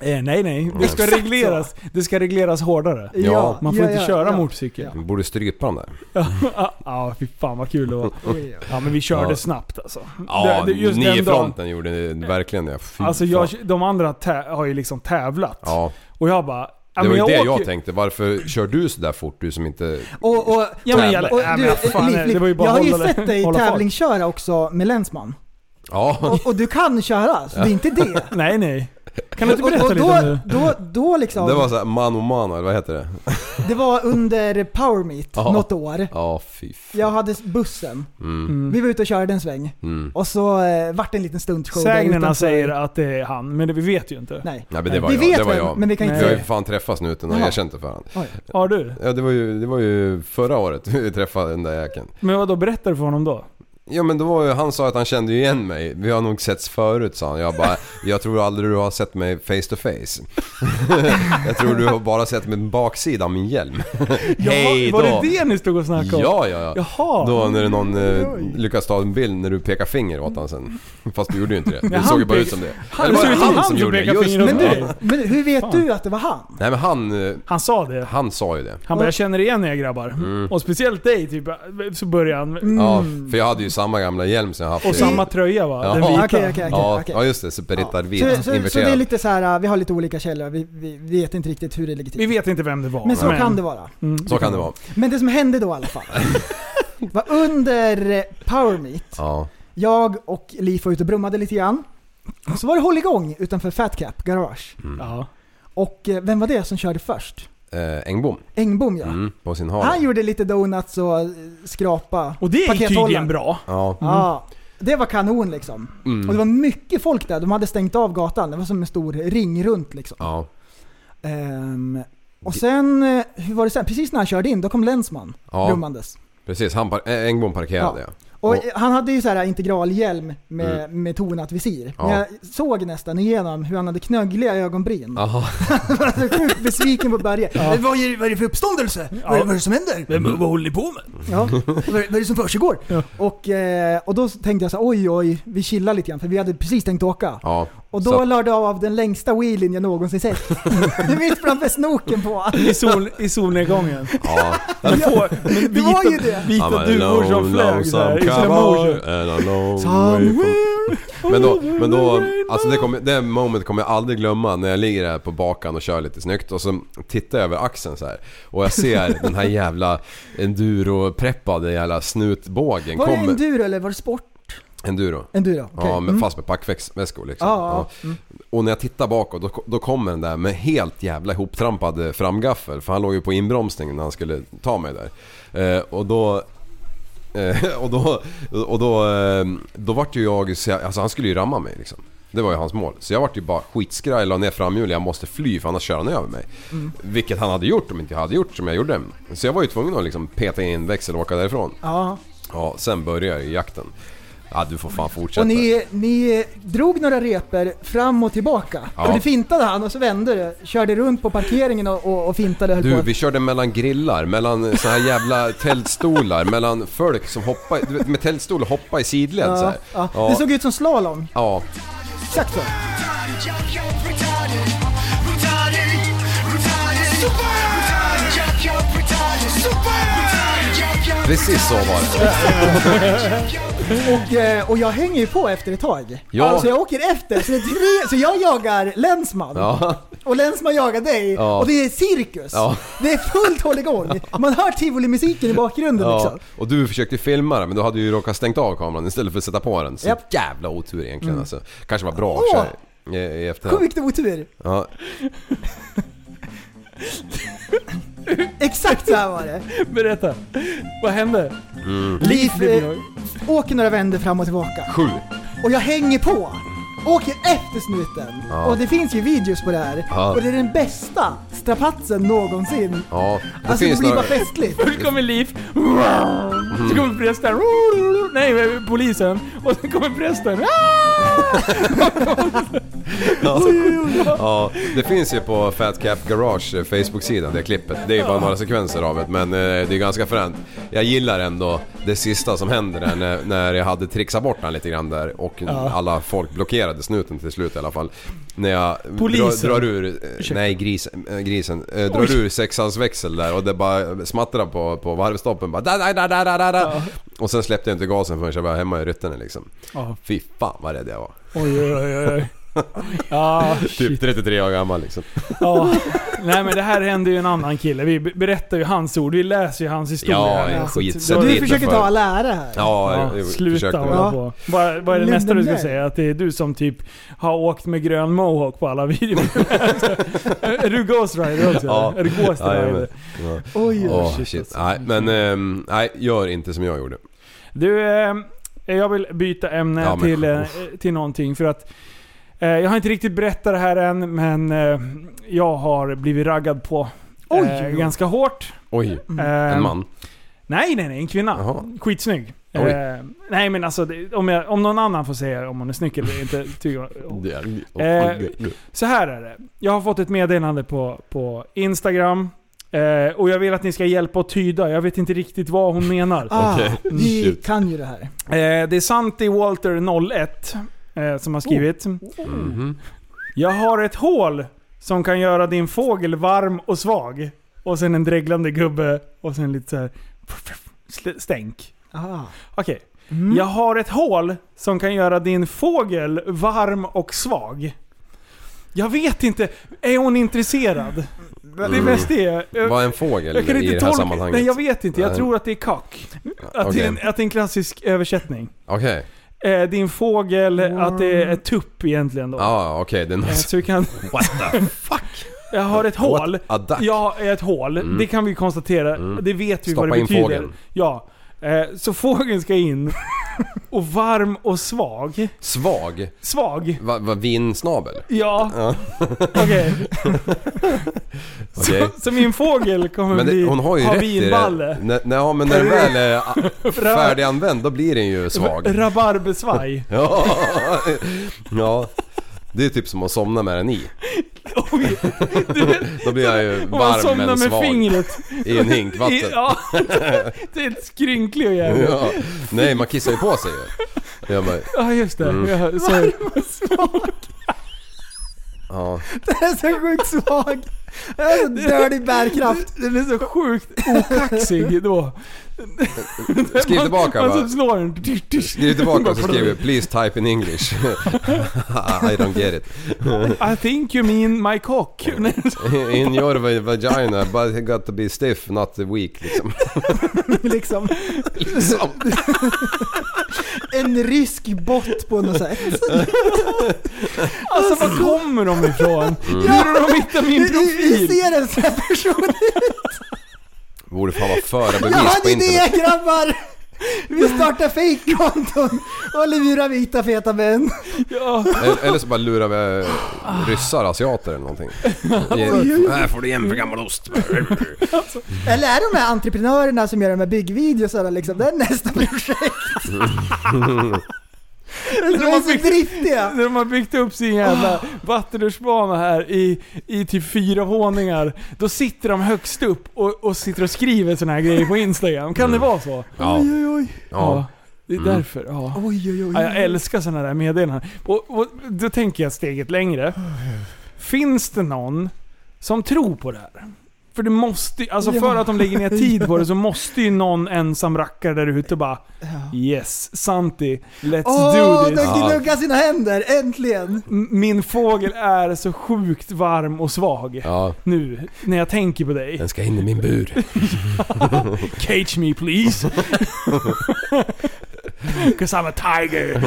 Eh, nej nej, det ska
Exakt
regleras. Det ska regleras hårdare.
Ja,
Man får
ja,
inte
ja,
köra
ja.
motorcykel. Ja,
Vi borde strypa dem där.
ah, ah, fy fan vad kul det var.
Oj, oj.
Ja men vi körde
Ja.
snabbt alltså.
Ja,
Det- det- just
ni
den
i
dagen-
fronten gjorde ni verkligen det. Fy
Alltså jag,
fan.
de andra tä- har ju liksom tävlat.
Ja,
Och jag bara... ja,
det
men
var ju det jag
åker-
tänkte. Varför kör du så där fort du som inte...
Och, och,
Ja, men,
Tävla.
jag,
och
ja, men
du,
fan,
Liv,
det var ju
Liv,
bara
jag har ju
hålla-
sett dig
hålla fart.
tävlingsköra också med länsman.
Ja,
Och, och du kan köra, så det är inte det.
Nej nej. Kan du inte berätta
och, och
lite om det?
då, då, då liksom,
det var såhär man och man eller vad heter det?
det var under Power Meet
Ja.
något år.
Ja, fy fan.
Jag hade bussen.
Mm,
Vi var ute och körde en sväng.
mm.
Och så eh, vart det en liten stuntshow där
Sägnerna
utanför.
säger att det är han, men det, vi vet ju inte.
Nej.
Nej men det var
vi
jag.
vet
det var
vem,
jag.
men vi kan inte
Vi har
säga
ju
det.
fan träffats nu utan och
Jaha.
jag känner inte för honom.
Oj.
Har du?
Ja det var ju, det var ju förra året vi träffade den där jäkeln.
Men vad då berättar du för honom då?
Ja men då var ju, han sa att han kände ju igen mig. Vi har nog setts förut sa han. Jag bara, jag tror aldrig du har sett mig face to face. jag tror du har bara sett min baksida av min hjälm. Hej
Jaha,
då!
Var det det ni stod och snackade om?
Ja, ja, ja.
Jaha.
Då när det någon eh, lyckas ta en bild när du pekar finger åt honom sen. Fast du gjorde ju inte det. Det
han
såg ju bara
pek-
ut som det.
Han, det såg ut som han som pekade
just
finger åt
det.
dig.
Men hur vet du att det var han?
Nej men han, eh,
Han sa det.
han sa ju det.
Han bara, jag känner igen er grabbar.
Mm.
Och speciellt dig, typ. Så började han.
Mm.
Ja, för jag hade ju samma gamla hjälm som jag haft
Och
i-
samma tröja va?
Ja.
Den vita.
Okej, okej,
ja,
okej.
ja just det, Super Ritter Vit
Så, så, så det är
inverterad.
lite så här, vi har lite olika källor, vi, vi vet inte riktigt hur det ligger till.
Vi vet inte vem det var. Mm.
men så kan det vara.
Så kan det vara.
Men det som hände då i alla fall, var under eh, Power Meet,
Ja.
jag och Liv var ute och brummade lite grann. Så var det hålligång utanför Fat Cap Garage.
Mm.
Ja.
Och eh, vem var det som körde först?
Eh, Engbom.
Engbom ja.
Mm, på sin hare.
Han gjorde lite donuts och eh, skrapa.
Och det gick
pakethållaren.
tydligen bra.
Ja.
Ja, det var kanon liksom.
Mm.
Och det var mycket folk där, de hade stängt av gatan. Det var som en stor ring runt liksom.
Ja.
Ehm, och sen, eh, hur var det sen? Precis när han körde in, då kom länsman
Ja.
rummandes.
Precis, han par- eh, Engbom parkerade ja.
Och
Och- Mm.
eh, han hade ju så här integralhjälm med, med tonat visir.
Ja.
Men jag såg nästan igenom hur han hade knöggliga ögonbryn.
Jaha.
Han var så sjukt besviken på Börje. Vad, är, vad är det för uppståndelse? Vad, är, vad är det som händer?
Vad håller ni på med?
Ja, vad, vad är det som försiggår? Och, eh, och då tänkte jag så här, oj oj, vi chillar lite grann för vi hade precis tänkt åka.
Ja.
Och då
Så att-
lade jag av den längsta wheelin jag någonsin sett. Mitt framför snoken på honom.
I, sol, I solnedgången.
ja.
Men får, men
Det var
vita,
ju det.
vita duvor som flög där i slow motion.
and a long way from... Men då, men då alltså det, kommer, det moment kommer jag aldrig glömma när jag ligger här på bakan och kör lite snyggt och så tittar jag över axeln så här och jag ser den här jävla enduro-preppade jävla snutbågen
Var det
kommer-
enduro eller var det sport?
Enduro.
Enduro, okej.
Ja, men
Mm.
fast med packväskor liksom.
Ja, ja. Mm.
Ja. Och när jag tittar bakåt då, då kommer den där med helt jävla ihoptrampad eh, framgaffel. För han låg ju på inbromsning när han skulle ta mig där. Eh, och då... Eh, och då... Och då, eh, då vart ju jag... så jag- Alltså han skulle ju ramma mig liksom. Det var ju hans mål. Så jag vart ju bara skitskraj, jag la ner framhjulet, jag måste fly för annars kör han över mig.
Mm.
Vilket han hade gjort om inte jag hade gjort som jag gjorde. Så jag var ju tvungen att liksom peta in växel och åka därifrån.
Ja.
Ja, sen börjar ju jakten. Ja, du får fan fortsätta.
Och ni, ni drog några reper fram och tillbaka.
Ja.
För det fintade han och så vände det. Körde runt på parkeringen och, och, och fintade och höll
Du,
på.
vi körde mellan grillar, mellan så här jävla tältstolar, mellan folk som hoppar, du vet, med tältstol och hoppar i sidled så
ja,
här.
ja.
Ja,
Det såg ut som slalom.
ja.
Exakt så.
precis så var det.
Och, eh, och jag hänger ju på efter ett tag.
Ja.
Alltså jag åker efter. Så, det är tre, så jag jagar länsman.
Ja,
Och länsman jagar dig.
Ja.
Och det är cirkus.
Ja.
Det är fullt hålligång. Man hör tivolimusiken i bakgrunden
ja.
liksom.
Och du försökte filma det men du hade ju råkat stängt av kameran istället för att sätta på den. Så
Japp. Mm.
jävla otur egentligen alltså. Kanske var bra i och för sig, i- i
Kom
efterhand.
vilken otur.
Ja.
Exakt så här var
Mm.
det.
Berätta. Vad hände?
Liv
blev
eh, åker några vändor fram och tillbaka.
Sju.
Och jag hänger på. Åker efter snuten.
Ja.
Och det finns ju videos på det här.
Ja.
Och det är den bästa strapatsen någonsin.
Ja. Det
Alltså det
finns
blir bara
några...
festligt.
Först kommer Liv. Så kommer prästen.
Mm.
Nej, polisen. Och sen kommer prästen.
Ja. ja, det finns ju på Fat Cap Garage eh, Facebook-sida det klippet. Det är ju bara några sekvenser av det men eh, det är ganska fränt. Jag gillar ändå det sista som händer där när, när jag hade trixat bort han lite grann där och alla folk blockerade snuten till slut i alla fall. När jag
Polisen?
Drar, drar ur, eh, nej grisen, eh, grisen eh, drar ur sexans växel där och det bara smattrar på, på varvstoppen bara da, da, da, da, da, da, da. Och sen släppte jag inte gasen förrän jag var hemma i ryttene liksom.
Ja.
Fy fan vad rädd jag var.
Oj, oj, oj, oj. Ja,
Typ
shit.
33 år gammal liksom.
Ja. Nej men det här hände ju en annan kille. Vi berättar ju hans ord. Vi läser ju hans historia.
Ja,
här.
ja, skit.
Så
Så
det-
Du
Bilder
försöker
för-
ta all ära här.
Ja,
Ja,
jag, jag
sluta
försökte.
hålla
Ja.
på. Vad, vad är det
Lugna
nästa du ska
ner.
säga? Att det är du som typ har åkt med grön mohawk på alla videor? är du Ghost Rider också?
Ja.
Är du Ghost
Ja, jag
Rider?
vet. Ja.
Oj, oj.
Åh, shit. Nej, men ehm, nej, gör inte som jag gjorde.
Du, eh, jag vill byta ämne
Ja, men-
till, eh, till någonting för att eh, jag har inte riktigt berättat det här än, men eh, jag har blivit raggad på.
Oj,
eh,
oj.
ganska hårt.
Oj,
Eh,
en man.
Nej, nej, nej. En kvinna.
Jaha.
Skitsnygg. Eh,
Oj.
nej men alltså, det, om, jag, om någon annan får säga om hon är snygg eller inte. Tycker jag, Eh, Så här är det. Jag har fått ett meddelande på, på Instagram. Eh, och jag vill att ni ska hjälpa att tyda. Jag vet inte riktigt vad hon menar.
Ah,
Okej.
Vi
Shoot.
kan ju det här.
Eh, det är Santi Walter 01 eh, som har skrivit.
Mhm.
Jag har ett hål som kan göra din fågel varm och svag. Och sen en dreglande gubbe och sen lite så här sl- stänk.
Ah.
Okej.
Mm.
Jag har ett hål som kan göra din fågel varm och svag. Jag vet inte. Är hon intresserad?
Mm.
Det är mest det. Jag,
Var en fågel
jag kan
i
inte
det här
tolka.
sammanhanget?
Nej, jag vet inte. Jag
Nej.
tror att det är kack. Att, det, är en,
Okej.
att det är en klassisk översättning.
Okej,
Eh, din fågel, att det
Mm.
är tupp egentligen då.
ja okej. det är
Eh,
något-
Så vi kan...
What the fuck?
Jag har ett
What
hål.
a duck.
Jag har ett hål. Det kan vi konstatera. Det vet vi
Mm. Stoppa
vad det
in
betyder.
fågeln.
Ja. Eh, Så fågeln ska in. Och varm och svag.
Svag?
Svag?
Va, va, vinsnabel?
Ja.
Ja.
Okej.
Okej.
Så, så min fågel kommer
Men det,
bli...
hon har ju
ha
rätt i det.
vinballe.
Nej, nej, ja, men när den väl är a- färdiganvänd då blir den ju svag.
Rabarbersvaj.
Ja, ja. Det är typ som att somna med den i.
Oj. Du vet,
Då blir jag ju
om man
varm
somnar
men
med
svag
fingret.
i en hink vatten.
I- Ja. Det är ett skrynklig och jävla.
Ja. Nej, man kissar ju på sig ju. Jag bara,
Ja just det.
Mm.
Ja, så,
ja.
Den är så sjukt svag. Alltså, dirty bärkraft.
Den är så sjukt okaxig då.
Skriv tillbaka
Man alltså, så
va?
slår den.
Skriv tillbaka och så skriver “Please type in English”. I don't get it.
I think you mean my cock.
In your va- vagina but it got to be stiff not weak liksom.
liksom. En rysk bott på något sätt.
Alltså var kommer de ifrån?
Mm.
Hur har de hittat min
Hur
profil?
ser en sån här person ut?
Borde fan vara
Jag
förarbevis på
hade
internet.
idé grabbar! Vi startar fejkkonton och lurar vita feta män.
Ja.
Eller- Eller så bara lurar vi eh, ryssar, asiater eller någonting. Ge- Här får du igen för gammal ost.
Eller är de här entreprenörerna som gör de här byggvideosarna liksom, det är nästa projekt. De är så driftiga.
När de har byggt upp sin jävla vattenrutschbana här i, i typ fyra våningar. Då sitter de högst upp och, och sitter och skriver såna här grejer på Instagram. Kan det vara så?
Mm. Ja. Mm.
Oj, oj, oj.
Ja.
Det är därför. Ja.
Oj, oj, oj.
Ja, jag älskar sådana där meddelanden. Och, och då tänker jag steget längre. Finns det någon som tror på det här? För det måste alltså
Ja.
för att de lägger ner tid på det så måste ju någon ensam rackare där ute bara Yes, Santi, let's
Åh,
do
de
this.
gnuggar sina händer, äntligen!
M- Min fågel är så sjukt varm och svag.
ja.
Nu, när jag tänker på dig.
Den ska in i min bur.
Cage me please. Cause I'm a tiger.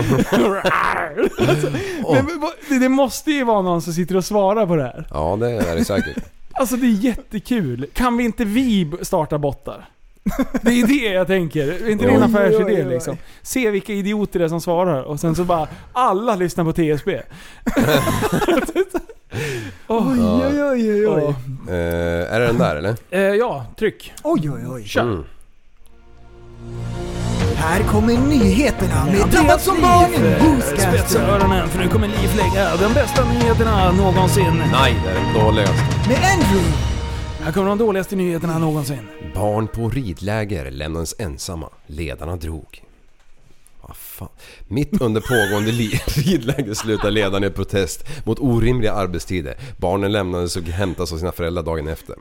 alltså, men, men, vad- det- det måste ju vara någon som sitter och svarar på det här.
Ja det är det säkert.
Alltså det är jättekul. Kan vi inte vi b- starta bottar? Det är det jag tänker. Är inte det en
Oj,
affärsidé
oj, oj.
liksom? Se vilka idioter det är som svarar och sen så bara alla lyssnar på TSB. Åh.
Oj, oj, oj, oj, oj.
Eh, är det den där eller?
Eh, ja, tryck.
Oj, oj, oj.
Kör.
Här kommer nyheterna med Drabbad
Andreas
som
Liv,
barn,
eh, Spetsa
Booscaster.
öronen för nu kommer Liv lägga de bästa nyheterna någonsin.
Nej det är den dåligaste.
Med Andrew.
Här kommer de dåligaste nyheterna någonsin.
Barn på ridläger lämnades ensamma. Ledarna drog. Vad fan. Mitt under pågående li- ridläger slutar ledarna i protest mot orimliga arbetstider. Barnen lämnades och hämtas av sina föräldrar dagen efter.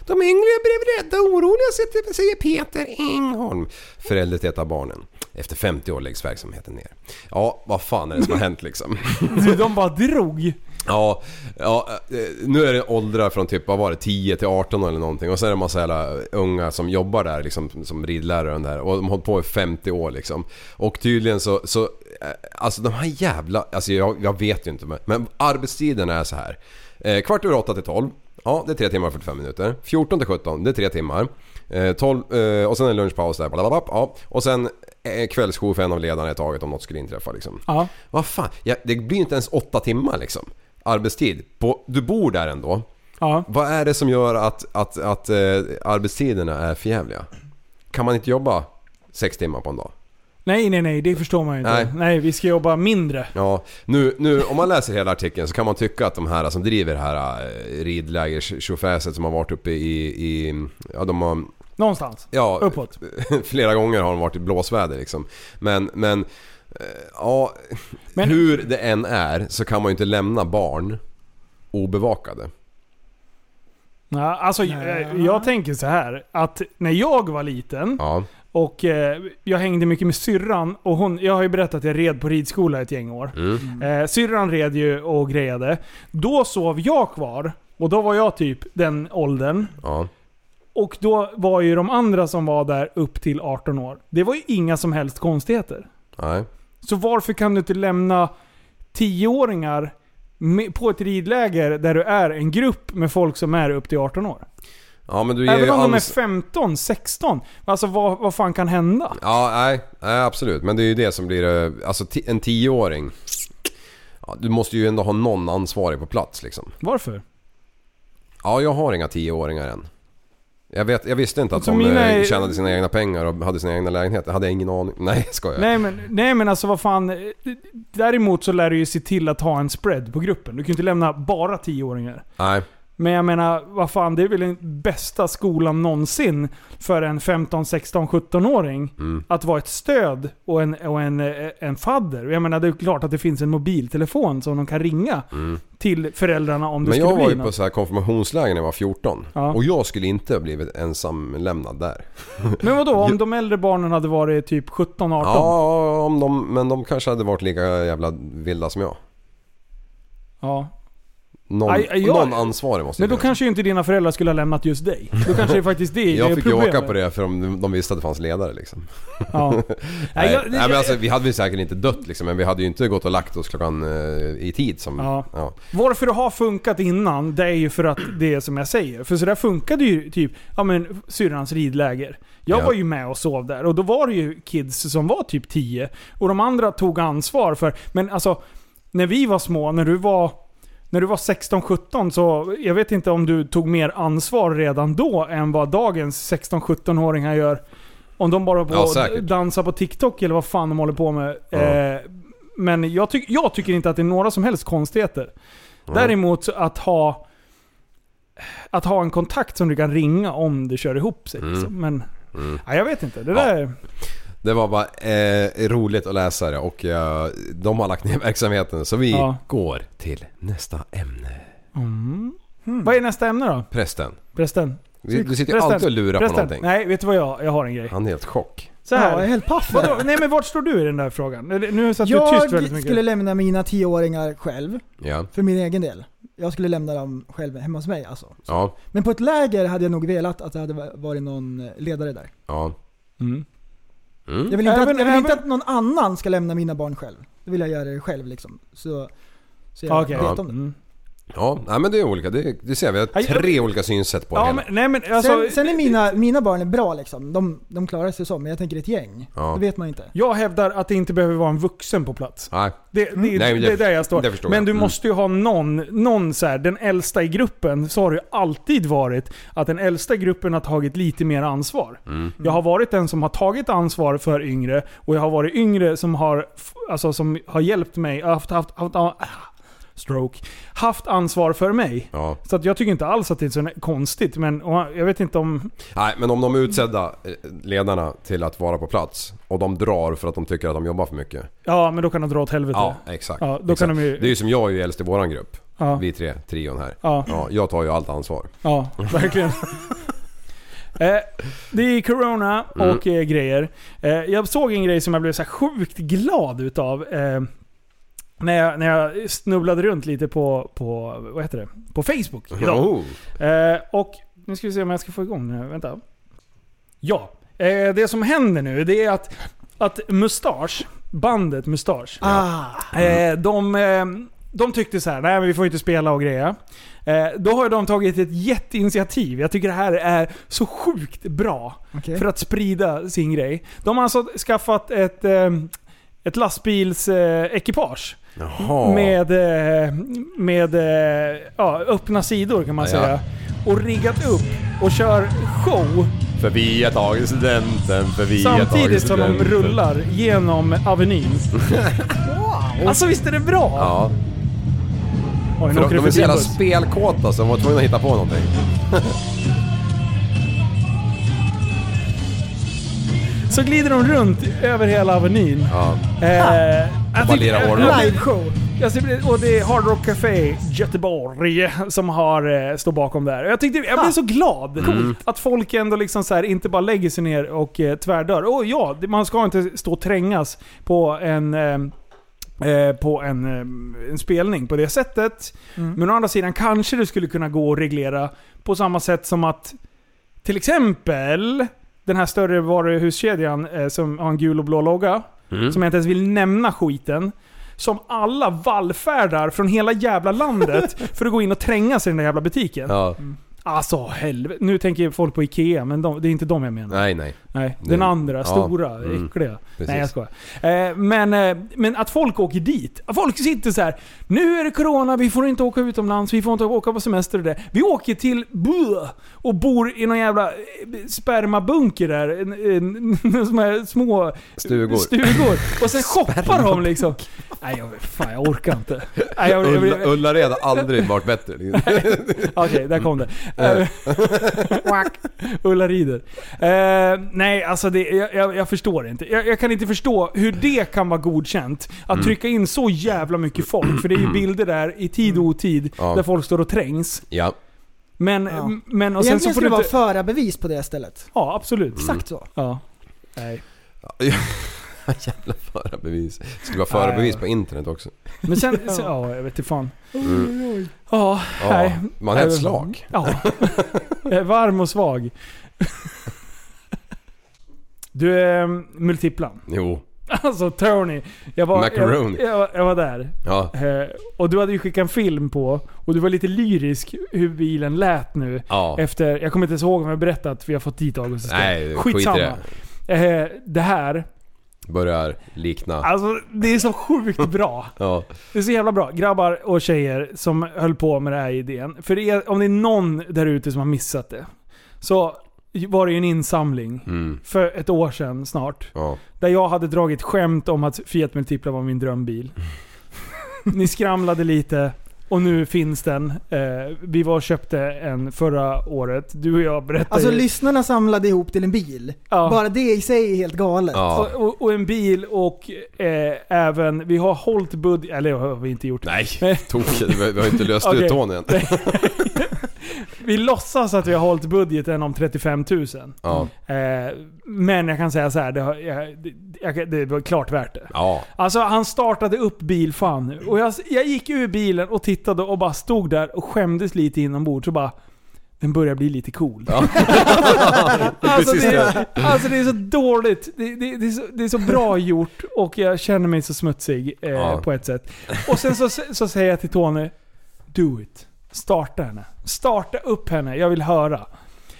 De yngre blev rädda och oroliga säger- säger Peter Engholm, förälder till ett av barnen. Efter 50 år läggs verksamheten ner. Ja, vad fan är det som har hänt liksom?
Du, de bara drog.
Ja, ja, eh, nu är det åldrar från typ, vad var det, 10 till 18 eller någonting och sen är det en massa jävla unga som jobbar där liksom, som ridlärare och där och de har hållit på i 50 år liksom. Och tydligen så, så eh, alltså de här jävla, alltså jag, jag vet ju inte men, men arbetstiden är så här. Eh, kvart över 8 till 12, ja det är 3 timmar och 45 minuter. 14 till 17, det är 3 timmar. Eh, 12, eh, och sen är det lunchpaus där, blablabla, ja. Och sen eh, kvällsjour för en av ledarna i taget om något skulle inträffa liksom.
Ja.
Vad fan, ja, det blir ju inte ens åtta timmar liksom. Arbetstid. På, du bor där ändå.
Ja.
Vad är det som gör att, att, att eh, arbetstiderna är förjävliga? Kan man inte jobba sex timmar på en dag?
Nej, nej, nej. Det förstår man ju inte. Nej,
Nej.
vi ska jobba mindre.
Ja, nu, nu om man läser hela artikeln så kan man tycka att de här som driver det här eh, ridlägers som har varit uppe i... i ja, de har,
Någonstans.
ja,
Uppåt.
flera gånger har de varit i blåsväder liksom. Men, men... eh, Ja,
Men-
hur det än är så kan man ju inte lämna barn obevakade.
Ja, alltså, jag, jag tänker så här. Att när jag var liten
Ja.
och eh, jag hängde mycket med syrran. Och hon, jag har ju berättat att jag red på ridskola ett gäng år. Eh, syrran red ju och grejade. Då sov jag kvar. Och då var jag typ den åldern.
Ja.
Och då var ju de andra som var där upp till 18 år. Det var ju inga som helst konstigheter.
Nej.
Så varför kan du inte lämna 10-åringar med- på ett ridläger där du är en grupp med folk som är upp till 18 år?
Ja men du ger
Även
ju
om de är
ans-
15, 16. Alltså vad, vad fan kan hända?
Ja, nej, nej absolut. Men det är ju det som blir eh, Alltså ti- en tioåring. Ja, du måste ju ändå ha någon ansvarig på plats liksom.
Varför?
Ja, jag har inga tioåringar än. Jag, vet, jag visste inte att
Så
de
mina
eh,
är-
tjänade sina egna pengar och hade sina egna lägenheter. Hade jag ingen aning. Nej, ska jag.
Nej men, nej men alltså vad fan. eh, Däremot så lär du ju se till att ha en spread på gruppen. Du kan ju inte lämna bara 10-åringar.
Nej.
Men jag menar, vad fan, det är väl den bästa skolan någonsin för en 15, 16, 17-åring.
Mm.
Att vara ett stöd och en, och en, eh, en fadder. Och Jag menar, det är klart att det finns en mobiltelefon som de kan ringa till föräldrarna om det
Mm.
skulle
Men jag
bli
var ju
något.
på så här konfirmationsläger när jag var 14.
Ja.
Och jag skulle inte ha blivit ensamlämnad där.
Men vadå, om de äldre barnen hade varit typ 17, 18?
Ja, om de, men de kanske hade varit lika jävla vilda som jag.
Ja.
Någon,
Aj, aj, jag-
någon ansvarig måste
Men
det
då
finnas.
kanske ju inte dina föräldrar skulle ha lämnat just dig. Då kanske det är faktiskt det det är
Jag fick ju
problemet.
åka på det för de, de visste att det fanns ledare liksom.
Ja.
Nej,
Nej, jag,
nej men alltså vi hade ju säkert inte dött liksom, men vi hade ju inte gått och lagt oss klockan eh, i tid som...
Ja.
Ja.
Varför det har funkat innan, det är ju för att det är som jag säger. För så där funkade ju typ, ja men syrrans ridläger. Jag
Ja.
var ju med och sov där och då var det ju kids som var typ 10. Och de andra tog ansvar för, men alltså när vi var små, när du var när du var 16-17 så, jag vet inte om du tog mer ansvar redan då än vad dagens 16-17-åringar gör. Om de bara på
Ja, säkert.
dansar på TikTok eller vad fan de håller på med.
Ja.
Eh, men jag, tyck- jag tycker inte att det är några som helst konstigheter. Däremot så att ha att ha en kontakt som du kan ringa om det kör ihop sig. Liksom. Men ja, jag vet inte. Det
Mm. Ja.
där...
Det var bara eh, roligt att läsa det och eh, de har lagt ner verksamheten så vi
Ja.
går till nästa ämne.
Mm.
Vad är nästa ämne då?
Prästen.
Prästen?
Du, du sitter ju
Prästen.
alltid och lurar på
Prästen.
någonting.
Nej, vet du vad jag... Jag har en grej.
Han är helt chock.
Så
Ja, jag är
här.
helt paff.
Vadå? Nej men vart står du i den där frågan? Eller, Nu satt du tyst väldigt
Jag
mycket.
skulle lämna mina tioåringar själv,
Ja.
för min egen del. Jag skulle lämna dem själv hemma hos mig alltså.
Ja.
Men på ett läger hade jag nog velat att det hade varit någon eh, ledare där.
Ja.
Mm.
Jag vill inte,
Även-
att, jag vill inte
även-
att någon annan ska lämna mina barn själv. Då vill jag göra det själv liksom. Så, så jag
Ja, okej.
vet
Ja.
om det.
Mm.
Ja, nej, men det är olika. Det, det ser vi. Vi
Aj,
har tre olika synsätt på det
Ja,
hela.
men, nej men alltså...
sen, sen är mina, mina barn är bra liksom. De, de klarar sig så. Men jag tänker ett gäng.
Ja.
Det vet man ju inte.
Jag hävdar att det inte behöver vara en vuxen på plats.
Nej.
Det, det, det,
Mm. Nej, men
det är
det-
där jag står.
det förstår
men
jag.
du
Mm.
måste ju ha någon, någon så här, den äldsta i gruppen, så har det ju alltid varit att den äldsta i gruppen har tagit lite mer ansvar.
Mm.
Jag har varit den som har tagit ansvar för yngre och jag har varit yngre som har, f- alltså, som har hjälpt mig, haft, haft, haft, ah, stroke, haft ansvar för mig.
Mm. Ja.
Så att jag tycker inte alls att det är så konstigt, men och jag vet inte om...
Nej, men om de är utsedda eh, ledarna till att vara på plats och de drar för att de tycker att de jobbar för mycket.
Ja, men då kan de dra åt helvete.
Ja, exakt.
Ja, då
exakt.
kan de ju-
Det är ju som jag är ju äldst i våran grupp.
Ja.
Vi tre, trion här.
Ja.
Ja, jag tar ju allt ansvar.
Ja, verkligen. Eh, det är corona och eh, grejer. Eh, jag såg en grej som jag blev så här sjukt glad utav. Eh, när, jag, när jag snubblade runt lite på, på, vad heter det? på Facebook idag.
Oh.
Eh, och nu ska vi se om jag ska få igång den här. Vänta. Ja, eh, det som händer nu det är att, att Mustasch, bandet Mustasch, eh, de, eh, de tyckte så här, nej men vi får inte spela och greja. Eh, då har ju de tagit ett jätteinitiativ. Jag tycker det här är så sjukt bra
Okej.
för att sprida sin grej. De har alltså skaffat ett, eh, ett lastbilsekipage. Eh, ekipage
Jaha.
med, eh, med eh, ja, öppna sidor kan man
Ja, ja.
säga. Och riggat upp och kör show
För vi har tagit studenten, för vi har tagit
samtidigt som de
studenten.
rullar genom Avenyn. Alltså visst är det bra?
Ja,
Oj, nu
för
åker
de,
det
de är så
förbi en
jävla
buss.
spelkåta så de var tvungna att hitta på någonting.
Så glider de runt över hela Avenyn.
Ja.
Eh, jag
bara
tycker-
lirar
jag-
hårdrock.
Liveshow. Jag ser- Och det är Hard Rock Café Göteborg som har, eh, står bakom där. Jag, tyckte, jag blev så glad att folk ändå liksom så här, inte bara lägger sig ner och eh, tvärdör. Och ja, det- man ska inte stå och trängas på en... ehm, eh, på en, eh, en spelning på det sättet. Men å andra sidan kanske det skulle kunna gå att reglera på samma sätt som att till exempel den här större varuhuskedjan eh, som har en gul och blå logga,
Mm.
som jag inte ens vill nämna skiten, som alla vallfärdar från hela jävla landet för att gå in och tränga sig i den där jävla butiken.
Ja.
Alltså helvete. Nu tänker folk på Ikea, men de, det är inte de jag menar.
Nej, nej.
Nej,
Det-
den andra,
ja,
stora,
mm,
äckliga.
precis.
Nej jag skojar. Eh, men, eh, men att folk åker dit. Att Folk sitter så här. nu är det Corona, vi får inte åka utomlands, vi får inte åka på semester och det. Vi åker till Buh och bor i någon jävla eh, spermabunker där. En, en, som är små
Stugor.
stugor. Och sen shoppar de liksom. Nej jag, fan, jag orkar inte. Nej, jag, jag,
Ulla,
jag,
Ullared har aldrig varit bättre.
Okej, där kom det. Eh, Quack. Ulla rider. Eh, nej, alltså det, jag, jag, jag förstår det inte. Jag, jag kan inte förstå hur det kan vara godkänt. Att
Mm.
trycka in så jävla mycket folk. För det är ju bilder där i tid och otid
Ja.
där folk står och trängs.
Ja.
Men,
Ja.
men och sen
Egentligen
så får
skulle
du
det vara
inte...
förarbevis på det stället.
Ja, absolut.
Mm.
Exakt så.
Ja. Nej.
Jävla förarbevis. Det skulle vara förarbevis på internet också.
Men sen, sen ja, jag vet inte fan.
Mm.
Ja,
Ja,
nej.
man är ett slag.
Ja. Jag är Varm och svag. Du, eh, multiplan.
Jo.
Alltså Tony. Jag var,
Macaroni.
Jag, jag, var- jag var där.
Ja.
Eh, och du hade ju skickat en film på, och du var lite lyrisk hur bilen lät nu.
Ja.
Efter, jag kommer inte ens ihåg om jag berättat för jag har fått dit August och Sten.
Nej, skit i
Skitsamma. Eh, det här,
Börjar likna.
alltså det är så sjukt bra.
Ja.
Det är så jävla bra. Grabbar och tjejer som höll på med den här idén. För det är, om det är någon där ute som har missat det. Så var det ju en insamling
Mm.
för ett år sedan snart.
Ja.
Där jag hade dragit skämt om att Fiat Multipla var min drömbil.
Mm.
Ni skramlade lite och nu finns den. Eh, vi var och köpte en förra året. Du och jag berättade
Alltså
ju-
lyssnarna samlade ihop till en bil.
ja.
Bara det i sig är helt galet.
ja.
och, och, och en bil och eh, även... Vi har hållit budget... Eller det har vi inte gjort.
Nej,
Men-
tokigt. Vi vi har inte löst
Okej.
ut tån än.
Vi låtsas att vi har hållit budgeten om 35 000.
Ja.
Eh, men jag kan säga så här, det, har, jag, det, jag, det var klart värt det.
Ja.
Alltså han startade upp bilfan. Och jag, jag gick ur bilen och tittade och bara stod där och skämdes lite inombords och bara... Den börjar bli lite cool. alltså,
Precis
det
det.
är, alltså det är så dåligt. Det, det, det, är så, det är så bra gjort och jag känner mig så smutsig eh,
Ja.
på ett sätt. Och sen så, så säger jag till Tony, do it. Starta henne. Starta upp henne, jag vill höra.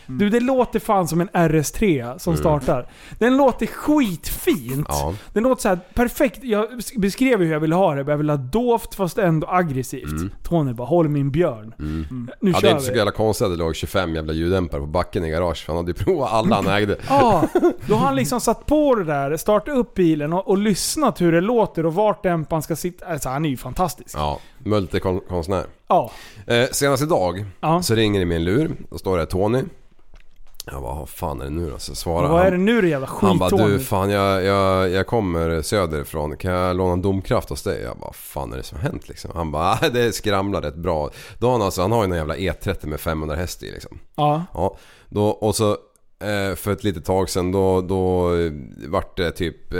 Mm.
Du, det låter fan som en RS3 som startar. Den låter skitfint.
Ja.
Den låter så här perfekt. Jag beskrev ju hur jag ville ha det. men Jag ville ha dovt fast ändå aggressivt. Tony bara, håll min björn. Nu
Mm. Ja, det är
kör
inte så
vi.
jävla konstigt att det låg 25 jävla ljuddämpare på backen i garage. för Han hade ju provat alla han ägde.
Ja, då har han liksom satt på det där, startat upp bilen och, och lyssnat hur det låter och vart dämparen ska sitta. Alltså, han är ju fantastisk. Ja.
Ja, multikonstnär.
Ja.
Eh, senast idag
Ja.
så ringer det i min lur. Då står det Tony. Jag bara, vad fan är det nu då? Så svarar
Vad är
han.
det nu det jävla
Han bara du
skithålet?
fan jag, jag, jag kommer söderifrån, kan jag låna en domkraft hos dig? Jag bara fan är det som har hänt liksom? Han bara "Ah, det skramlar rätt bra. Då har han alltså, han har ju någon jävla E30 med 500 häst i liksom.
Ja.
Ja, då, och så eh, för ett litet tag sedan då, då eh, vart det typ eh,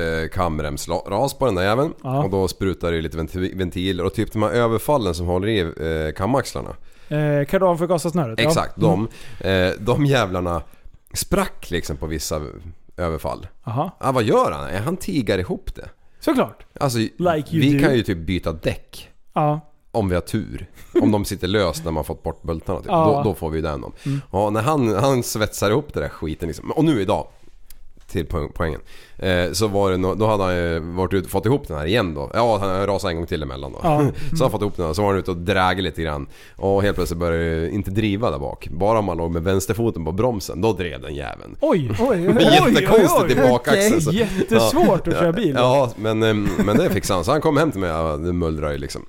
kamremsras på den där jäveln.
Ja.
Och då sprutar det lite venti- ventiler och typ de här överfallen som håller i eh, kamaxlarna.
Eh, kardan för gassasnöret?
Exakt, de, eh, de jävlarna sprack liksom på vissa överfall.
Ja. Aha.
Ja, vad gör han? Han tigar ihop det.
Såklart.
Alltså,
Like you
vi
do.
kan ju typ byta däck.
Ja.
Om vi har tur. Om de sitter löst när man fått bort bultarna. Typ.
Ja. Mm.
Då, då får vi ju den dem. Ja, när han, han svetsar ihop det där skiten liksom. Och nu idag. Till poäng- poängen. Eh, så var det nå- då hade han ju varit ute och fått ihop den här igen då. Ja, han rasade en gång till emellan då.
Ja.
Så han fått ihop den här, så var han ute och drägde lite grann. Och helt plötsligt började det ju inte driva där bak. Bara om man låg med vänsterfoten på bromsen, då drev den jäveln.
Oj!
Oj,
Det
oj.
är
Oj,
Jättekonstigt
oj, oj.
i bakaxeln. så-
Jättesvårt att köra bil.
Ja, men, em, men det fixade han. Så han kom hem till mig ja, det mullrar ju liksom.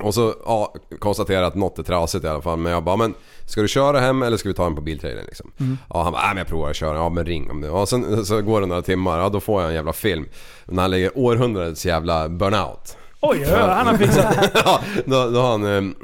Och så ja, konstaterade att något är trasigt i alla fall. Men jag bara, men ska du köra hem eller ska vi ta den på biltrailern liksom?
Mm.
Ja, han bara, nej men jag provar att köra. Ja men ring om det. Och sen så går det några timmar. Ja då får jag en jävla film. När han lägger århundradets jävla burnout.
Oj, oj, han har fixat
ja, då, då har han eh,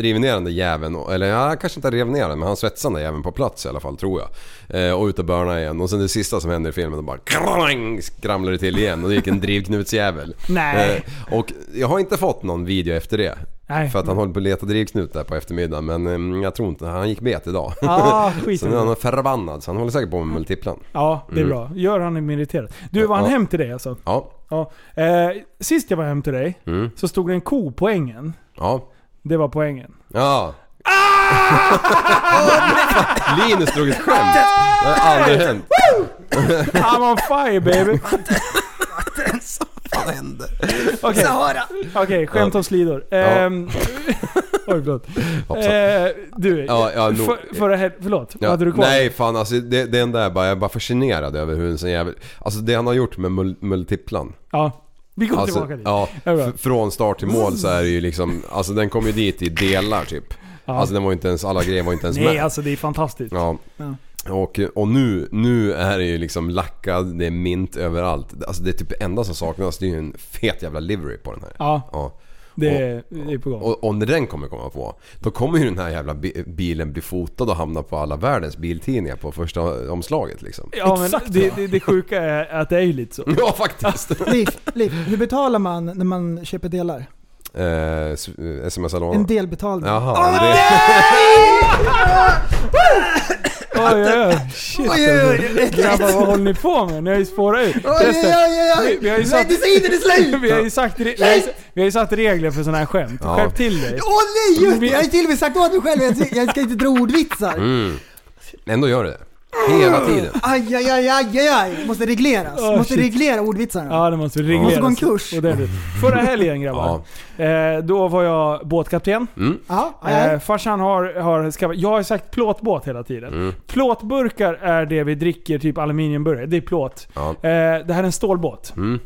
rivit ner den där jäveln. och- Eller ja, han kanske inte rev ner den men han svetsade den där jäveln på plats i alla fall tror jag. Eh, och ut och börna igen. Och sen det sista som händer i filmen då bara krang, skramlar det till igen och det gick en drivknutsjävel.
Nej.
Eh, och jag har inte fått någon video efter det.
Nej.
För att han håller på att leta drivknut där på eftermiddagen men eh, jag tror inte, han gick bet idag.
Ah,
så
skit i
nu är
det.
han förbannad så han håller säkert på med multiplan.
Ja, det är bra. Gör han mig irriterad. Du, var han
Mm. Ja.
hem till dig alltså?
Ja,
Ja. Eh, sist jag var hem till dig
Mm.
så stod det en ko på ängen.
ja,
Det var poängen.
ja.
Ah!
Linus drog ett skämt. Det har aldrig hänt.
I'm on fire baby.
Vad hände?
Okej,
Sahara!
okej, skämt om slidor. Ehm, Oj, förlåt.
Hoppsan.
Eh, du,
Ja, ja, nog-
för, förra hel- förlåt.
Ja,
Vad hade du kvar?
Nej fan alltså det, det enda är bara, jag är bara fascinerad över hur en sån jävel... Alltså det han har gjort med mul- multiplan.
Ja, vi går
Alltså,
tillbaka dit.
ja,
Det är bra.
f- från start till mål så är det ju liksom, alltså den kom ju dit i delar typ. Alltså den var ju inte ens, alla grejer var ju inte ens
Nej,
med.
alltså det är fantastiskt.
Ja. Och, och nu, nu är det ju liksom lackad, det är mint överallt. Alltså det är typ det enda som saknas, det är ju en fet jävla livery på den här.
Ja,
Ja.
det, är- det är på gång.
Och, och när den kommer komma på, då kommer ju den här jävla bi- bilen bli fotad och hamna på alla världens biltidningar på första omslaget liksom.
Ja, men
Exakt
det, det, det sjuka är att det är ju lite så.
Ja faktiskt!
Liv, liv, hur betalar man när man köper delar?
eh, s- eh,
En
SMS-lån.
delbetalning.
Jaha, men det...
Oj, oj, oj. Shit alltså. Grabbar, vad håller ni på med? Ni har ju spårat ut. Förresten, vi- Vi har ju satt...
Medicinen är slut!
Vi har ju sagt, re- vi har ju, vi har ju satt regler för sådana här skämt.
Ja.
Skärp till dig.
Åh nej! Just, det. jag har ju till och med sagt åt mig själv jag ska- jag ska inte dra ordvitsar.
Mm. Ändå gör det det. Hela tiden.
Aj, aj, aj, aj, aj, aj. Måste regleras.
Oh,
Måste
shit.
reglera ordvitsarna.
Ja, det måste regleras.
Måste gå en kurs.
Och det är det. Förra helgen grabbar,
Ja.
eh, då var jag båtkapten.
Ja, aj, aj.
Eh, farsan har, har skaffat, jag har sagt plåtbåt hela
Mm.
tiden. Plåtburkar är det vi dricker, typ aluminiumburkar. Det är plåt.
Ja.
Eh, det här är en stålbåt.
Mm.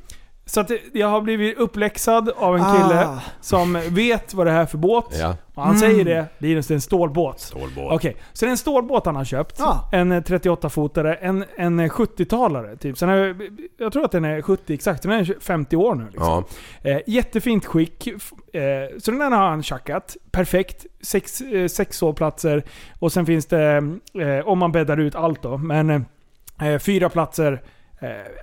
Så att det- jag har blivit uppläxad av en kille
Ah.
som vet vad det här är för båt.
Ja.
Och han säger det, Linus det är en stålbåt.
Stålbåt.
Okej, så det är en stålbåt han har köpt.
Ja.
En eh, 38-fotare, en, en eh, 70-talare typ. Så den är, jag tror att den är 70 exakt, den är 50 år nu. Liksom.
Ja.
Eh, jättefint skick. F- Eh, så den här har han tjackat. Perfekt. Sex, eh, sex sovplatser. Och sen finns det, eh, om man bäddar ut allt då, men eh, fyra platser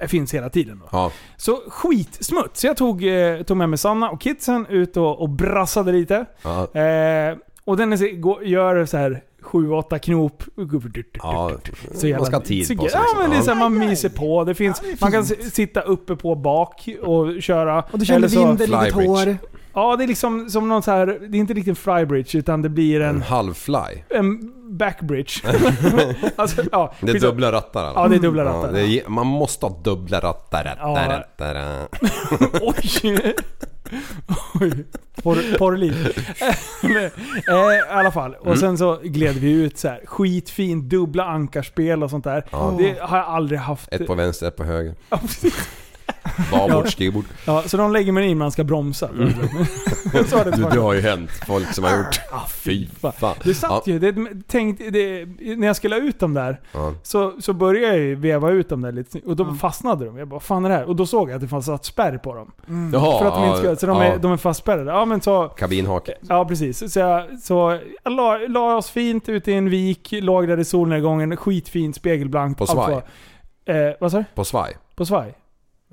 eh, finns hela tiden. Då.
Ja.
Så skitsmutt. Så jag tog, eh, tog med mig Sanna och kidsen ut och, och brassade lite.
Ja.
Eh, och den är, så- går- gör så här 7-8 knop.
ja.
Så jävla,
Man ska ha tid
så,
på sig.
Ja, men det är så
liksom.
här, man myser på. Det finns, man kan s- sitta uppe på bak och köra.
Och du kände
Eller så-
vinden i ditt
flybridge.
hår.
Ja, det är liksom som någon så här, det är inte riktigt en flybridge utan det blir
Ja. En
en,
halvfly.
en backbridge. alltså, ja,
Det är
skitsamma.
dubbla rattar alla.
Ja, det är dubbla rattar.
Ja, det är, man måste ha dubbla rattar. rattar,
Ja.
rattar.
Oj! Oj. Porr, porrliv. eh, I alla fall.
Mm.
Och sen så gled vi ut så här. Skitfin dubbla ankarspel och sånt där.
Ja.
Det har jag aldrig haft.
Ett på vänster, ett på höger.
Ja, precis.
Babord, styrbord.
ja, så de lägger mig in när man ska bromsa. så har det varit.
Du, Mm.
Ah,
det har ju hänt folk som har gjort. Fy fan.
Det satt
Ja.
ju. Det, tänkt, det, när jag skulle ha ut dem där
Ja.
så, så började jag ju veva ut dem där lite. Och då fastnade de. Jag bara, vad fan är det här? Och då såg jag att det fanns satt spärr på dem.
Jaha,
För att de inte skulle, så de
ja.
är, de är fastspärrade. Ja men så...
Kabinhake.
Ja, precis. Så jag, så jag la, la oss fint ute i en vik, låg där i solnedgången, skitfint, spegelblankt.
På
allt
svaj.
var- Eh, vad sa du?
På svaj.
På svaj?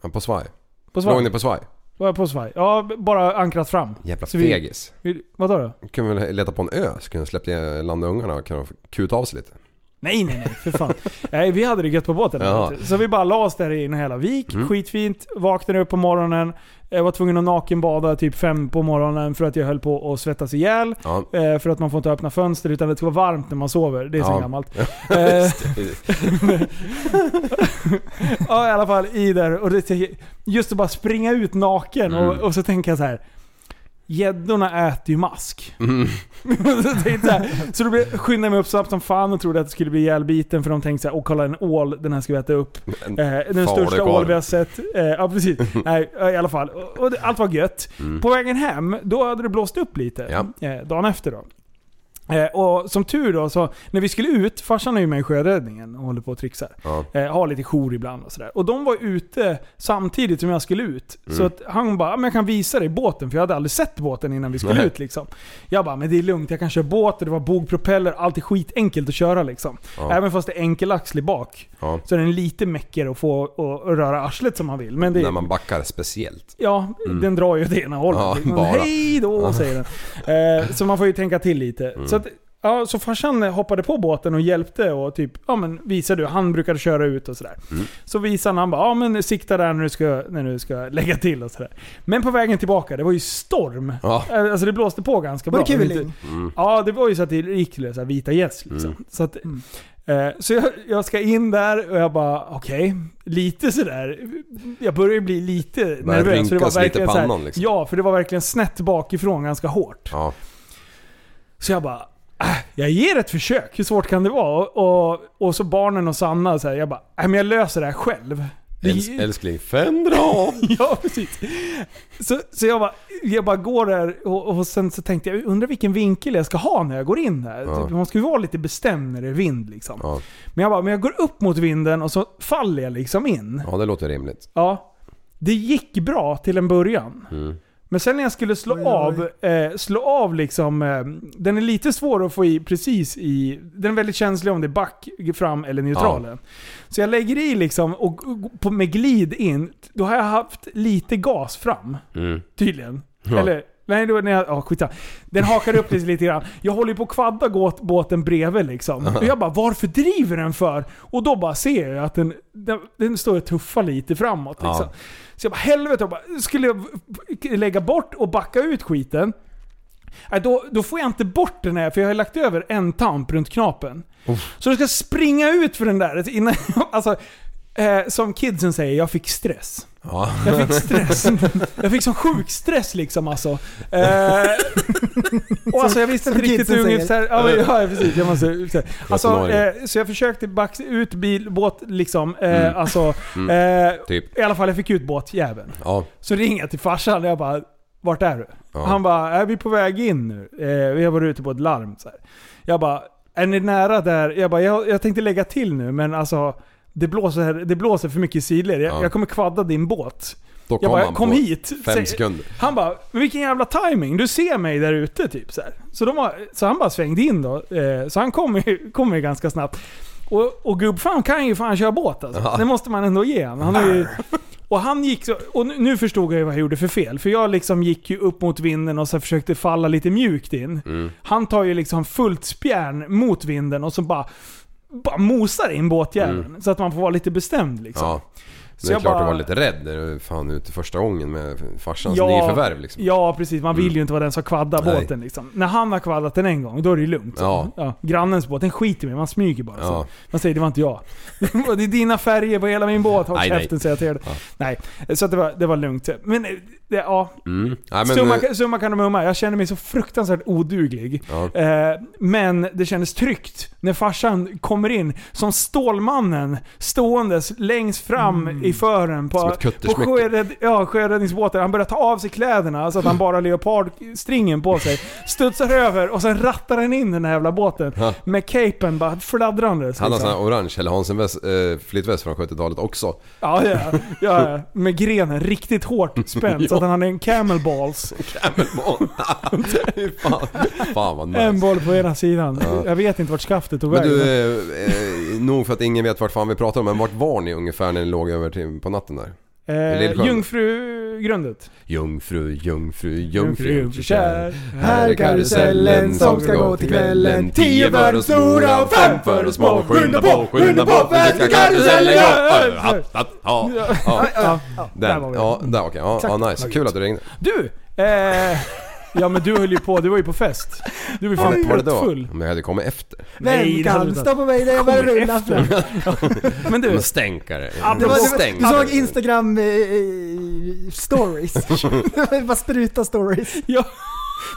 Ja, på svaj.
På
Låg
svaj?
ni på svaj?
Var jag på svaj? Ja, b- bara ankrat fram.
Jävla
Så vi-
fegis.
Vi- Vadå då?
Kunde väl leta på en ö så kunde jag släppa ner- landa ungarna och kunde kuta av sig lite.
Nej, nej, nej. För fan. nej, vi hade det gött på båten.
Ja. Mm.
Så vi bara la oss där i en hela vik. Skitfint. Vaknade upp på morgonen. Jag var tvungen att nakenbada typ fem på morgonen för att jag höll på att svettas ihjäl.
Ja.
Eh, för att man får inte öppna fönster utan det ska vara varmt när man sover. Det är så
Ja.
gammalt. Eh, Ja i alla fall i där. Och det, just att bara springa ut naken och,
Mm.
och så tänka så här. Gäddorna äter ju mask. så, tänkte jag så, här, så då blev- skyndade jag mig upp snabbt som fan och trodde att det skulle bli ihjälbiten för de tänkte såhär, åh kolla en ål, den här ska vi äta upp.
En
Eh, den
farlig
största ål
karl.
vi har sett. Eh, ja precis. Nej, i alla fall. Och, och det, allt var gött. På vägen hem, då hade det blåst upp lite.
Mm. Ja.
Eh, dagen efter då. Eh, och som tur då, så när vi skulle ut, farsan är ju med i sjöräddningen och håller på och trixar.
Ja.
Eh, har lite jour ibland och sådär. Och de var ute samtidigt som jag skulle ut.
Mm.
Så att han bara, "Ja, men jag kan visa dig båten, för jag hade aldrig sett båten innan vi skulle
Nej.
ut. Liksom. Jag bara, men det är lugnt, jag kan köra båt, och det var bogpropeller, allt är skitenkelt att köra liksom.
Ja.
Även fast det är enkel axel i bak.
Ja.
Så den är lite meckigare att få och, och röra arslet som man vill. Men det,
När man backar speciellt.
Ja, den drar ju åt ena hållet.
Mm. Ja, Mm.
liksom.
bara.
Hej då, säger den. Eh, så man får ju tänka till lite. Så att Ja, så farsan hoppade på båten och hjälpte och typ, ja men visade du, han brukade köra ut och sådär.
Mm.
Så visade han, han bara, ja men sikta där när du ska, när du ska lägga till och sådär. Men på vägen tillbaka, det var ju storm.
Ja.
Eh, Alltså det blåste på ganska
Var
bra.
det
Men inte-
kuling?
Ja, det var ju så att det gick till så här vita gäss liksom.
Mm.
Så, att, eh, så jag, jag ska in där och jag bara, okej, lite sådär. Jag börjar ju bli lite nervös. För det var
rynkas lite
verkligen så här-
pannan, liksom.
Ja, för det var verkligen snett bakifrån ganska hårt.
Ja.
Så jag bara, äh, jag ger ett försök. Hur svårt kan det vara? Och, och, och så barnen och Sanna, så här, jag bara, äh, men jag löser det här själv. Det-
Äls, älskling, fendra av!
Ja, precis. Så, så jag, bara, jag bara går där och, och sen så tänkte jag, undrar vilken vinkel jag ska ha när jag går in här.
Ja.
Typ, man ska ju vara lite bestämd när det är vind liksom.
Ja.
Men jag bara, men jag går upp mot vinden och så faller jag liksom in.
ja, det låter rimligt.
Ja. Det gick bra till en början.
Mm.
Men sen när jag skulle slå
Oj, oj.
av, eh, slå av liksom, eh, den är lite svår att få i precis i, den är väldigt känslig om det är back, fram eller neutralen. Så jag lägger i liksom och, och på, med glid in, då har jag haft lite gas fram.
Mm.
Tydligen. Eller, nej det var när jag, ja skitsamma. Den hakar upp sig lite grann. Jag håller ju på att kvadda gåt- båten bredvid liksom. Och jag bara, varför driver den för? Och då bara ser jag att den, den, den står och tuffar lite framåt
Ja.
liksom. Så jag bara, helvete. Jag bara, skulle jag lägga bort och backa ut skiten? Nej, då, då får jag inte bort den här, för jag har lagt över en tamp runt knapen. Så då ska jag springa ut för den där innan Alltså, eh, som kidsen säger, jag fick stress.
Ja.
Jag fick stress. Jag fick sån sjuk stress liksom alltså. Eh, och alltså jag visste inte
Som
riktigt
kidsen
hur
säger.
så här, ja, men, ja, precis. Jag måste, så, här. alltså, eh,
tonåringen.
så jag försökte backa ut bil, båt liksom. Eh, Alltså, eh,
Typ.
I alla fall jag fick ut båtjäveln.
Ja.
Så ringer jag till farsan och jag bara Vart är du?
Ja.
Han bara Är vi på väg in nu? Eh, vi har varit ute på ett larm. Så här. Jag bara Är ni nära där? Jag bara jag, jag tänkte lägga till nu men alltså Det blåser, det blåser för mycket i sidled. Jag,
Ja.
jag kommer kvadda din båt.
Då kom
Jag bara
han
kom
på
hit.
fem
Säg-
sekunder.
Han bara "Men Vilken jävla timing Du ser mig där ute typ så här. Så, de har, så han bara svängde in då. Eh, så han kommer ju kom ju ganska snabbt. Och, och gubbfan kan ju fan köra båt alltså.
Ja.
Det måste man ändå ge han. han har ju, och han gick så, och nu- nu förstod jag ju vad jag gjorde för fel. För jag liksom gick ju upp mot vinden och så försökte falla lite mjukt in.
Mm.
Han tar ju liksom fullt spjärn mot vinden och så bara, bara mosar in båtjäveln. Så att man får vara lite bestämd liksom.
Mm. Ja.
Så
det är
jag
klart
bara-
du var lite rädd när du fan ute första gången med farsans
Ja,
nyförvärv liksom.
Ja, precis. Man vill ju inte vara den som kvaddar
Nej.
båten. Liksom. När han har kvaddat den en gång, då är det ju lugnt.
Ja.
grannens båt, den skiter med. Man smyger bara. Så.
Ja.
Man säger det var inte jag. det är dina färger på hela min båt. Håll
Nej, nej.
käften säger jag till dig. Nej, så att det, var, det var lugnt. Men eh, det, ja,
Mm. Nej, men,
summa,
eh,
summa kan de mumma. Jag känner mig så fruktansvärt oduglig.
Ja.
Eh, men det kändes tryggt när farsan kommer in som Stålmannen ståendes längst fram i fören
Mm. Som
på,
ett
på
kuttersmycke.
sjörädd, ja, sjöräddningsbåten. Han börjar ta av sig kläderna så att han bara har leopardstringen på sig. Studsar över och sen rattar han in den här jävla båten.
Ja.
Med capen bara fladdrandes.
han har
liksom.
sån här orange Helle Hansen-väst, eh, flyttväst från 70-talet också.
Ja, ja, ja, ja. Med grenen riktigt hårt spänd så att han hade en camel balls.
fan, fan vad nice.
En boll på ena sidan. Jag vet inte vart skaftet tog
Men
vägen.
du, eh, eh, nog för att ingen vet vart fan vi pratar om, men vart var ni ungefär när ni låg över till, på natten där?
Eh,
Lillsjön.
Jungfrugrundet.
Jungfru, jungfru,
Jungfru,
jungfru,
jungfru kär.
Här är karusellen som ska gå till kvällen. Tio för de stora och fem för de små. Skynda på, skynda på, för nu ska karusellen gå! Ö, hatt, hatt, ha, ha.
Ja, där
Den,
var vi.
ja, där okej. Ja, ja, nice.
Exakt.
Kul att du ringde.
Du! Eh, ja men du höll ju på, du var ju på fest. Du var ju
Fan,
fan
var det då?
pruttfull.
Men jag hade kommit efter.
Nej,
Vem
det hade du
kan
inte.
stoppa mig när jag bara
Kommer
rullar
efter.
fram?
Men du,
Men stänkare.
det var-
Du såg Instagram eh, eh, stories? det bara spruta stories.
ja,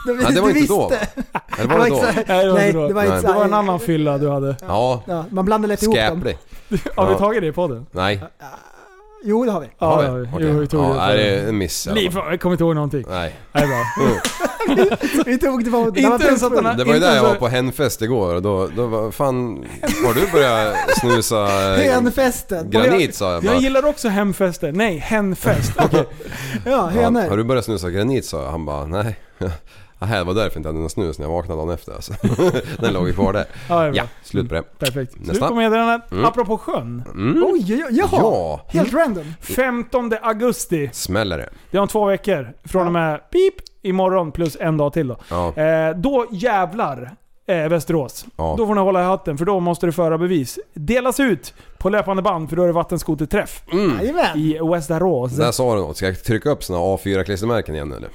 Du,
Nej, det var
du
inte då.
visste.
Eller var det då?
exakt-
Nej, det var
Nej,
inte då.
det var
Nej.
inte
det var en
så-
annan fylla du hade.
Ja,
Ja, man blandar lätt ihop dem.
skäplig.
Har vi
Ja.
tagit det i podden?
Nej,
Jo, det har vi.
Ja,
har
det har
vi?
vi.
Okej.
Jo, vi tog
Ja,
det.
nej, det är en miss. i alla
Liv,
fall.
jag kommer inte ihåg någonting.
Nej.
Nej, bra.
Vi tog det var
Inte ens att han har-
Det var ju
Inte
där jag
ens-
var på hänfest igår och då, då var, fan, har du börjat snusa
Hönfesten.
granit sa jag
Jag
bara.
gillar också hemfester. Nej, henfest. Okej.
Ja,
Han, har
hönor.
du börjat snusa granit sa jag. Han bara nej. Aha, det var därför jag inte hade någon snus när jag vaknade dagen efter alltså. Den låg ju kvar där.
Ja, det är bra.
Ja, slut på det.
Perfekt. Slut
Nästa. Mm.
på meddelandet. Apropå sjön.
Oj, oj, oj, jaha.
Ja,
Helt random.
15 augusti.
smäller det.
Det är om två veckor. Från och med pip imorgon plus en dag till då.
Ja.
Eh, då jävlar eh, Västerås.
Ja.
Då får ni hålla i hatten för då måste det föra bevis. Delas ut på löpande band för då är det vattenskoterträff
Mm.
Jajamän!
i Västerås.
Där sa du något. Ska jag trycka upp såna A4-klistermärken igen eller?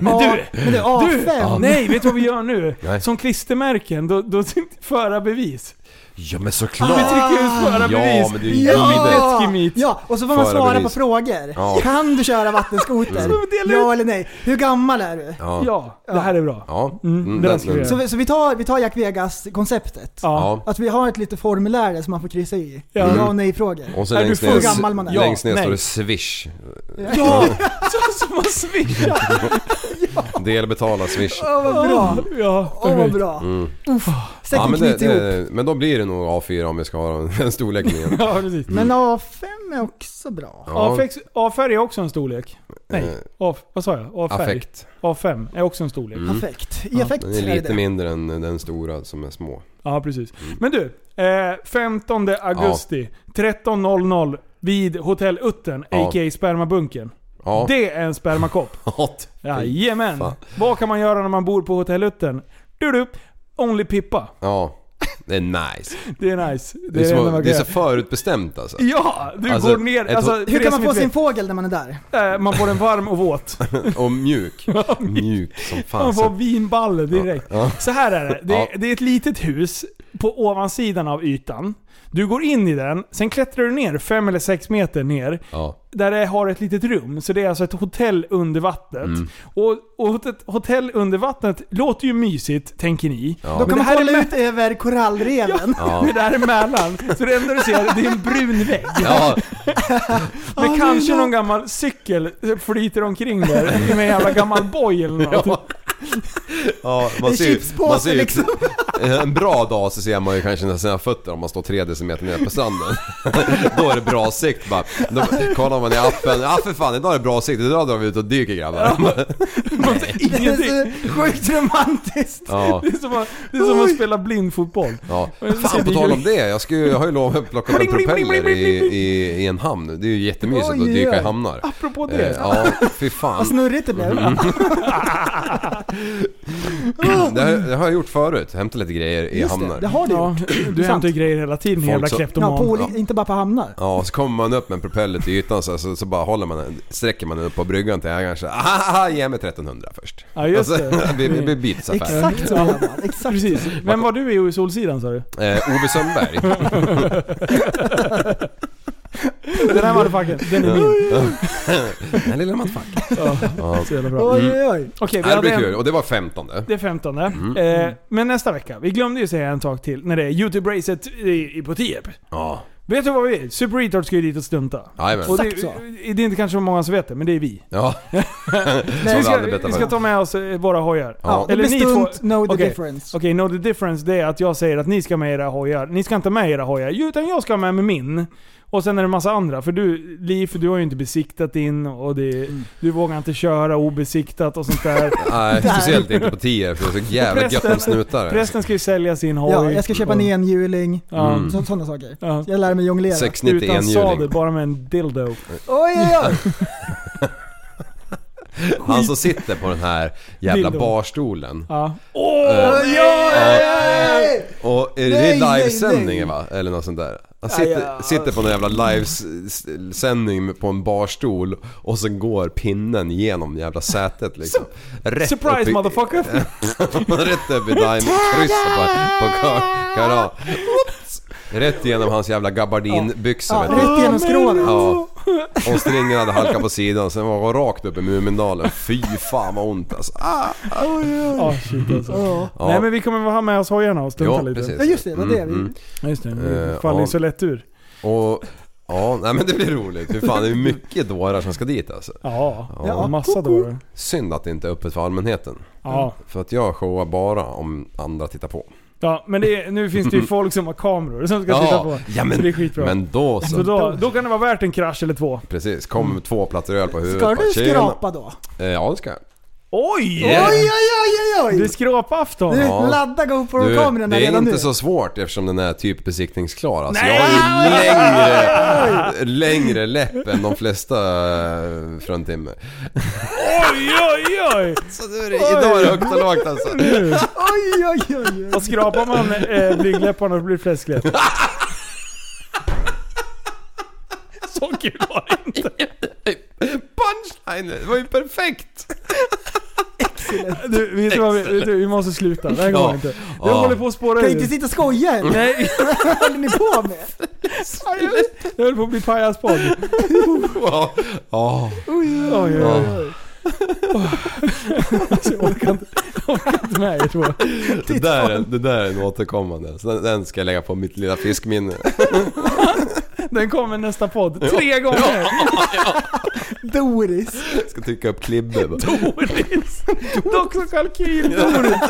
Men du!
Men det är
Du!
A5!
Nej, vet du vad vi gör nu?
Nej.
Som klistermärken, då, då föra bevis.
Ja men
Vi
såklart!
trycker
Ah.
ut föra bevis.
Ja men det är ju
Ja!
ja!
Skimit.
ja, och så får man
Föra
svara på
bevis.
frågor.
Ja.
Kan du köra vattenskoter?
dela ut-
ja eller nej? Hur gammal är du?
Ja. ja.
Ja, det här är bra.
ja.
Mm,
Mm,
det där
den-
ska vi göra.
Så, vi- så vi tar, vi tar Jack Vegas-konceptet.
Ja.
Ja.
Att vi har ett litet formulär där som man får kryssa i.
Ja.
Ja, och nej-frågor.
Och så
Är du
längst
för
ner,
gammal man är?
längst ner
Ja,
står
nej.
det swish.
Ja! Så som man svischar.
Delbetala swish.
Åh vad bra!
Ja,
Åh vad
perfekt.
bra! Uff. Säkert
Mm. Ja, men, det,
knyter ihop.
det, men då blir det nog A4 om vi ska ha den- den storleken igen.
Ja, precis.
Men A5 är också bra.
mm. Ja.
A-färg- A-färg är också en storlek.
Eh,
Nej, A, vad sa jag? A-färg.
Affekt.
A5 är också en storlek.
Mm.
Affekt. I affekt
Den är
E är
lite
det.
mindre än den stora som är små.
Ja, precis.
Mm.
Men du, eh, 15 augusti 13.00 vid Hotell Uttern,
Ja.
a.k.a. Spermabunkern.
Ja.
Det är en spermakopp.
Hot.
Jajamän.
Fan.
Vad kan man göra när man bor på Hotell Uttern? Du, du, only pippa.
Ja. Det är nice.
Det är nice.
Det är,
enda
så,
man
det är
kan
så
göra.
förutbestämt alltså.
Ja, du
Alltså,
går ner.
ett-
Alltså,
hur
för
Hur
er
kan man
som
få
inte
sin
vet,
fågel när man är där?
eh, Man får en varm och våt.
Och mjuk. Mjuk som fan.
Man får
Så,
vinballe direkt.
ja.
Så här är det. Det,
Ja.
det är ett litet hus på ovansidan av ytan. Du går in i den, sen klättrar du ner fem eller sex meter ner.
Ja.
Där det har ett litet rum. Så det är alltså ett hotell under vattnet.
Mm.
Och, och ett hotell under vattnet låter ju mysigt, tänker ni.
Då
Men
kan
det
man
här är
kolla
med-
ut över korallreven.
Ja.
Det där är Mälaren. Så det enda du ser, det är en brun vägg.
Ja,
Men kanske någon gammal cykel flyter omkring där med en jävla gammal boj eller något.
Ja. ja, man
En
ser, ju-
chipspåse,
man ser ju-
liksom.
En bra dag så ser man ju kanske sina- sina fötter om man står tre decimeter ner på stranden. Då är det bra sikt bara. Då kollar man i appen. Ja för fan, idag är det bra sikt. Idag drar vi ut och dyker grabbar.
Man ser
Det
Alltså, ingenting.
är så sjukt romantiskt.
Ja.
Det är som att, det är som att spela blindfotboll.
Ja.
Men så ser
Fan på
det
tal
ju-
om det, jag, ska, ju- jag har ju lovat att plocka upp en propeller i, i, i en hamn. Det är ju jättemysigt att
Oj,
dyka i
oj. Ah.
hamnar.
Apropå
Eh,
det.
Ja, fy fan.
Vad snurrigt det blev.
Mm. Det har, det har jag gjort förut, hämtat lite grejer i
Just det,
hamnar.
det har du
Ja,
gjort.
du
Sant.
hämtar ju grejer hela tiden din
Folk
jävla
så-
kleptoman.
Ja, på olika, Inte bara på hamnar.
Ja, så kommer man upp med en propeller till ytan så, så, så bara håller man den, sträcker man den upp på bryggan till ägaren så Ahaha, ge mig 1300 först.
Ja, just det.
vi, vi blir bytesaffär.
Exakt så gör
Mm.
man. Exakt.
Precis. Vem var du i Solsidan sa du?
Eh, Ove Sundberg.
Den här motherfuckern, den är min.
Den lilla mattfack.
Ja, så jävla bra.
Oj, oj, oj.
Okej, vi
Det
hade
blir kul.
en,
Och det var 15
det är 15. Eh, men nästa vecka. Vi glömde ju säga en sak till när det är YouTube-racet i- i- på Tierp.
Ja.
Vet du vad vi är? Super Retard ska ju dit och stunta.
Jajamän.
Och det,
Exakt så.
det är inte kanske så många som vet det, men det är vi.
Ja.
Så vi,
vi
ska,
aldrig berättar
vi ska
för.
ta med oss eh, våra hojar.
Ja, det
Eller
blir
ni två-
stunt, know the
Okej.
difference.
Okej, no the difference det är att jag säger att ni ska med era hojar. Ni ska inte med era hojar, ju, utan jag ska med med min. Och sen är det en massa andra. För du, Liv, du har ju inte besiktat in och det,
Mm.
du vågar inte köra obesiktat och sånt där.
Nej, speciellt inte på 10 för det är så jävla gött
Prästen-
med snutar.
Prästen ska ju sälja sin hoj.
Ja, jag ska köpa en enhjuling.
Ja.
Mm.
Så, sådana saker.
Ja.
Jag lär mig jonglera.
690
Utan sadel,
enhjuling.
bara med en dildo.
Oj, oj, oj.
Han som sitter på den här jävla
Dildo.
barstolen.
Ja.
Eh,
oj, oj.
Och är det
Nej, nej, nej.
livesändningen va? Eller något sånt där. Han sitter, sitter på någon jävla livesändning på en barstol och sen går pinnen genom jävla sätet liksom. Rätt upp
Surprise
i,
motherfucker!
Rätt upp i diamondkrysset på, på kar- karan. Rätt genom hans jävla gabardinbyxor vet du.
Rätt genom skrovet.
Ja. Och stringen hade halkat på sidan, sen var han rakt upp i Mumindalen. Fy fan vad ont alltså. Ah,
Ah, shit alltså.
Ja.
Nej men vi kommer ha med oss hojarna och stunta
Ja,
lite.
precis.
Ja just det, det var det
Mm,
vi...
Ja, just det. Vi
Eh,
faller ju
ja.
så lätt ur.
Och ja, nej men det blir roligt. Hur fan, det är mycket dårar som ska dit alltså.
Ja,
Ja.
massa dårar.
Synd att det inte är öppet för allmänheten.
Ja.
För att jag showar bara om andra tittar på.
ja, men det är, nu finns det ju folk som har kameror som ska titta på.
ja men,
så det är skitbra.
men då
så
Alltså-
så.
då, då kan det vara värt en krasch eller två.
Precis, kom två plattor öl på huvudet.
Ska
bara,
du
"Tjena."
skrapa då?
Eh, Ja det ska jag.
Oj!
Yeah.
Oj, oj, oj,
Det är
oj!
skråpafton.
Du,
Ja.
ladda
Du,
GoPro-kameran där
det är
redan
inte
nu.
så svårt eftersom den är typ besiktningsklar. Alltså,
Nej!
jag har ju längre, längre läpp än de flesta eh, fruntimmer.
Oj, oj, oj!
Så nu är det, idag är det högt och lågt alltså.
Oj, oj, oj, oj.
Och skrapar man eh, blygdläpparna så blir det fläskläpp. Så kul var det inte.
Punchline! Det var ju perfekt!
Du, vet du, vad vi, vet du, vi måste sluta. Det här går
Ja.
inte. Jag
Ja.
håller på att spåra
Kan
ur.
jag inte sitta och skoja eller?
Nej,
Vad håller ni på med?
jag höll på att bli pajaspodd.
Ja. Ja.
Oj, oj, oj. Åh. Alltså, jag orkar inte, jag orkar inte med er två.
Det, där, är- det där är en återkommande. Så den, den ska jag lägga på mitt lilla fiskminne.
Den kommer nästa podd. Tre gånger!
Doris.
Jag ska trycka upp klibbe. bara.
Doris! Doxokalkyl Doris!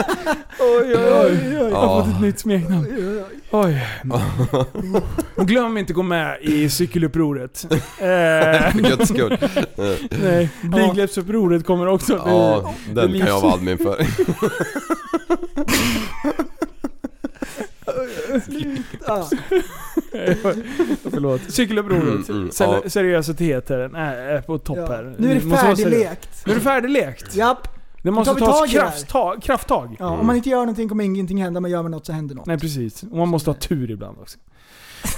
Oj, oj, oj. oj. Jag har fått ett nytt smeknamn. Oj. Glöm inte att gå med i cykelupproret. Eh,
För guds skull.
nej, blygdläppsupproret kommer också.
Ja, den kan jag vara admin för.
Ja.
Förlåt. Cykelupproret.
Mm, mm,
Sel-
ja.
Seriositeten är är på topp
Ja.
här.
Nu är det
Måste vara seriös.
färdiglekt.
Nu är det färdiglekt.
Japp.
Det måste
tar vi tag
tas
i det här.
krafttag. krafttag.
Ja, Om man inte gör någonting kommer ingenting hända, men gör man något så händer något.
Mm. Nej precis. Och man måste ha tur ibland också.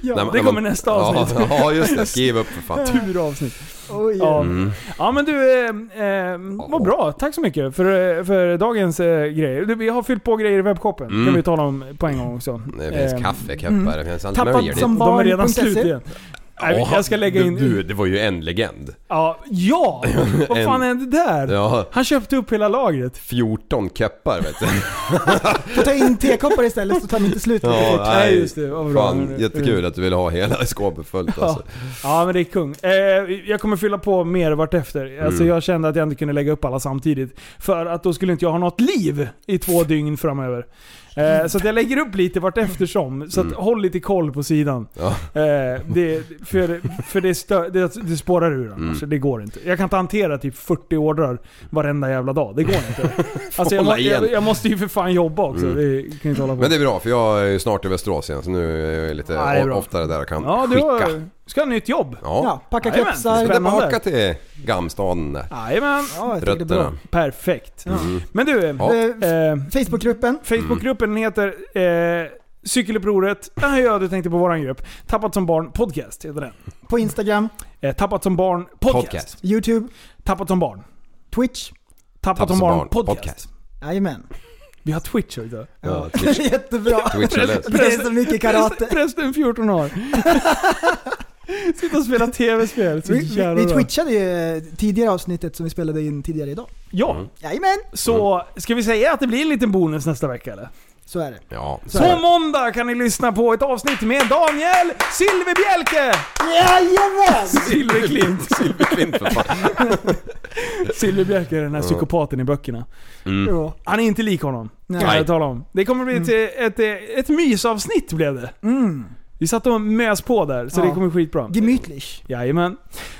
Ja.
När man-
det
när
kommer
man-
nästa avsnitt.
Ja, ja, just det. Skriv upp för fan.
Turavsnitt.
Oj,
Ja.
Mm.
ja men du, eh, eh, vad bra. Tack så mycket för, eh, för dagens eh, grejer. Du, vi har fyllt på grejer i webbshoppen.
Mm.
kan vi tala om på en gång också.
Det finns
Eh,
kaffekoppar, det finns allt
Tappad
möjligt.
Mm. som-
De är redan
Barn.se.
slut igen. Nej, jag ska lägga in...
Du, du, det var ju en legend.
Ja! ja. Vad fan hände där?
Ja,
Han köpte upp hela lagret.
14 köppar vet du.
Får ta in tekoppar istället så tar de inte slut lika
Ja,
fort.
Nej, just det. Vad bra.
Fan, jättekul att du ville ha hela skåpet fullt alltså.
Ja men det är kung. Eh, jag kommer fylla på mer vartefter.
Mm.
Alltså, Jag kände att jag inte kunde lägga upp alla samtidigt. För att då skulle inte jag ha något liv i två dygn framöver. Eh, så att jag lägger upp lite varteftersom. Så att håll lite koll på sidan.
Mm. Ja.
Eh, det, för för det, stö, det, det spårar ur
Mm.
annars. Det går inte. Jag kan inte hantera typ 40 ordrar varenda jävla dag. Det går inte. Alltså, jag, må,
Hålla igen. Mm.
jag, jag måste ju för fan jobba också. Det kan jag inte hålla på
Men det är bra för jag är ju snart i Västerås igen så nu är jag lite
Ja, det är bra.
oftare där och kan
Ja, du
skicka.
har, ska ha nytt jobb.
Ja.
Ja, packa
Jajamän.
Så
kepsar.
Spännande.
tillbaka till gamstaden där.
Jajamän.
Ja, jag tycker det är bra.
Rötterna.
Perfekt. Men du.
Ja.
Eh,
Eh,
Facebookgruppen.
Facebookgruppen heter eh, Cykelupproret. Ah, ja, du tänkte på våran grupp. Tappat som barn podcast heter den.
På Instagram.
Eh, tappat som barn podcast.
Podcast.
YouTube.
Tappat som barn.
Twitch.
Tappat, som barn, podcast.
Jajamän.
Vi har Twitch också.
Ja,
Det är
Twitch,
Jättebra.
Twitch eller?
Det är så mycket
Prästen,
karate.
prästen 14 år. Sitter och spelar tv-spel. Så
Vi,
jävla
vi, vi
bra.
twitchade ju eh, tidigare avsnittet som vi spelade in tidigare idag.
Ja,
Jajamän!
så ska vi säga att det blir en liten bonus nästa vecka eller?
Så är det.
Ja, så
På måndag kan ni lyssna på ett avsnitt med Daniel Silverbjälke!
Jajamän!
Silverklint.
Klint för fan.
Silverbjälke är den här psykopaten i böckerna.
Ja.
Han är inte lik honom.
Nej.
Kan jag tala om. Det kommer bli ett, ett, ett, mysavsnitt blev det. Vi satt och mös på där, så
Ja.
det kommer skitbra.
Gemütlich.
Jajamän.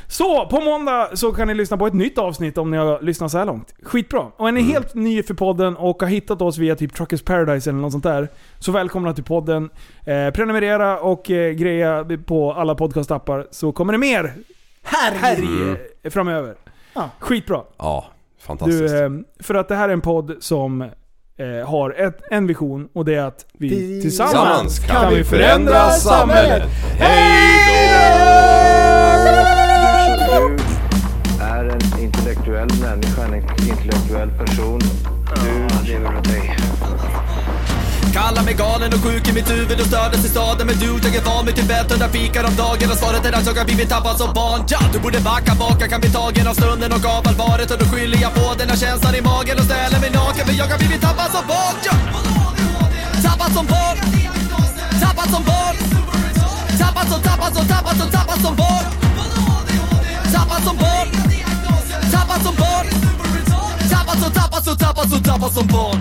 Så, på måndag så kan ni lyssna på ett nytt avsnitt om ni har lyssnat så här långt. Skitbra. Och är ni helt ny för podden och har hittat oss via typ Truckers Paradise eller något sånt där, så välkomna till podden. Eh, prenumerera och eh, greja på alla podcastappar så kommer det mer
Herre!
härj eh, framöver.
Ja.
Skitbra.
Ja, fantastiskt.
Du, eh, för att det här är en podd som eh, har ett, en vision och det är att vi
Vi-
tillsammans
Tillsammans
kan, vi förändra
förändra
samhället.
samhället.
Du är en intellektuell människa, en intellektuell person. Du lever åt dig.
Kallar mig galen och sjuk i mitt huvud och stördes i staden Men du, jag är van vid Tibet och där fikar om dagen Och svaret är att jag har blivit tappad som barn ja, Du borde backa bak, jag kan bli tagen av stunden och av allvaret Och då skyller jag på den här känslan i magen och ställer mig naken För jag har blivit tappad som barn ja. Tappad som barn Tappad som barn Tappad som, tappad som, tappad som, tappad som barn Tappad som barn Tappad som barn Tappad som, tappad som, tappad som, tappad som barn